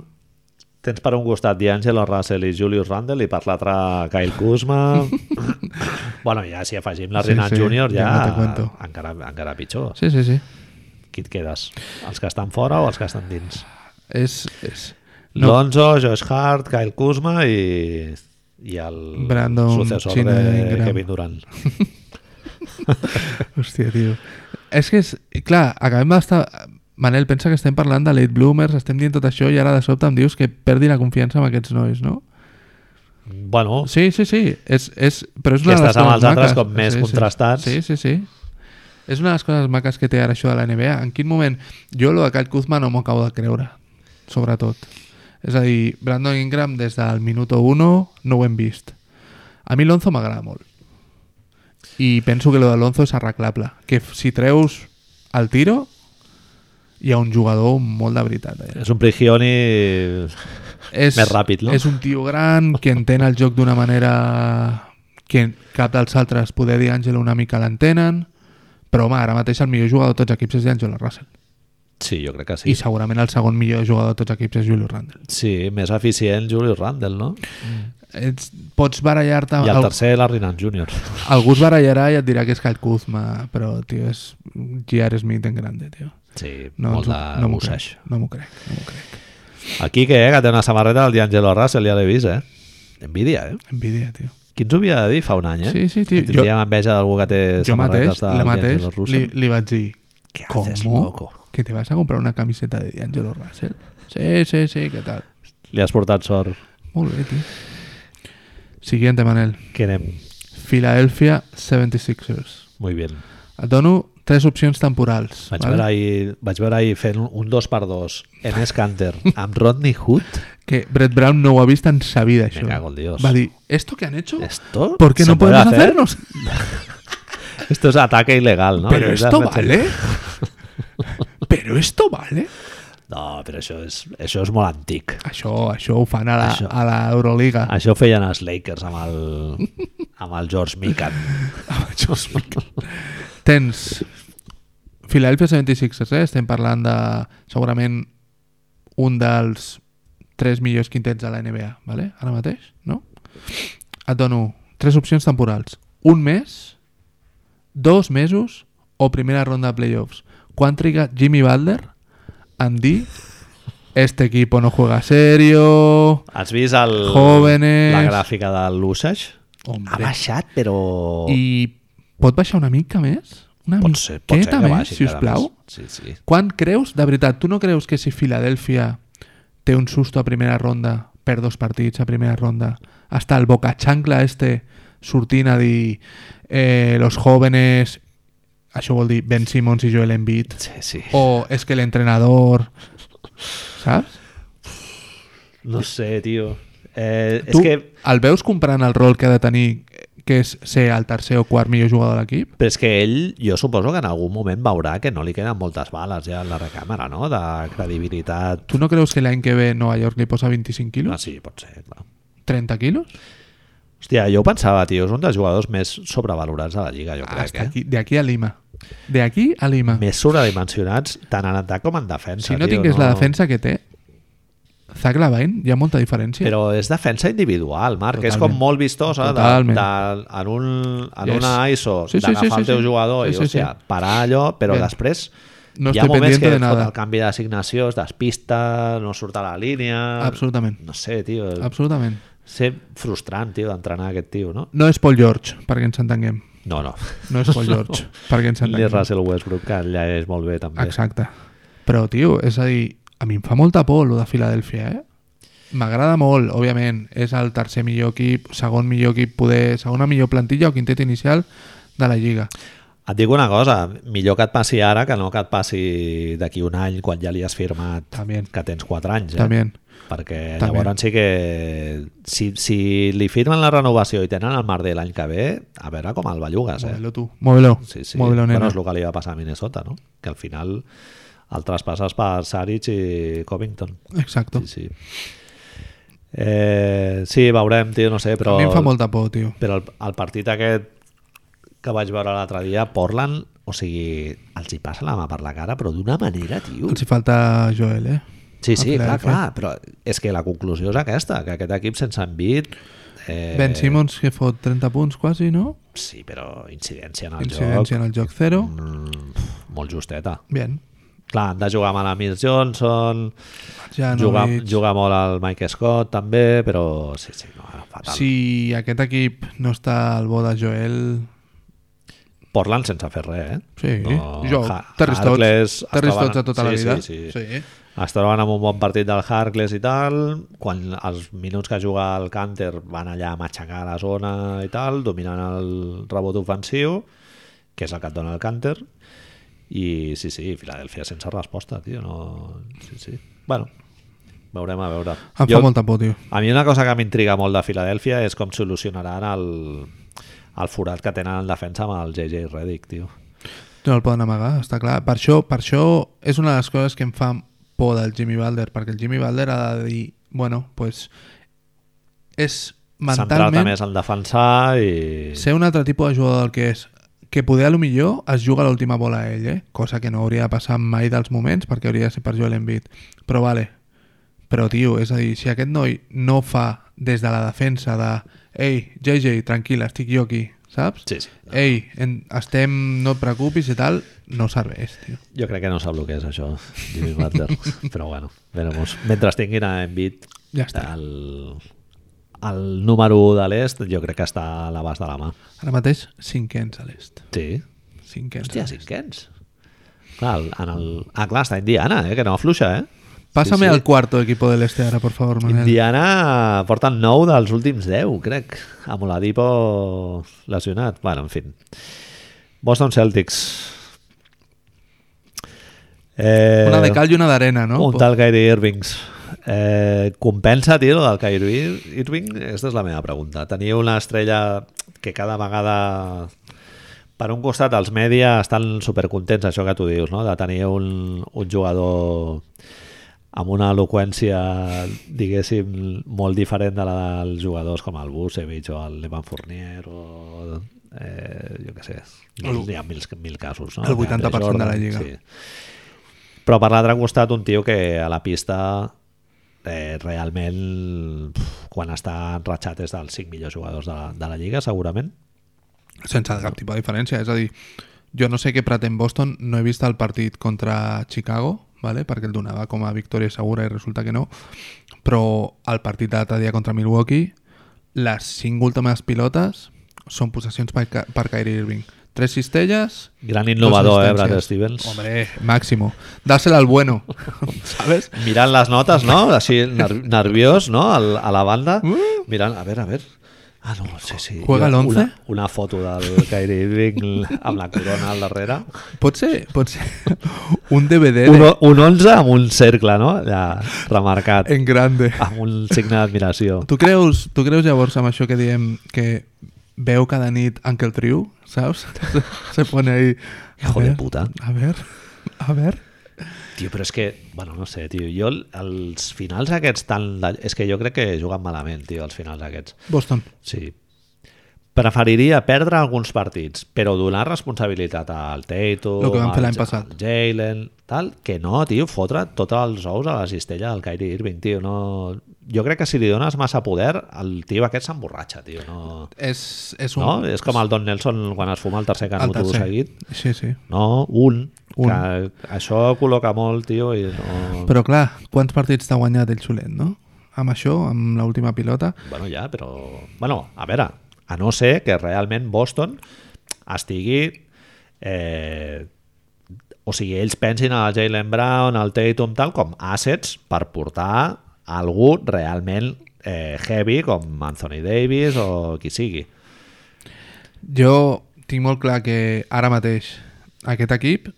A: tens per un costat D'Angelo Russell i Julius Randle i per l'altre Kyle Kuzma. bueno, ja si afegim la
B: Sí,
A: Renan
B: sí,
A: Junior
B: ja no te
A: ja,
B: cuento.
A: encara, encara pitjor.
B: Sí, sí, sí.
A: Qui et quedes? Els que estan fora o els que estan dins?
B: És, és...
A: No. Lonzo, Josh Hart, Kyle Kuzma i, i el
B: Brandon
A: successor
B: China
A: de
B: Ingram.
A: Kevin Durant.
B: Hòstia, tio. És que és... Clar, acabem d'estar... Manel, pensa que estem parlant de late bloomers, estem dient tot això i ara de sobte em dius que perdi la confiança amb aquests nois, no?
A: Bueno,
B: Sí, sí, sí. És, és... Però és
A: Que
B: una de les
A: estàs amb
B: coses
A: els altres
B: maques.
A: com més contrastats.
B: Sí, sí, sí. És una de les coses maques que té ara això de la NBA. En quin moment... Jo lo de Kyle Kuzma no m'ho acabo de creure, sobretot. És a dir, Brandon Ingram des del minuto 1 no ho hem vist. A mi Lonzo m'agrada molt. I penso que lo de Lonzo és arreglable. Que f- si treus el tiro, hi ha un jugador molt de veritat. Allà.
A: és un prigioni...
B: És,
A: Més ràpid, no?
B: És un tio gran que entén el joc d'una manera que cap dels altres, poder dir Àngelo, una mica l'entenen, però home, ara mateix el millor jugador de tots els equips és D'Angelo Russell.
A: Sí, jo crec que sí.
B: I segurament el segon millor jugador de tots equips és Julius Randle.
A: Sí, més eficient Julius Randle, no?
B: Ets, pots barallar-te...
A: I el
B: al-
A: tercer, Larry Nance Jr.
B: Algú es barallarà i et dirà que és Kyle Kuzma, però, tio, és J.R. Smith en grande, tio.
A: Sí,
B: No,
A: molt
B: ens ho-
A: de
B: no m'ho crec,
A: busseig.
B: no m'ho crec, no m'ho crec.
A: Aquí que, eh, que té una samarreta del D'Angelo Russell, ja l'he vist, eh? Envidia, eh?
B: Envidia, tio.
A: Qui ens ho havia de dir fa un any, eh?
B: Sí, sí, tio.
A: Que Tindríem enveja d'algú que té
B: Jo mateix,
A: samarretes
B: la
A: del
B: mateix,
A: D'Angelo
B: li,
A: Russell.
B: li vaig dir
A: Què
B: com
A: haces, loco?
B: que te vas a comprar una camiseta de D'Angelo Russell? Sí, sí, sí, què tal?
A: Li has portat sort.
B: Molt bé, tio. Siguiente, Manel.
A: Que anem
B: Philadelphia 76ers.
A: molt bé.
B: Et dono tres opcions temporals.
A: Vaig, veure ahir, vaig veure ahir fent un dos per dos en Scanter amb Rodney Hood.
B: Que Brett Brown no ho ha vist en sa vida, això.
A: cago en Dios.
B: Va dir, ¿esto que han hecho?
A: Esto
B: ¿Por qué
A: se
B: no
A: puede
B: podemos
A: hacer?
B: hacernos?
A: Esto es ataque ilegal, ¿no?
B: ¿Pero
A: Que
B: esto
A: realmente-
B: vale? ¿Pero esto vale?
A: No, però això és, això és molt antic.
B: Això, això ho fan a la,
A: Això.
B: a la Euroliga.
A: Això ho feien els Lakers amb el, amb el George Mikan.
B: Tens Philadelphia 76ers, eh? estem parlant de segurament un dels tres millors quintets de la NBA, vale? ara mateix, no? Et dono tres opcions temporals. Un mes, dos mesos o primera ronda de playoffs. Quan triga Jimmy Butler en dir este equipo no juega serio...
A: Has vist el,
B: Jóvenes.
A: la gràfica de l'Usage? Ha
B: Hombre.
A: baixat, però...
B: I pot baixar una mica més? Una
A: pot ser, pot ser
B: miqueta
A: que
B: més,
A: baixi.
B: si us
A: encara
B: plau?
A: més. Sí, sí.
B: Quan creus, de veritat, tu no creus que si Filadèlfia té un susto a primera ronda, per dos partits a primera ronda, hasta el bocachancla este sortint a dir eh, los jóvenes, això vol dir Ben Simmons i Joel Embiid,
A: Sí, sí.
B: o és que l'entrenador... Saps?
A: No sé, tio. Eh, és
B: tu
A: que...
B: el veus comprant el rol que ha de tenir, que és ser el tercer o quart millor jugador de l'equip?
A: Però és que ell, jo suposo que en algun moment veurà que no li queden moltes bales ja en la recàmera, no? De credibilitat.
B: Tu no creus que l'any que ve Nova York li posa 25
A: Ah,
B: quilos?
A: sí, pot ser, clar.
B: 30 quilos?
A: Hòstia, jo ho pensava, tio, és un dels jugadors més sobrevalorats de la Lliga, jo crec,
B: Hasta
A: eh?
B: aquí, de aquí a Lima. De aquí a Lima.
A: Més sobredimensionats tant en atac com en defensa,
B: si no
A: tio,
B: tingués la defensa que té, Zach Lavine, hi ha molta diferència.
A: Però és defensa individual, Marc, és com
B: Totalment.
A: molt vistosa de,
B: Totalment.
A: de, en, un, en
B: És-
A: una ISO
B: Sí, sí,
A: d'agafar
B: sí, sí,
A: el teu
B: sí.
A: jugador
B: Sí,
A: i,
B: sí,
A: hòstia,
B: sí.
A: parar allò, però
B: Bien.
A: després
B: No
A: hi ha
B: estoy
A: moments
B: pendiente
A: que
B: de
A: et
B: nada.
A: fot el canvi d'assignació, es despista, no surt a la línia...
B: Absolutament.
A: No sé, tio,
B: Absolutament.
A: ser frustrant, tio, d'entrenar aquest tio, no?
B: No és Paul George, perquè ens entenguem.
A: No, no.
B: No és Paul George, perquè ens
A: Ni
B: entenguem.
A: Russell Westbrook, que ja és molt bé, també.
B: Exacte. Però, tio, és a dir, a mi em fa molta por lo de Filadèlfia, eh? M'agrada molt, òbviament. És el tercer millor equip, segon millor equip, poder, segona millor plantilla o quintet inicial de la Lliga.
A: Et dic una cosa, millor que et passi ara que no que et passi d'aquí un any quan ja li has firmat
B: També.
A: que tens 4 anys. Eh?
B: També.
A: Perquè
B: També.
A: llavors sí que... Si, si li firmen la renovació i tenen el marder l'any que ve, a veure com el bellugues, eh?
B: Móvelo tu. Móvelo.
A: Sí, sí.
B: Móvelo, nena.
A: bueno, és el que li va passar a Minnesota, no? Que al final el traspasses per Saric i Covington.
B: Exacto.
A: Sí, sí. Eh, sí, veurem, tio, no sé, però...
B: A mi em fa molta por, tio.
A: Però el, el partit aquest que vaig veure l'altre dia, Portland, o sigui, els hi passa la mà per la cara, però d'una manera, tio.
B: Els hi falta Joel, eh?
A: Sí, sí,
B: a
A: Ah, clar,
B: Filadèlfia.
A: clar, però és que la conclusió és aquesta, que aquest equip sense envit... Eh,
B: Ben Simmons que fot 30 punts quasi, no?
A: Sí, però incidència en el
B: Incidència en el joc 0.
A: joc mm, pf, molt justeta.
B: Bien.
A: Clar, han de jugar mal a Mills Johnson,
B: Ja no
A: jugar,
B: veig-
A: jugar molt al Mike Scott també, però sí, sí, no, fatal. Sí.
B: Si aquest equip no està al bo de Joel...
A: Portland sense fer res, eh?
B: Sí,
A: No,
B: jo,
A: Ha-
B: Terry
A: Harkless,
B: Stotts, Terry
A: estaven-
B: Stotts de tota
A: sí,
B: la vida.
A: Sí, sí.
B: sí.
A: Es troben amb un bon partit del Harkles i tal, quan els minuts que juga el Canter van allà a matxacar la zona i tal, dominant el rebot ofensiu, que és el que et dona el Canter, i sí, sí, Filadèlfia sense resposta, tio, no... Sí, sí. Bueno, veurem a veure.
B: Em fa molta por, tio.
A: A mi una cosa que m'intriga molt de Filadèlfia és com solucionaran el, el forat que tenen en defensa amb el JJ Redick, tio.
B: No el poden amagar, està clar. Per això, per això és una de les coses que em fa por del Jimmy Balder, perquè el Jimmy Balder ha de dir, bueno, pues, és
A: Centrar-te
B: mentalment
A: més en defensar i...
B: ser un altre tipus de jugador del que és que poder a lo millor es juga l'última bola a ell, eh? cosa que no hauria de passar mai dels moments perquè hauria de ser per Joel Embiid. Però vale, però tio, és a dir, si aquest noi no fa des de la defensa de ei, JJ, tranquil, estic jo aquí, saps?
A: Sí, sí.
B: Ei, en, estem, no et preocupis i tal, no serveix, tio.
A: Jo crec que no sap el que és això, Jimmy Butler. Però bueno, veremos. Mentre tinguin a Embiid,
B: Ja està.
A: el, el número 1 de l'est, jo crec que està a l'abast de la mà.
B: Ara mateix, cinquens a l'est.
A: Sí.
B: Cinquens.
A: Hòstia,
B: a l'est.
A: cinquens. Clar, el- en el... Ah, clar, està Indiana, eh? que no afluixa, eh?
B: Pásame
A: Sí, sí.
B: al cuarto equipo del este ahora, por favor, Manel.
A: Indiana porta 9 dels últims 10, crec. Amb l'Adipo lesionat. Bueno, en fi. Boston Celtics. Eh,
B: Una de cal i una d'arena, no?
A: Un tal Kyrie Irvings. Eh, compensa, tio, el Kyrie Ir- Irving? Aquesta és la meva pregunta. Teniu una estrella que cada vegada... Per un costat, els mèdia estan supercontents, això que tu dius, no? de tenir un, un jugador amb una eloqüència, diguéssim, molt diferent de la dels jugadors com el Busevich o el Levan Fournier o... Eh, jo què sé,
B: El-
A: hi ha mil, mil casos, no?
B: el 80% de la
A: Jordan,
B: lliga.
A: però per l'altre costat, un tio que a la pista eh, realment pf, quan està enratxat és dels 5 millors jugadors de la, de la Lliga, segurament.
B: sense cap tipus de diferència. És a dir, jo no sé què pretén Boston, no he vist el partit contra Chicago, vale? perquè el donava com a victòria segura i resulta que no, però el partit de l'altre dia contra Milwaukee, les cinc últimes pilotes són possessions per, Ka- per Kyrie Irving. Tres cistelles...
A: Gran innovador,
B: dos
A: eh, Brad
B: assistències.
A: Stevens.
B: Hombre, màximo. Dásela al bueno, ¿sabes?
A: Mirant les notes, no? Així ner- nerviós, no? Al, a la banda. Mirant, a veure, a veure. Ah, no, sí, sí.
B: Uh. Juega
A: Jo-
B: el once?
A: Una, una foto del Kyrie Irving amb la corona al darrere.
B: Pot ser, pot ser un DVD
A: Un,
B: de,
A: o- un 11 amb un cercle, no? Ja, remarcat.
B: en grande.
A: Amb un signe d'admiració.
B: Tu creus, tu creus llavors amb això que diem que veu cada nit Uncle Triu, saps? Se pone ahí... a
A: Hijo de
B: ver,
A: puta.
B: A ver, a ver...
A: Tio, però és que, bueno, no sé, tio, jo el- els finals aquests tan... de- És que jo crec que juguen malament, tio, els finals aquests.
B: Boston.
A: Sí. Preferiria perdre alguns partits, però donar responsabilitat al Tatum,
B: Lo que van fer
A: al
B: l'any
A: Ja-
B: passat.
A: al Jalen, tal, que no, tio, fotre tots els ous a la cistella del Kyrie Irving, tio, no... Jo crec que si li dones massa poder, el tio aquest s'emborratxa, tio, no...
B: És, és un...
A: No? És com el Don Nelson quan es fuma el tercer
B: el
A: canut
B: tercer.
A: seguit.
B: Sí, sí.
A: No, un, un.
B: Un.
A: Que això col·loca molt, tio, i no...
B: Però clar, quants partits t'ha guanyat el xulet, no? Amb això, amb l'última pilota.
A: Bueno, ja, però... Bueno, a veure, a no ser que realment Boston estigui... Eh, o sigui, ells pensin a Jalen Brown, al Tatum, tal, com assets per portar algú realment eh, heavy com Anthony Davis o qui sigui.
B: Jo tinc molt clar que ara mateix aquest equip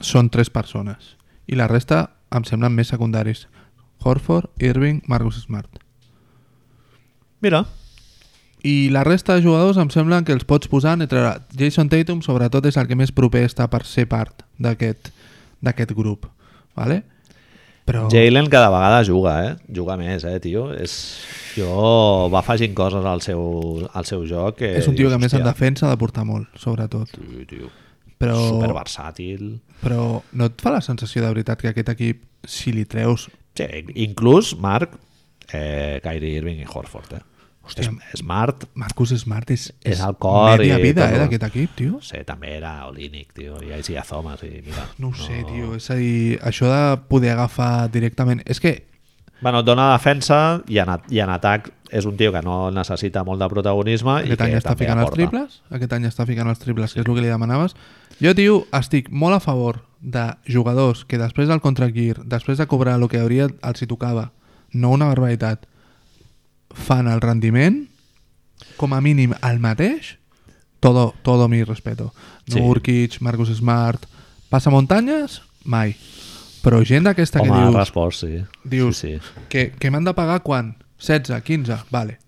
B: són tres persones i la resta em semblen més secundaris. Horford, Irving, Marcus Smart.
A: Mira,
B: I la resta de jugadors em sembla que els pots posar en entre... Jason Tatum sobretot és el que més proper està per ser part d'aquest d'aquest grup, vale? Però
A: Jalen cada vegada juga, eh? Juga més, eh, tio? És... Jo va afegint coses al seu, al seu joc. Que
B: és un tio que a
A: dius,
B: més en
A: "Hòstia,
B: defensa ha de portar molt, sobretot.
A: tio, tio,
B: Però,
A: Super versàtil.
B: però no et fa la sensació de veritat que aquest equip, si li treus...
A: Sí, inclús Marc, eh, Kyrie Irving i Horford. Eh? Hòstia, Smart,
B: Marcus Smart és,
A: És el cor
B: media
A: i
B: vida
A: tot,
B: eh,
A: no?
B: d'aquest equip, tio.
A: no sé, també era Olínic, tio, i així a Thomas, i mira.
B: No ho sé, tio. És a dir, això de poder agafar directament... És que
A: Bueno, et dona defensa i en, at- i en atac és un tio que no necessita molt de protagonisme i
B: Aquest
A: que
B: any està
A: també
B: ficant els
A: aporta.
B: triples, aquest any està ficant els triples, que és el que li demanaves. Jo, tio, estic molt a favor de jugadors que després del contraguir, després de cobrar el que hauria els hi tocava, no una barbaritat, fan el rendiment, com a mínim el mateix, todo, todo mi respeto.
A: Sí.
B: Nurkic, Marcus Smart, passa muntanyes, mai. Però gent d'aquesta que
A: Home,
B: dius,
A: respost, sí.
B: dius
A: Sí, sí.
B: que, que m'han de pagar quan? 16, 15, vale.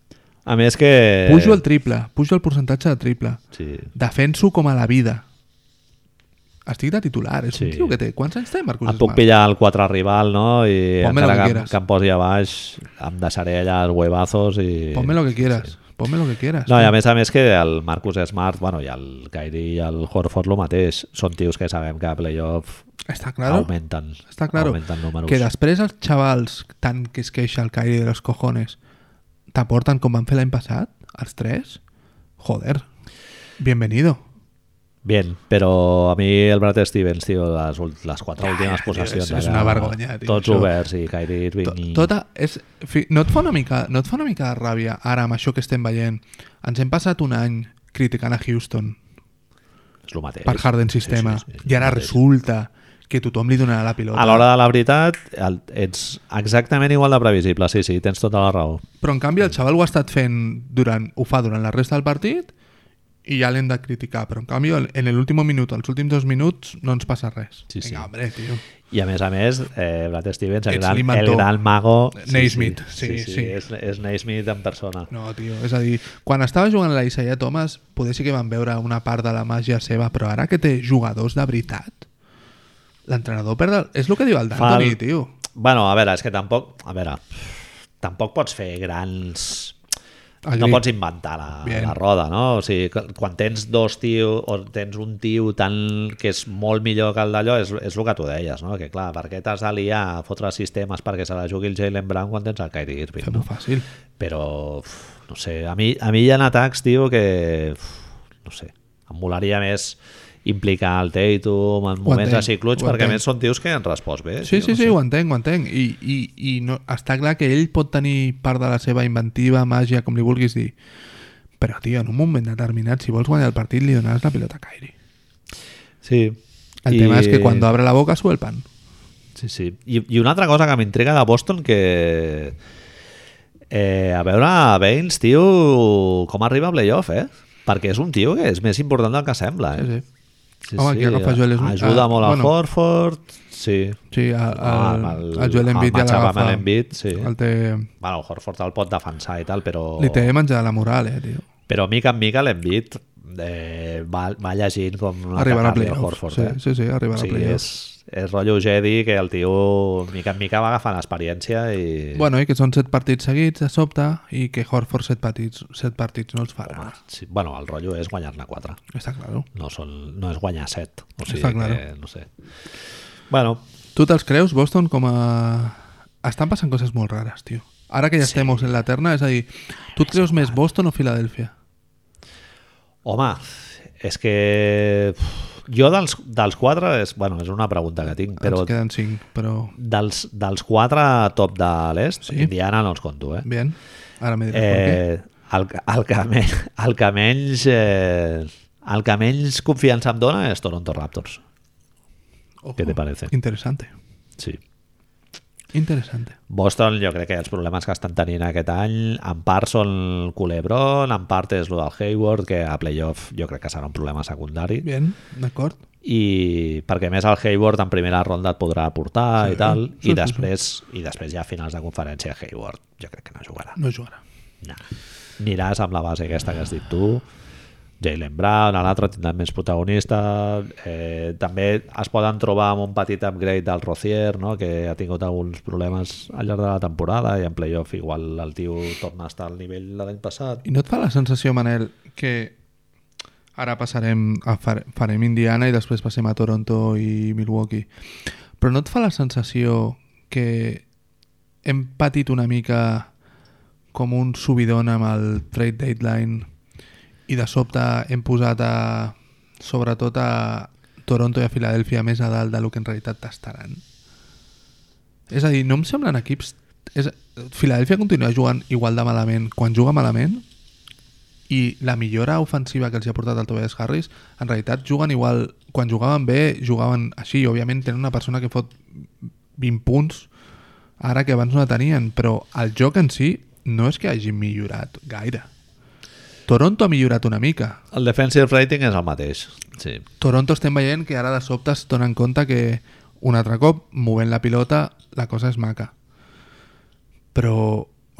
A: A més que...
B: Pujo el triple, pujo el percentatge de triple.
A: Sí.
B: Defenso com a la vida. Estic de titular, és sí. un
A: Sí.
B: tio que té... Quants anys té Marcus
A: Em puc
B: Smart?
A: pillar el 4 rival, no? I
B: Ponme lo
A: encara
B: que
A: que, em-
B: quieras.
A: que em posi a baix, em deixaré allà els huevazos i...
B: Ponme lo que quieras. Sí. Ponme lo que quieras.
A: No, i a
B: tio.
A: més a més que el Marcus Smart, bueno, i el Kyrie i el Horford lo mateix, són tios que sabem que a playoff
B: Està claro.
A: augmenten,
B: Està claro.
A: augmenten números.
B: Que després els xavals tant que es queixa el Kyrie de los cojones t'aporten com van fer l'any passat, els tres? Joder. Bienvenido.
A: Bien, però a mi el Brad Stevens, tio, les, ult- les quatre últimes
B: tio,
A: possessions...
B: és- és
A: allà,
B: una vergonya, tio,
A: Tots
B: això.
A: oberts i Kyrie
B: To-
A: Irving...
B: Tota és, fi- no, et fa una mica, no et fa una mica de ràbia ara amb això que estem veient? Ens hem passat un any criticant a Houston
A: És el mateix.
B: per Harden
A: Sí,
B: sistema
A: sí, sí, és
B: i ara
A: el mateix.
B: resulta que tothom li donarà la pilota.
A: A l'hora de la veritat, el, ets exactament igual de previsible, sí, sí, tens tota la raó.
B: Però en canvi el xaval ho ha estat fent durant, ho fa durant la resta del partit i ja l'hem de criticar, però en canvi el- en l'últim minut, els últims dos minuts no ens passa res.
A: Sí, sí.
B: Vinga, hombre, tio.
A: I a més a més, eh, Brad Stevens, el
B: Ets
A: gran, el
B: l'inventor.
A: gran mago...
B: Naismith,
A: sí, sí,
B: sí,
A: sí, sí,
B: sí.
A: És, és Naismith en persona.
B: No, tio, és a dir, quan estava jugant la Isaiah Thomas, poder sí que van veure una part de la màgia seva, però ara que té jugadors de veritat, l'entrenador perd... El... És el que diu el
A: Fa
B: D'Antoni,
A: el-
B: tio.
A: Bueno, a veure, és que tampoc... A veure, tampoc pots fer grans...
B: Agri.
A: No pots inventar la,
B: Bien.
A: la roda, no? O sigui, que- quan tens dos tio o tens un tio tan, que és molt millor que el d'allò, és, és el que tu deies, no? Que clar, per què t'has de liar a fotre sistemes perquè se la jugui el Jalen Brown quan tens el Kyrie Irving,
B: Fem-ho
A: no?
B: fàcil.
A: Però, uf, no sé, a mi, a mi hi ha atacs, tio, que... Uf, no sé, em molaria més implicar el Tatum en moments
B: entenc,
A: així clutch,
B: ho
A: perquè a
B: entenc.
A: més són tios que han respost bé.
B: Sí,
A: tio,
B: sí,
A: no
B: sí,
A: sé.
B: ho entenc, ho entenc. I, i, i no, està clar que ell pot tenir part de la seva inventiva, màgia, com li vulguis dir. Però, tio, en un moment determinat, si vols guanyar el partit, li donaràs la pilota a Kyrie.
A: Sí.
B: El
A: I-
B: tema és que quan abre la boca sube el pan.
A: Sí, sí. I, i una altra cosa que m'intriga de Boston que... Eh, a veure, Baines, tio, com arriba a playoff, eh? Perquè és un tio que és més important del que sembla, eh?
B: Sí, sí. Home, aquí agafa Joel Smith.
A: Ajuda
B: Ah,
A: molt a
B: bueno.
A: Horford, sí.
B: Sí, el,
A: Ah,
B: el,
A: amb
B: el,
A: el-
B: el Joel
A: amb
B: Embiid ja
A: matchup amb
B: l'agafa.
A: l'Embiid, sí.
B: El té...
A: Bueno, el Horford el pot defensar i tal, però...
B: Li té menjada la moral, eh, tio.
A: Però mica en mica l'envit eh, va, va llegint com una
B: Arribarà a
A: cacàrdia
B: playoff.
A: Horford,
B: sí,
A: eh?
B: sí, sí,
A: O
B: arribarà a
A: sigui,
B: playoff.
A: és, és rotllo Jedi que el tio mica en mica va agafant experiència i...
B: Bueno, i que són set partits seguits, de sobte, i que Horford set partits, set partits no els farà.
A: Home, sí, bueno, el rotllo és guanyar-ne 4
B: Està clar.
A: no, són, no és guanyar 7 o sigui
B: Està claro.
A: que, no sé bueno,
B: Tu te'ls creus, Boston, com a... Estan passant coses molt rares, tio. Ara que ja estem en la terna, és a dir, tu et creus més Boston o Filadèlfia?
A: home és que uf, jo dels, dels 4 és, bueno, és una pregunta que tinc però
B: Ens queden cinc, però...
A: dels, dels 4 top de l'est
B: Sí.
A: Indiana no els conto eh?
B: Bien, ara me diràs per què.
A: eh, el, que- el, que men, el que menys eh, el que menys confiança em dona és Toronto Raptors
B: Ojo.
A: què te parece?
B: Interesante,
A: sí
B: interesante.
A: Boston, jo crec que els problemes que estan tenint aquest any, en part són Culebron, en part és el del Hayward, que a playoff jo crec que serà un problema secundari.
B: Bien, d'acord.
A: I perquè a més el Hayward en primera ronda et podrà aportar
B: Sí,
A: i tal,
B: sí,
A: i
B: sí,
A: després i després ja a finals de conferència Hayward jo crec que no jugarà.
B: No jugarà.
A: No. Aniràs amb la base aquesta que has dit tu, Jalen Brown, a l'altre tindrà més protagonista, eh, també es poden trobar amb un petit upgrade del Rocier, no? que ha tingut alguns problemes al llarg de la temporada i en playoff igual el tio torna a estar al nivell de l'any passat.
B: I no et fa la sensació, Manel, que ara passarem a far, farem Indiana i després passem a Toronto i Milwaukee, però no et fa la sensació que hem patit una mica com un subidon amb el trade deadline i de sobte hem posat a, sobretot a Toronto i a Filadèlfia més a dalt del que en realitat t'estaran. És a dir, no em semblen equips... És... Filadèlfia continua jugant igual de malament quan juga malament i la millora ofensiva que els hi ha portat el Tobias Harris, en realitat juguen igual... Quan jugaven bé, jugaven així. I, òbviament, tenen una persona que fot 20 punts ara que abans no la tenien, però el joc en si no és que hagi millorat gaire. Toronto ha millorat una mica,
A: El defensive rating és el mateix. Sí.
B: Toronto estem veient que ara de sobte es donen compte que un altre cop, movent la pilota, la cosa és maca. Però,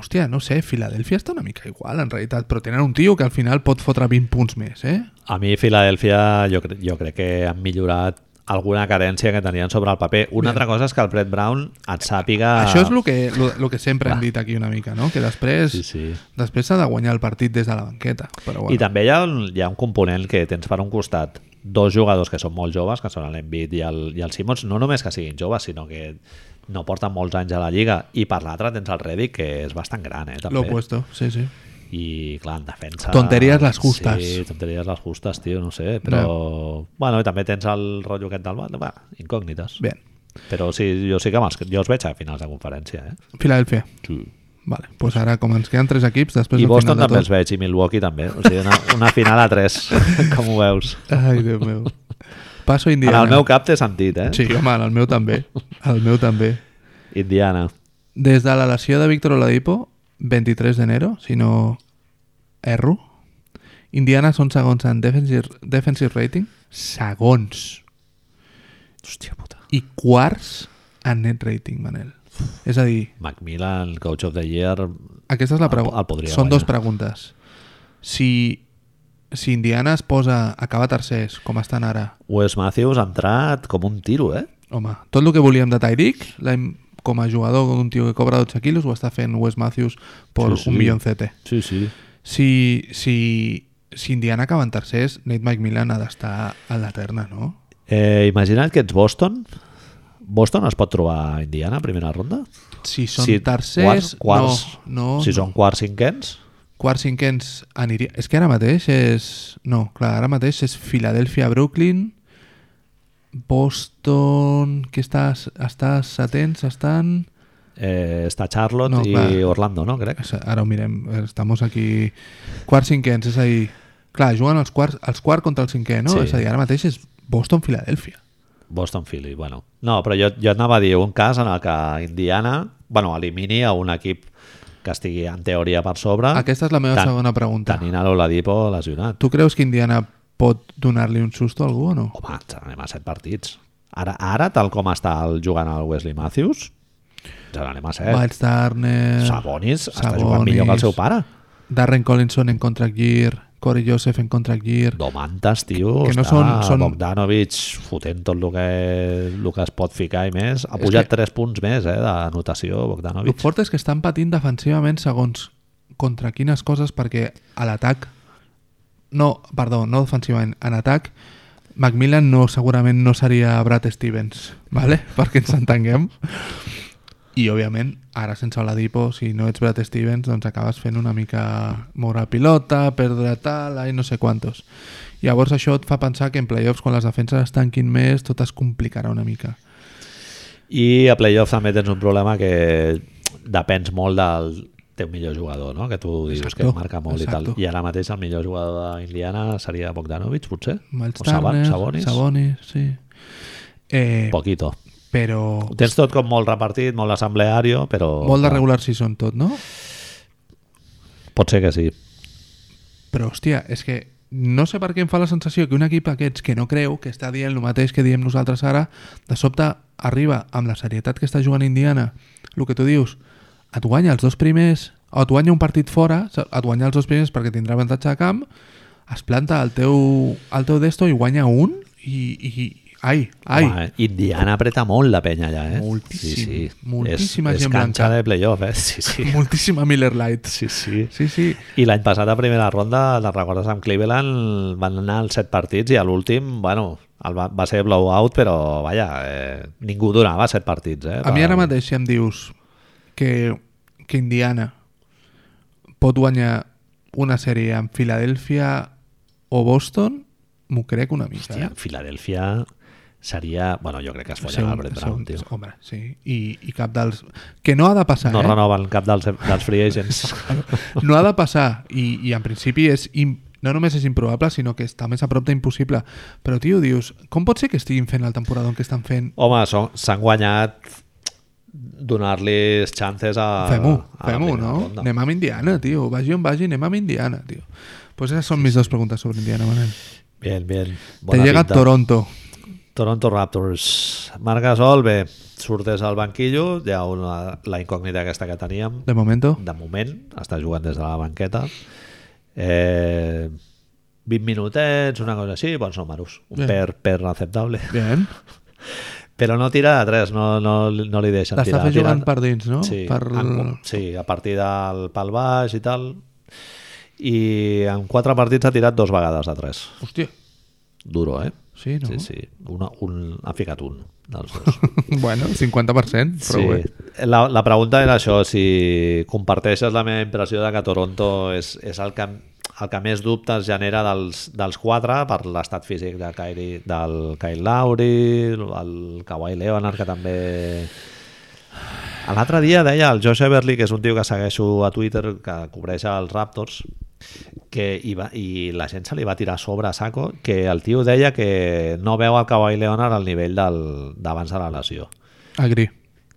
B: hòstia, no sé, Filadèlfia està una mica igual, en realitat, però tenen un tio que al final pot fotre 20 punts més, eh?
A: A mi Filadèlfia jo, cre- jo crec que han millorat alguna carència que tenien sobre el paper. Una altra cosa és que el Brett Brown et sàpiga...
B: Això és el que, lo, lo que sempre hem dit aquí una mica, no? Que després
A: Sí, sí.
B: després s'ha de guanyar el partit des de la banqueta. Però
A: I
B: bueno,
A: també hi ha, un, hi ha un component que tens per un costat dos jugadors que són molt joves, que són l'Envit i, el, i el Simons, no només que siguin joves, sinó que no porten molts anys a la Lliga. I per l'altre tens el Reddick, que és bastant gran, eh, també.
B: l'opuesto, sí, sí.
A: I, clar, en defensa...
B: Tonteries les justes.
A: Sí, tonteries les justes, tio, no sé. Però, bueno, i també tens el rotllo aquest del... Va, incògnites.
B: Bé,
A: Però sí, jo sí que me'ls... Jo els veig a finals de conferència, eh?
B: Filadèlfia.
A: Sí.
B: Vale, doncs ara com ens queden tres equips, després
A: I
B: al
A: Boston
B: final de
A: també
B: tot-
A: els veig, i Milwaukee també. O sigui, una, una final a tres, com ho veus?
B: Ai, Déu meu. Passo a
A: En
B: Indiana.
A: el meu cap té sentit, eh?
B: Sí, home, en el meu també. El meu també.
A: Indiana.
B: Des de la lesió de Víctor Oladipo, 23 d'enero, si no erro, Indiana són segons en defensive, defensive rating, segons,
A: Hòstia puta.
B: i quarts en net rating, Manel. És a dir,
A: Macmillan, Coach of the Year...
B: aquesta és
A: El- Ah,
B: la
A: el
B: pregunta.
A: podria
B: Són
A: guanyar.
B: dues preguntes. Si, si Indiana es posa, acaba tercers, com estan ara,
A: Wes Matthews ha entrat com un tiro, eh?
B: Home, tot el que volíem de Tyreek, l'hem- com a jugador d'un tio que cobra 12 quilos, ho està fent Wes Matthews per
A: Sí, sí.
B: un milioncete.
A: Sí, sí.
B: Si, si, si Indiana acaba en tercers, Nate McMillan ha d'estar a la terna, no?
A: Eh, imagina't que ets Boston. Boston es pot trobar a Indiana a primera ronda?
B: Si són
A: Si
B: tercers,
A: quarts- quarts-
B: no, no,
A: si
B: Oh, no.
A: són quarts cinquens?
B: quarts cinquens aniria... És que ara mateix és... No, clar, ara mateix és Filadèlfia, Brooklyn, Boston, que estàs, estàs atents, estan...
A: Eh, està Charlotte
B: No,
A: i
B: clar.
A: Orlando, no? Crec.
B: O sea, Ara ho mirem, estamos aquí... Quarts cinquens, és a dir... Clar, juguen els quarts, els quarts contra el cinquè, no?
A: Sí.
B: És a dir, ara mateix és Boston-Filadèlfia.
A: Boston Philly, bueno. No, però jo, jo anava a dir un cas en el que Indiana bueno, elimini a un equip que estigui en teoria per sobre
B: Aquesta és la meva
A: Ah, Tant-
B: segona pregunta.
A: tenint a l'Oladipo lesionat.
B: Tu creus que Indiana pot donar-li un susto a algú o no?
A: Home, ens n'anem a set partits. Ara, ara tal com està el, jugant el Wesley Matthews, ja n'anem a set.
B: Miles Turner...
A: Sabonis, està jugant millor que el seu pare.
B: Darren Collinson en contract year, Corey Joseph en contract year...
A: Domantas, tio,
B: Que- que no
A: està
B: són- són-
A: Bogdanovic fotent tot el que, el que es pot ficar i més. Ha pujat
B: que-
A: 3 punts més eh, d'anotació,
B: El
A: Bogdanovic.
B: fort és que estan patint defensivament segons contra quines coses, perquè a l'atac... No, perdó, no defensivament, en atac Macmillan no, segurament no seria Brad Stevens, ¿vale? perquè ens entenguem. I, òbviament, ara sense Oladipo, si no ets Brad Stevens, doncs acabes fent una mica moure pilota, perdre tal, i no sé quantos. Llavors això et fa pensar que en playoffs, quan les defenses es tanquin més, tot es complicarà una mica.
A: I a playoff també tens un problema que depens molt del teu millor jugador, no? que tu dius
B: Exacto,
A: que marca molt i
B: exacto.
A: tal. I ara mateix el millor jugador d'Indiana seria Bogdanovic, potser?
B: Miles
A: O Saban-
B: Turner,
A: Sabonis?
B: Sabonis, sí. Eh,
A: Poquito.
B: però
A: Ho tens tot com molt repartit, molt assembleario, però...
B: molt de regular season tot, no?
A: Pot ser que sí.
B: Però, hòstia, és que no sé per què em fa la sensació que un equip aquests que no creu, que està dient el mateix que diem nosaltres ara, de sobte arriba amb la serietat que està jugant Indiana, el que tu dius, et guanya els dos primers, o et guanya un partit fora, sa- et guanya els dos primers perquè tindrà avantatge de camp, es planta el teu, el teu desto i guanya un, i... i ai, ai,
A: Home, eh, Indiana apreta molt la penya allà, eh?
B: Moltíssim,
A: Sí, sí.
B: moltíssima
A: és, és
B: gent
A: canxa
B: blanca.
A: de playoff, eh? Sí, sí.
B: moltíssima Miller Light.
A: sí, sí.
B: Sí, sí.
A: I l'any passat a primera ronda, la recordes amb Cleveland, van anar als set partits i a l'últim, bueno, el va, va ser blowout, però vaja, eh, ningú donava set partits. Eh?
B: A mi ara mateix si em dius que, que Indiana pot guanyar una sèrie amb Filadèlfia o Boston, m'ho crec una mica.
A: Hòstia,
B: eh?
A: Filadèlfia seria... Bueno, jo crec que es follen
B: Segon-
A: el Brett Brown,
B: segon-
A: tio.
B: Home, sí. I, I cap dels... Que no ha de passar,
A: No
B: eh?
A: renoven cap dels, dels free agents.
B: No ha de passar. I, i en principi és... im- No només és improbable, sinó que està més a prop d'impossible. Però, tio, dius, com pot ser que estiguin fent el temporada que estan fent?
A: Home, són- s'han guanyat donar-li chances a...
B: Fem-ho,
A: a la
B: fem-ho,
A: primera
B: no?
A: ronda.
B: Anem amb Indiana, tio. Vagi on vagi, anem amb Indiana, tio. Pues esas son mis dos preguntas sobre Indiana, Manel.
A: Bien, bien.
B: Te
A: Bona
B: llega
A: pinta.
B: Toronto.
A: Toronto Raptors. Marc Gasol, bé, surt des del banquillo, hi ha una, la incògnita aquesta que teníem.
B: De momento,
A: De moment, està jugant des de la banqueta. Eh, 20 minutets, una cosa així, bons números. Un
B: Bé.
A: per, per acceptable.
B: Bien.
A: Però no tira de tres, no, no, no li deixen
B: L'està
A: tirar.
B: fent jugant
A: Tira-
B: per dins, no?
A: Sí, Ah,
B: Per...
A: en, sí, a partir del pal baix i tal. I en quatre partits ha tirat dos vegades de tres.
B: Hòstia.
A: Duro, eh?
B: Sí, no?
A: Sí, sí. Una, un, ha ficat un dels dos.
B: bueno, 50%, però
A: Sí.
B: bé.
A: La, la pregunta era això, si comparteixes la meva impressió de que Toronto és, és el, que, el que més dubtes genera dels, dels quatre per l'estat físic de Kyrie, del Kyle Lowry, el Kawhi Leonard, que també... L'altre dia deia el Josh Everly, que és un tio que segueixo a Twitter, que cobreix els Raptors, que hi va, i la gent se li va tirar a sobre a saco, que el tio deia que no veu el Kawhi Leonard al nivell del- d'abans de la lesió
B: Agri.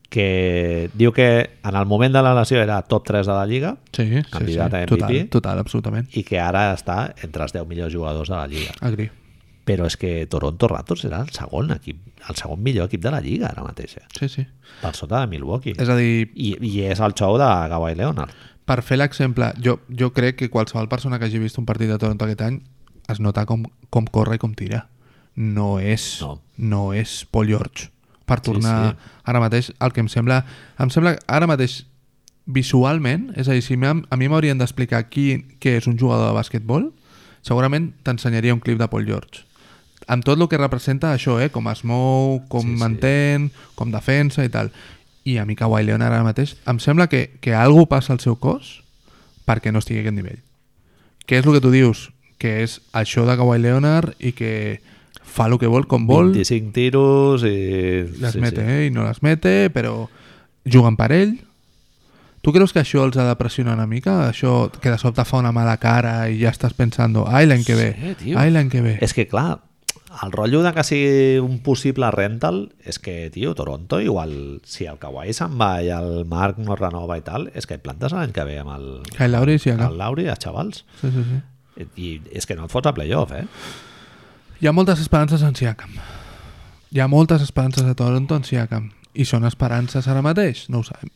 A: que diu que en el moment de la lesió era top 3 de la Lliga
B: Sí, sí, sí.
A: Candidat a MVP.
B: Total, total, absolutament.
A: i que ara està entre els 10 millors jugadors de la Lliga.
B: Agri.
A: Però és que Toronto Raptors era el segon equip, el segon millor equip de la Lliga ara mateix, eh?
B: Sí, sí.
A: per sota de Milwaukee.
B: És a dir,
A: I, I és el xou de Kawhi Leonard.
B: Per fer l'exemple, jo, jo crec que qualsevol persona que hagi vist un partit de Toronto aquest any es nota com, com corre i com tira. No és,
A: No.
B: no. no és Paul George. Per tornar
A: sí.
B: sí, sí. ara mateix, el que em sembla... Em sembla que ara mateix visualment, és a dir, si m'ha- a mi m'haurien d'explicar qui, què és un jugador de bàsquetbol, segurament t'ensenyaria un clip de Paul George. Amb tot el que representa això, eh? com es mou, com
A: Sí, sí.
B: sí, mantén, com defensa i tal. I a mi Kawhi Leonard ara mateix, em sembla que, que algú passa al seu cos perquè no estigui a aquest nivell. Què és el que tu dius? Que és això de Kawhi Leonard i que fa el que vol, com vol,
A: 25 tiros i...
B: les mete, eh? I no les mete, però juguen per ell. Tu creus que això els ha de pressionar una mica? Això que de sobte fa una mala cara i ja estàs pensant, ai l'any que ve,
A: tio.
B: ai l'any que ve.
A: És que, clar, el rotllo de que sigui un possible rental és que, tio, Toronto igual, si el Kawhi se'n va i el Marc no renova i tal, és que et plantes l'any que ve amb el,
B: Kyle Lowry sí, acaba.
A: el Lauri, els xavals.
B: Sí, sí, sí.
A: I, I és que no et fots a playoff, eh?
B: Hi ha moltes esperances en Siakam. Hi ha moltes esperances a Toronto en Siakam. I són esperances ara mateix? No ho sabem.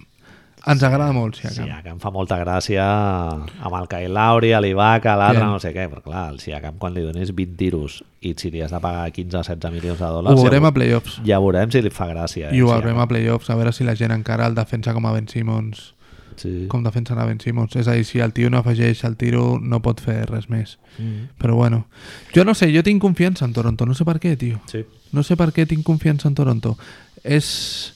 B: Ens agrada molt
A: Sí,
B: Siakam.
A: que em fa molta gràcia amb el Kyle Lauri, l'Ibaka, l'altre,
B: Bien.
A: no sé què, però clar, el Siakam quan li donis 20 tiros i si li has de pagar 15 o 16 milions de
B: Ho
A: dòlars,
B: veurem a
A: ja,
B: playoffs.
A: veurem- ja veurem si li fa gràcia. eh,
B: I ho
A: Siakam.
B: veurem a playoffs, a veure si la gent encara el defensa com a Ben Simmons.
A: Sí.
B: com defensen a Ben Simmons. És a dir, si el tio no afegeix el tiro, no pot fer res més.
A: Mm.
B: Però bueno, jo no sé, jo tinc confiança en Toronto, no sé per què, tio.
A: Sí.
B: No sé per què tinc confiança en Toronto. És...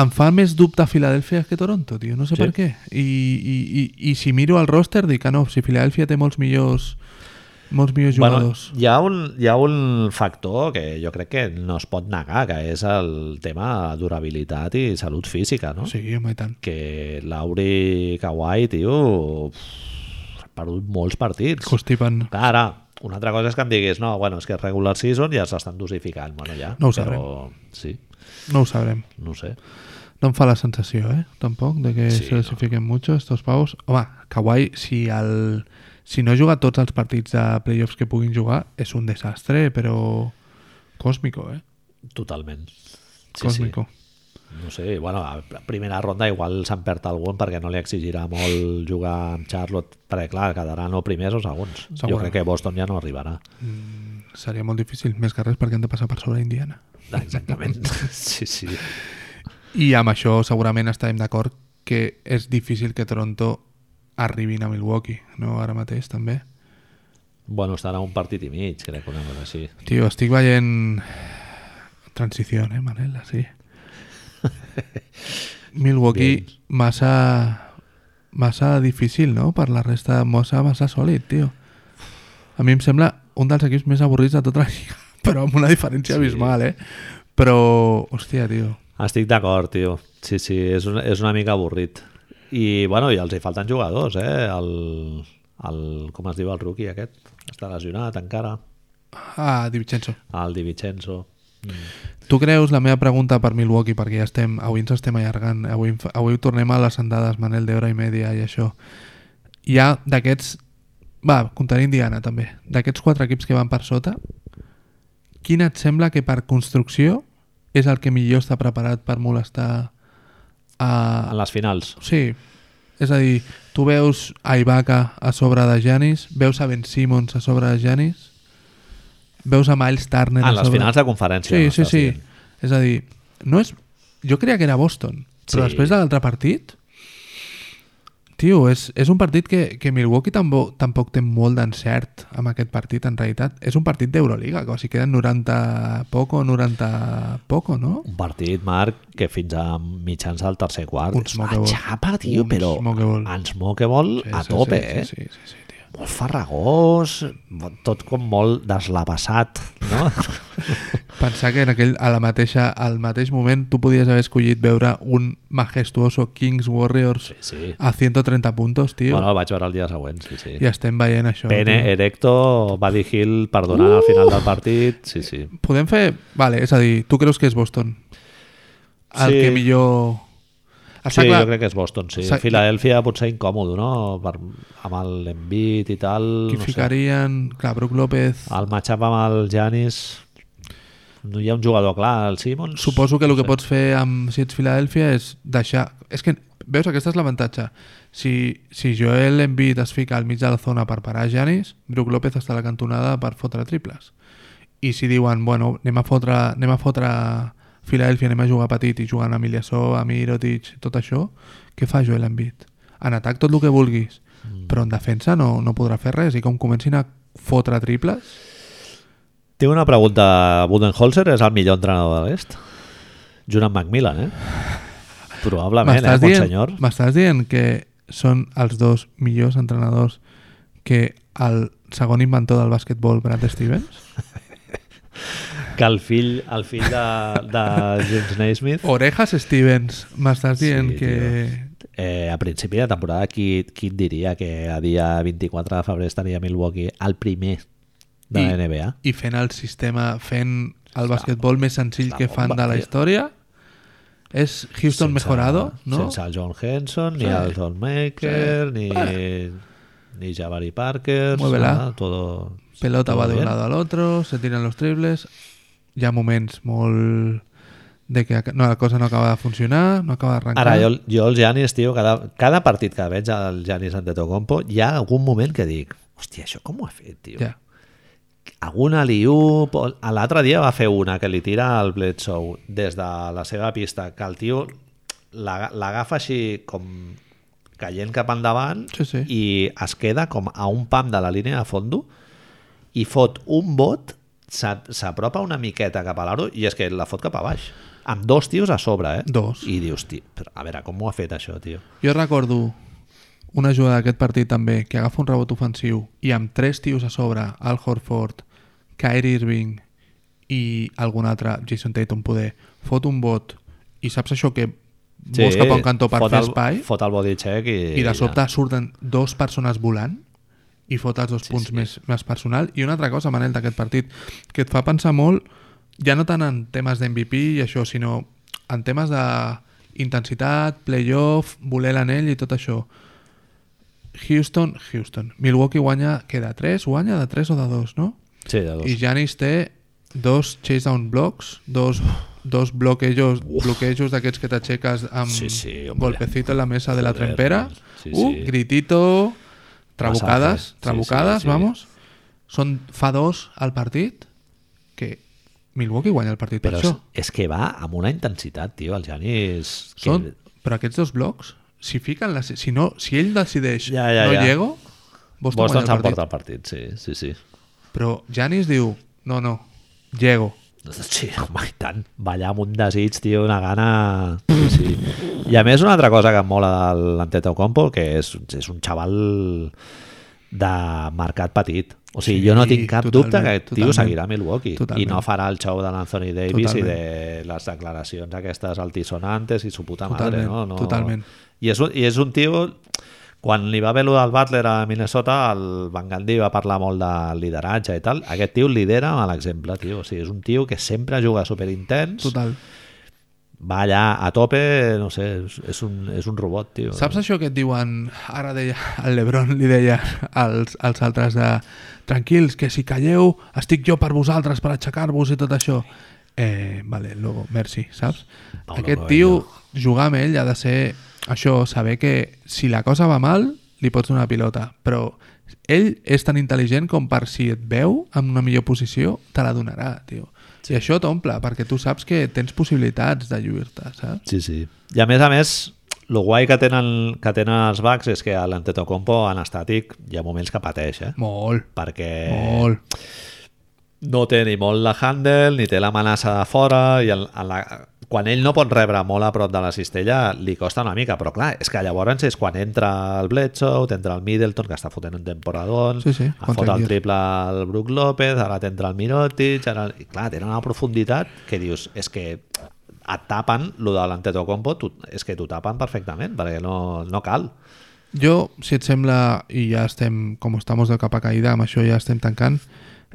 B: Em fa més dubte Filadèlfia que Toronto, tio, no sé
A: Sí.
B: per què. I, i, i, I si miro el roster dic, ah no, si Filadèlfia té molts millors molts millors jugadors.
A: Bueno, hi, ha un, hi ha un factor que jo crec que no es pot negar, que és el tema durabilitat i salut física, no?
B: Sí, home, i tant.
A: Que Lauri Kawhi, tio, uf, ha perdut molts partits.
B: Costipen.
A: Clar, Ara, una altra cosa és que em diguis, no, bueno, és que és regular season i ja s'estan dosificant, bueno, ja.
B: No ho
A: però, sí,
B: No ho sabrem.
A: no ho sé.
B: No em fa la sensació, eh? Tampoc, de que
A: Sí,
B: sí, se les fiquen mucho estos pavos. Home, Kawhi, si, el... si no juga tots els partits de playoffs que puguin jugar, és un desastre, però còsmico, eh?
A: Totalment. Sí,
B: Còsmico.
A: sí. No sé, bueno, a primera ronda igual se'n perd algun perquè no li exigirà molt jugar amb Charlotte, perquè clar, quedaran o primers o segons. Jo
B: Segurament.
A: crec que Boston ja no arribarà.
B: Mm, Seria molt difícil, més que res, perquè hem de passar per sobre Indiana.
A: Exactament. Sí, sí.
B: I amb això segurament estarem d'acord que és difícil que Toronto arribin a Milwaukee, no? Ara mateix, també.
A: Bueno, estarà un partit i mig, crec, una cosa així.
B: Tio, estic veient transició, eh, Manel, sí. Milwaukee massa massa difícil, no? Per la resta, massa, massa sòlid, tio. A mi em sembla un dels equips més avorrits de tota la lliga, però amb una diferència
A: Sí.
B: sí. abismal, eh? Però, hòstia, tio.
A: Estic d'acord, tio. Sí, sí, és una, és una mica avorrit. I, bueno, i els hi falten jugadors, eh? El, el, com es diu el rookie aquest? Està lesionat encara.
B: Ah, Di Vincenzo.
A: El Di Vincenzo.
B: Tu creus, la meva pregunta per Milwaukee, perquè ja estem, avui ens estem allargant, avui, em fa- avui tornem a les andades, Manel, d'hora i media i això. Hi ha d'aquests... Va, comptaré Indiana, també. D'aquests quatre equips que van per sota, quin et sembla que per construcció és el que millor està preparat per molestar a...
A: En les finals.
B: Sí, és a dir, Tu veus a Ibaka a sobre de Janis, veus a Ben Simmons a sobre de Janis, veus a Miles Turner
A: Ah,
B: a
A: en les
B: sobre...
A: finals de conferència.
B: Sí, sí,
A: m'estàs
B: sí.
A: dient.
B: És a dir, no és... jo creia que era Boston, però
A: Sí.
B: després de l'altre partit... Tio, és, és un partit que, que Milwaukee tampoc, tampoc té molt d'encert amb aquest partit, en realitat. És un partit d'Euroliga, que o sigui, queden 90 poco, 90 poco, no?
A: Un partit, Marc, que fins a mitjans del tercer quart
B: Un
A: és una
B: smokeball.
A: xapa, tio,
B: Un
A: però
B: smokeball.
A: ens moquebol a tope,
B: sí,
A: eh?
B: Sí, sí, sí, sí, tio.
A: Molt farragós, tot com molt deslavassat, no?
B: Pensar que en aquell, a la mateixa, al mateix moment tu podies haver escollit veure un majestuoso Kings Warriors
A: sí, sí.
B: a 130 puntos, tio.
A: Bueno, el vaig veure el dia següent, sí, sí.
B: I estem veient això.
A: Pene
B: tio.
A: erecto, Buddy Hill perdonant al final del partit, sí, sí.
B: Podem fer... Vale, és a dir, tu creus que és Boston? El
A: Sí.
B: que millor... Està
A: sí,
B: clar,
A: jo crec que és Boston, sí.
B: Sa-
A: Filadèlfia potser incòmodo, no? Per, amb l'envit i tal.
B: qui
A: no sé.
B: ficarien... Clar, Brook López...
A: El matchup amb el Janis... No hi ha un jugador clar, el Simons...
B: Suposo que el que pots fer amb si ets Filadèlfia és deixar... És que, veus, aquest és l'avantatge. Si, si Joel Embiid es fica al mig de la zona per parar Janis, Brook López està a la cantonada per fotre triples. I si diuen, bueno, anem a fotre, anem a fotre Filadèlfia, anem a jugar petit i jugant a Miliasó, a Mirotic, tot això, què fa Joel Embiid? En atac tot el que vulguis, però en defensa no, no podrà fer res. I com comencin a fotre triples...
A: Té una pregunta. Budenholzer és el millor entrenador de l'est? Junt amb Macmillan, eh? Probablement, eh,
B: M'estàs
A: Monsenyor?
B: dient, m'estàs dient que són els dos millors entrenadors que el segon inventor del bàsquetbol, Brad Stevens?
A: Que el fill, el fill de, de James Naismith...
B: Orejas Stevens, m'estàs dient
A: Sí,
B: que...
A: Eh, a principi de temporada, qui, qui et diria que a dia 24 de febrer estaria Milwaukee el primer de la
B: I-
A: NBA?
B: I fent el sistema, fent el bàsquetbol més senzill
A: la
B: que fan
A: bomba,
B: de la
A: tio.
B: història, és Houston Mejorado, no?
A: Sense el John Henson, ni
B: Sí.
A: el Don Maker, ni, ni Jabari Parker,
B: Muévela.
A: nada, todo...
B: Pelota
A: todo
B: va de un
A: bien.
B: lado al otro, se tiran los triples. Hi ha moments molt de que no, la cosa no acaba de funcionar, no acaba d'arrencar.
A: Ara, jo, jo el Giannis, tio, cada, cada partit que veig el Giannis Antetokounmpo, hi ha algun moment que dic, hòstia, això com ho ha fet, tio?
B: Ja.
A: algun aliup, o- a l'altre dia va fer una que li tira el Bledsoe des de la seva pista, que el tio l'ag- l'agafa així com caient cap endavant
B: Sí, sí.
A: i es queda com a un pam de la línia de fondo i fot un bot s'a- s'apropa una miqueta cap a l'aro i és que la fot cap a baix amb dos tios a sobre, eh?
B: Dos.
A: I dius, tio, però a veure, com ho ha fet això, tio?
B: Jo recordo una jugada d'aquest partit també, que agafa un rebot ofensiu i amb tres tios a sobre, Al Horford, Kyrie Irving i algun altre, Jason Tatum poder, fot un bot i saps això que sí, vols cap a un cantó per
A: fot
B: fer
A: el-
B: espai
A: Fot el body check i...
B: i de
A: ja.
B: sobte surten dos persones volant i fot els dos sí, punts sí. Més, més personal i una altra cosa, Manel, d'aquest partit que et fa pensar molt, ja no tant en temes d'MVP i això, sinó en temes de intensitat, playoff, voler l'anell i tot això Houston, Houston Milwaukee guanya, que de 3 guanya de 3 o de 2, no?
A: Sí, de dos.
B: I Janis té dos chase down blocks, dos, dos bloquejos, bloquejos d'aquests que t'aixeques amb
A: Sí, sí, hombre.
B: golpecito en la mesa de la
A: Joder,
B: trempera.
A: sí,
B: uh,
A: sí.
B: gritito, trabucades,
A: Masajes. Sí,
B: trabucades,
A: sí, sí.
B: vamos. Són fa dos al partit que Milwaukee guanya el partit
A: Però
B: per
A: és,
B: això.
A: és que va amb una intensitat, tio, el Janis... Que...
B: Són, però aquests dos blocs, si fiquen la, si, no, si ell decideix
A: Ja, ja, em
B: no
A: ja.
B: llego, Boston,
A: Boston
B: guanya el
A: s'emporta
B: partit.
A: el partit, sí, sí, sí.
B: Però Janis diu, no, no, llego.
A: Sí, home, i tant. Ballar amb un desig, tio, una gana... Sí, sí. I a més, una altra cosa que em mola de l'Antetokounmpo, que és, és un xaval de mercat petit. O sigui,
B: Sí,
A: sí, jo no tinc cap
B: totalment,
A: dubte que el tio
B: totalment.
A: seguirà a Milwaukee
B: Totalment.
A: i no farà el show de l'Anthony Davis
B: Totalment.
A: i de les declaracions aquestes altisonantes i su puta
B: Totalment,
A: madre, no? no?
B: totalment.
A: I és, un, I és un tio... Quan li va haver lo del Butler a Minnesota, el Van Gandhi va parlar molt de lideratge i tal. Aquest tio lidera a l'exemple, tio. O sigui, és un tio que sempre juga superintens,
B: Total.
A: va allà a tope, no sé, és, és, un, és un robot, tio.
B: Saps això que et diuen, ara deia, el Lebron li deia als, als altres de tranquils, que si calleu estic jo per vosaltres, per aixecar-vos i tot això. Eh, vale, luego, merci, saps?
A: No, no,
B: Aquest
A: no,
B: tio, jugar amb ell ha de ser això, saber que si la cosa va mal, li pots donar la pilota, però ell és tan intel·ligent com per si et veu en una millor posició, te la donarà, tio. Sí. I això t'omple, perquè tu saps que tens possibilitats de lluir-te, saps?
A: Sí, sí. I a més a més, el guai que tenen, que tenen els backs és que l'Antetokounmpo anestàtic hi ha moments que pateix, eh?
B: Molt,
A: Perquè
B: molt.
A: no té ni molt la handle, ni té l'amenaça de fora, i en, en la, quan ell no pot rebre molt a prop de la cistella, li costa una mica, però clar, és que llavors és quan entra el Bledsoe, t'entra el Middleton, que està fotent un temporadón,
B: Sí, sí,
A: ha fot el
B: contractiu.
A: triple al Brook López, ara t'entra el Mirotic, ara... i clar, tenen una profunditat que dius, és que et tapen, lo de l'Antetokounmpo, tu, és que t'ho tapen perfectament, perquè no, no cal.
B: Jo, si et sembla, i ja estem, com estamos de capa caïda, amb això ja estem tancant,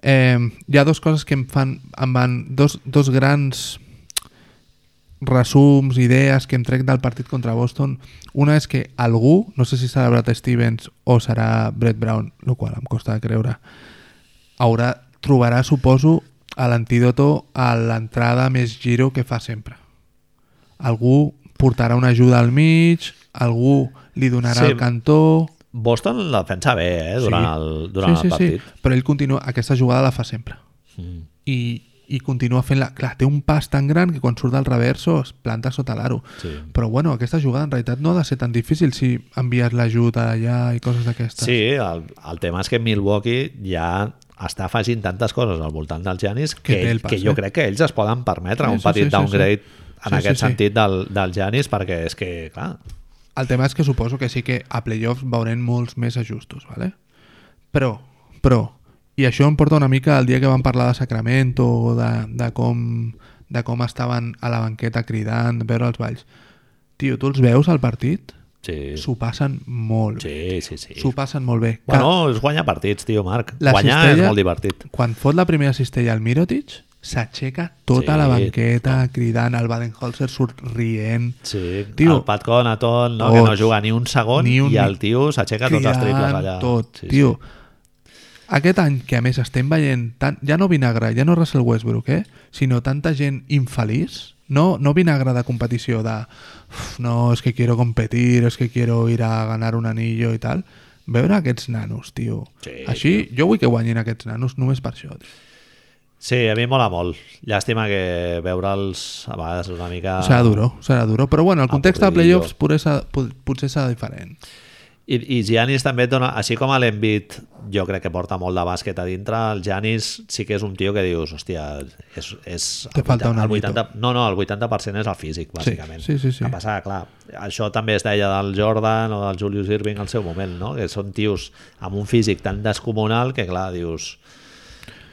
B: eh, hi ha dues coses que em fan, em van, dos, dos grans resums, idees que em trec del partit contra Boston. Una és que algú, no sé si serà Brad Stevens o serà Brett Brown, el qual em costa de creure, haurà, trobarà, suposo, a l'antídoto a l'entrada més giro que fa sempre. Algú portarà una ajuda al mig, algú li donarà
A: Sí.
B: sí. el cantó...
A: Boston la defensa bé, eh, durant el, durant
B: sí,
A: el
B: sí,
A: partit.
B: Sí. Però ell continua, aquesta jugada la fa sempre.
A: Mm.
B: I, i continua fent-la... Clar, té un pas tan gran que quan surt del reverso es planta sota l'aro.
A: Sí.
B: Però bueno, aquesta jugada en realitat no ha de ser tan difícil si envies l'ajut allà i coses d'aquestes.
A: Sí, el,
B: Doncs.
A: el tema és que Milwaukee ja està afegint tantes coses al voltant dels Giannis que,
B: Que té el pas,
A: que jo
B: eh?
A: crec que ells es poden permetre
B: Sí,
A: un
B: sí,
A: petit
B: sí, sí,
A: downgrade
B: sí.
A: en
B: Sí,
A: aquest
B: sí, sí.
A: sentit del, del Giannis perquè és que, clar,
B: El tema és que suposo que sí que a playoffs veurem molts més ajustos, ¿vale? però, però, i això em porta una mica al dia que vam parlar de Sacramento, o de, de, com, de com estaven a la banqueta cridant, veure els balls. Tio, tu els veus al partit?
A: sí,
B: S'ho passen molt bé.
A: sí, sí, sí.
B: S'ho passen molt bé.
A: Bueno, és guanyar partits, tio, Marc.
B: La
A: guanyar és
B: cistella-
A: molt divertit.
B: Quan fot la primera cistella al Mirotic, s'aixeca tota
A: Sí,
B: la banqueta cridant, el Baden-Holzer surt rient.
A: Sí, tio,
B: Tio,
A: el Pat Conaton, no, que no
B: tots.
A: juga ni un segon
B: Ni un
A: i
B: ni-
A: el tio s'aixeca tots els triples
B: cridant
A: allà.
B: tot,
A: sí,
B: tio. Aquest any que a més estem veient tant, ja no vinagre, ja no Russell Westbrook, eh? sinó tanta gent infeliç, no, no vinagre de competició de "Uf, no, és que quiero competir, és que quiero ir a ganar un anillo i tal. Veure aquests nanos, tio.
A: Sí,
B: Així, jo vull que guanyin aquests nanos només per això. Tio.
A: Sí, a mi em mola molt. Llàstima que veure'ls a vegades una mica...
B: Serà duro, serà duro. Però
A: Ah,
B: bueno, el context de
A: Avorridillo.
B: playoffs potser serà, pot- potser serà diferent.
A: I, i Giannis també et dona, així com a l'Envit jo crec que porta molt de bàsquet a dintre, el Giannis sí que és un tio que dius, hòstia, és... és
B: Te
A: el
B: falta un
A: el
B: árbitro.
A: 80, No, no, el 80% és el físic, bàsicament.
B: sí, sí, sí.
A: Que passa, clar, això també es deia del Jordan o del Julius Irving al seu moment, no? Que són tios amb un físic tan descomunal que, clar, dius,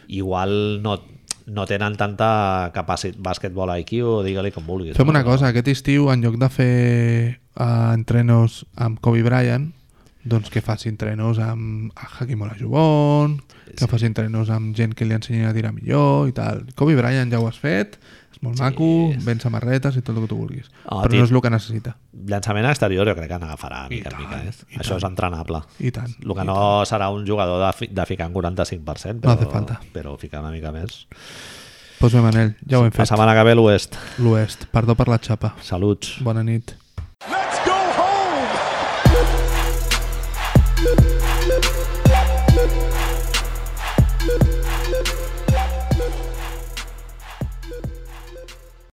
A: igual no, no tenen tanta capacitat bàsquetbol IQ, digue-li com vulguis.
B: Fem
A: no?
B: una cosa, aquest estiu, en lloc de fer eh, entrenos amb Kobe Bryant, doncs que faci entrenos amb Hakim Olajuwon, que faci entrenos amb gent que li ensenyi a tirar millor i tal. Kobe Bryant ja ho has fet, és molt maco, ben samarretes i tot el que tu vulguis.
A: Ah,
B: però
A: tio.
B: no és el que necessita.
A: Llançament exterior jo crec que n'agafarà
B: I
A: mica en
B: tant,
A: mica.
B: i
A: Eh? Això és entrenable.
B: I tant.
A: El que no serà un jugador de, fi, de ficar un 45%,
B: No
A: però,
B: hace falta.
A: però ficar una mica més.
B: Doncs bé, Manel, ja ho hem
A: La
B: fet.
A: setmana que ve l'Oest.
B: L'Oest, perdó per la xapa.
A: Saluts.
B: Bona nit.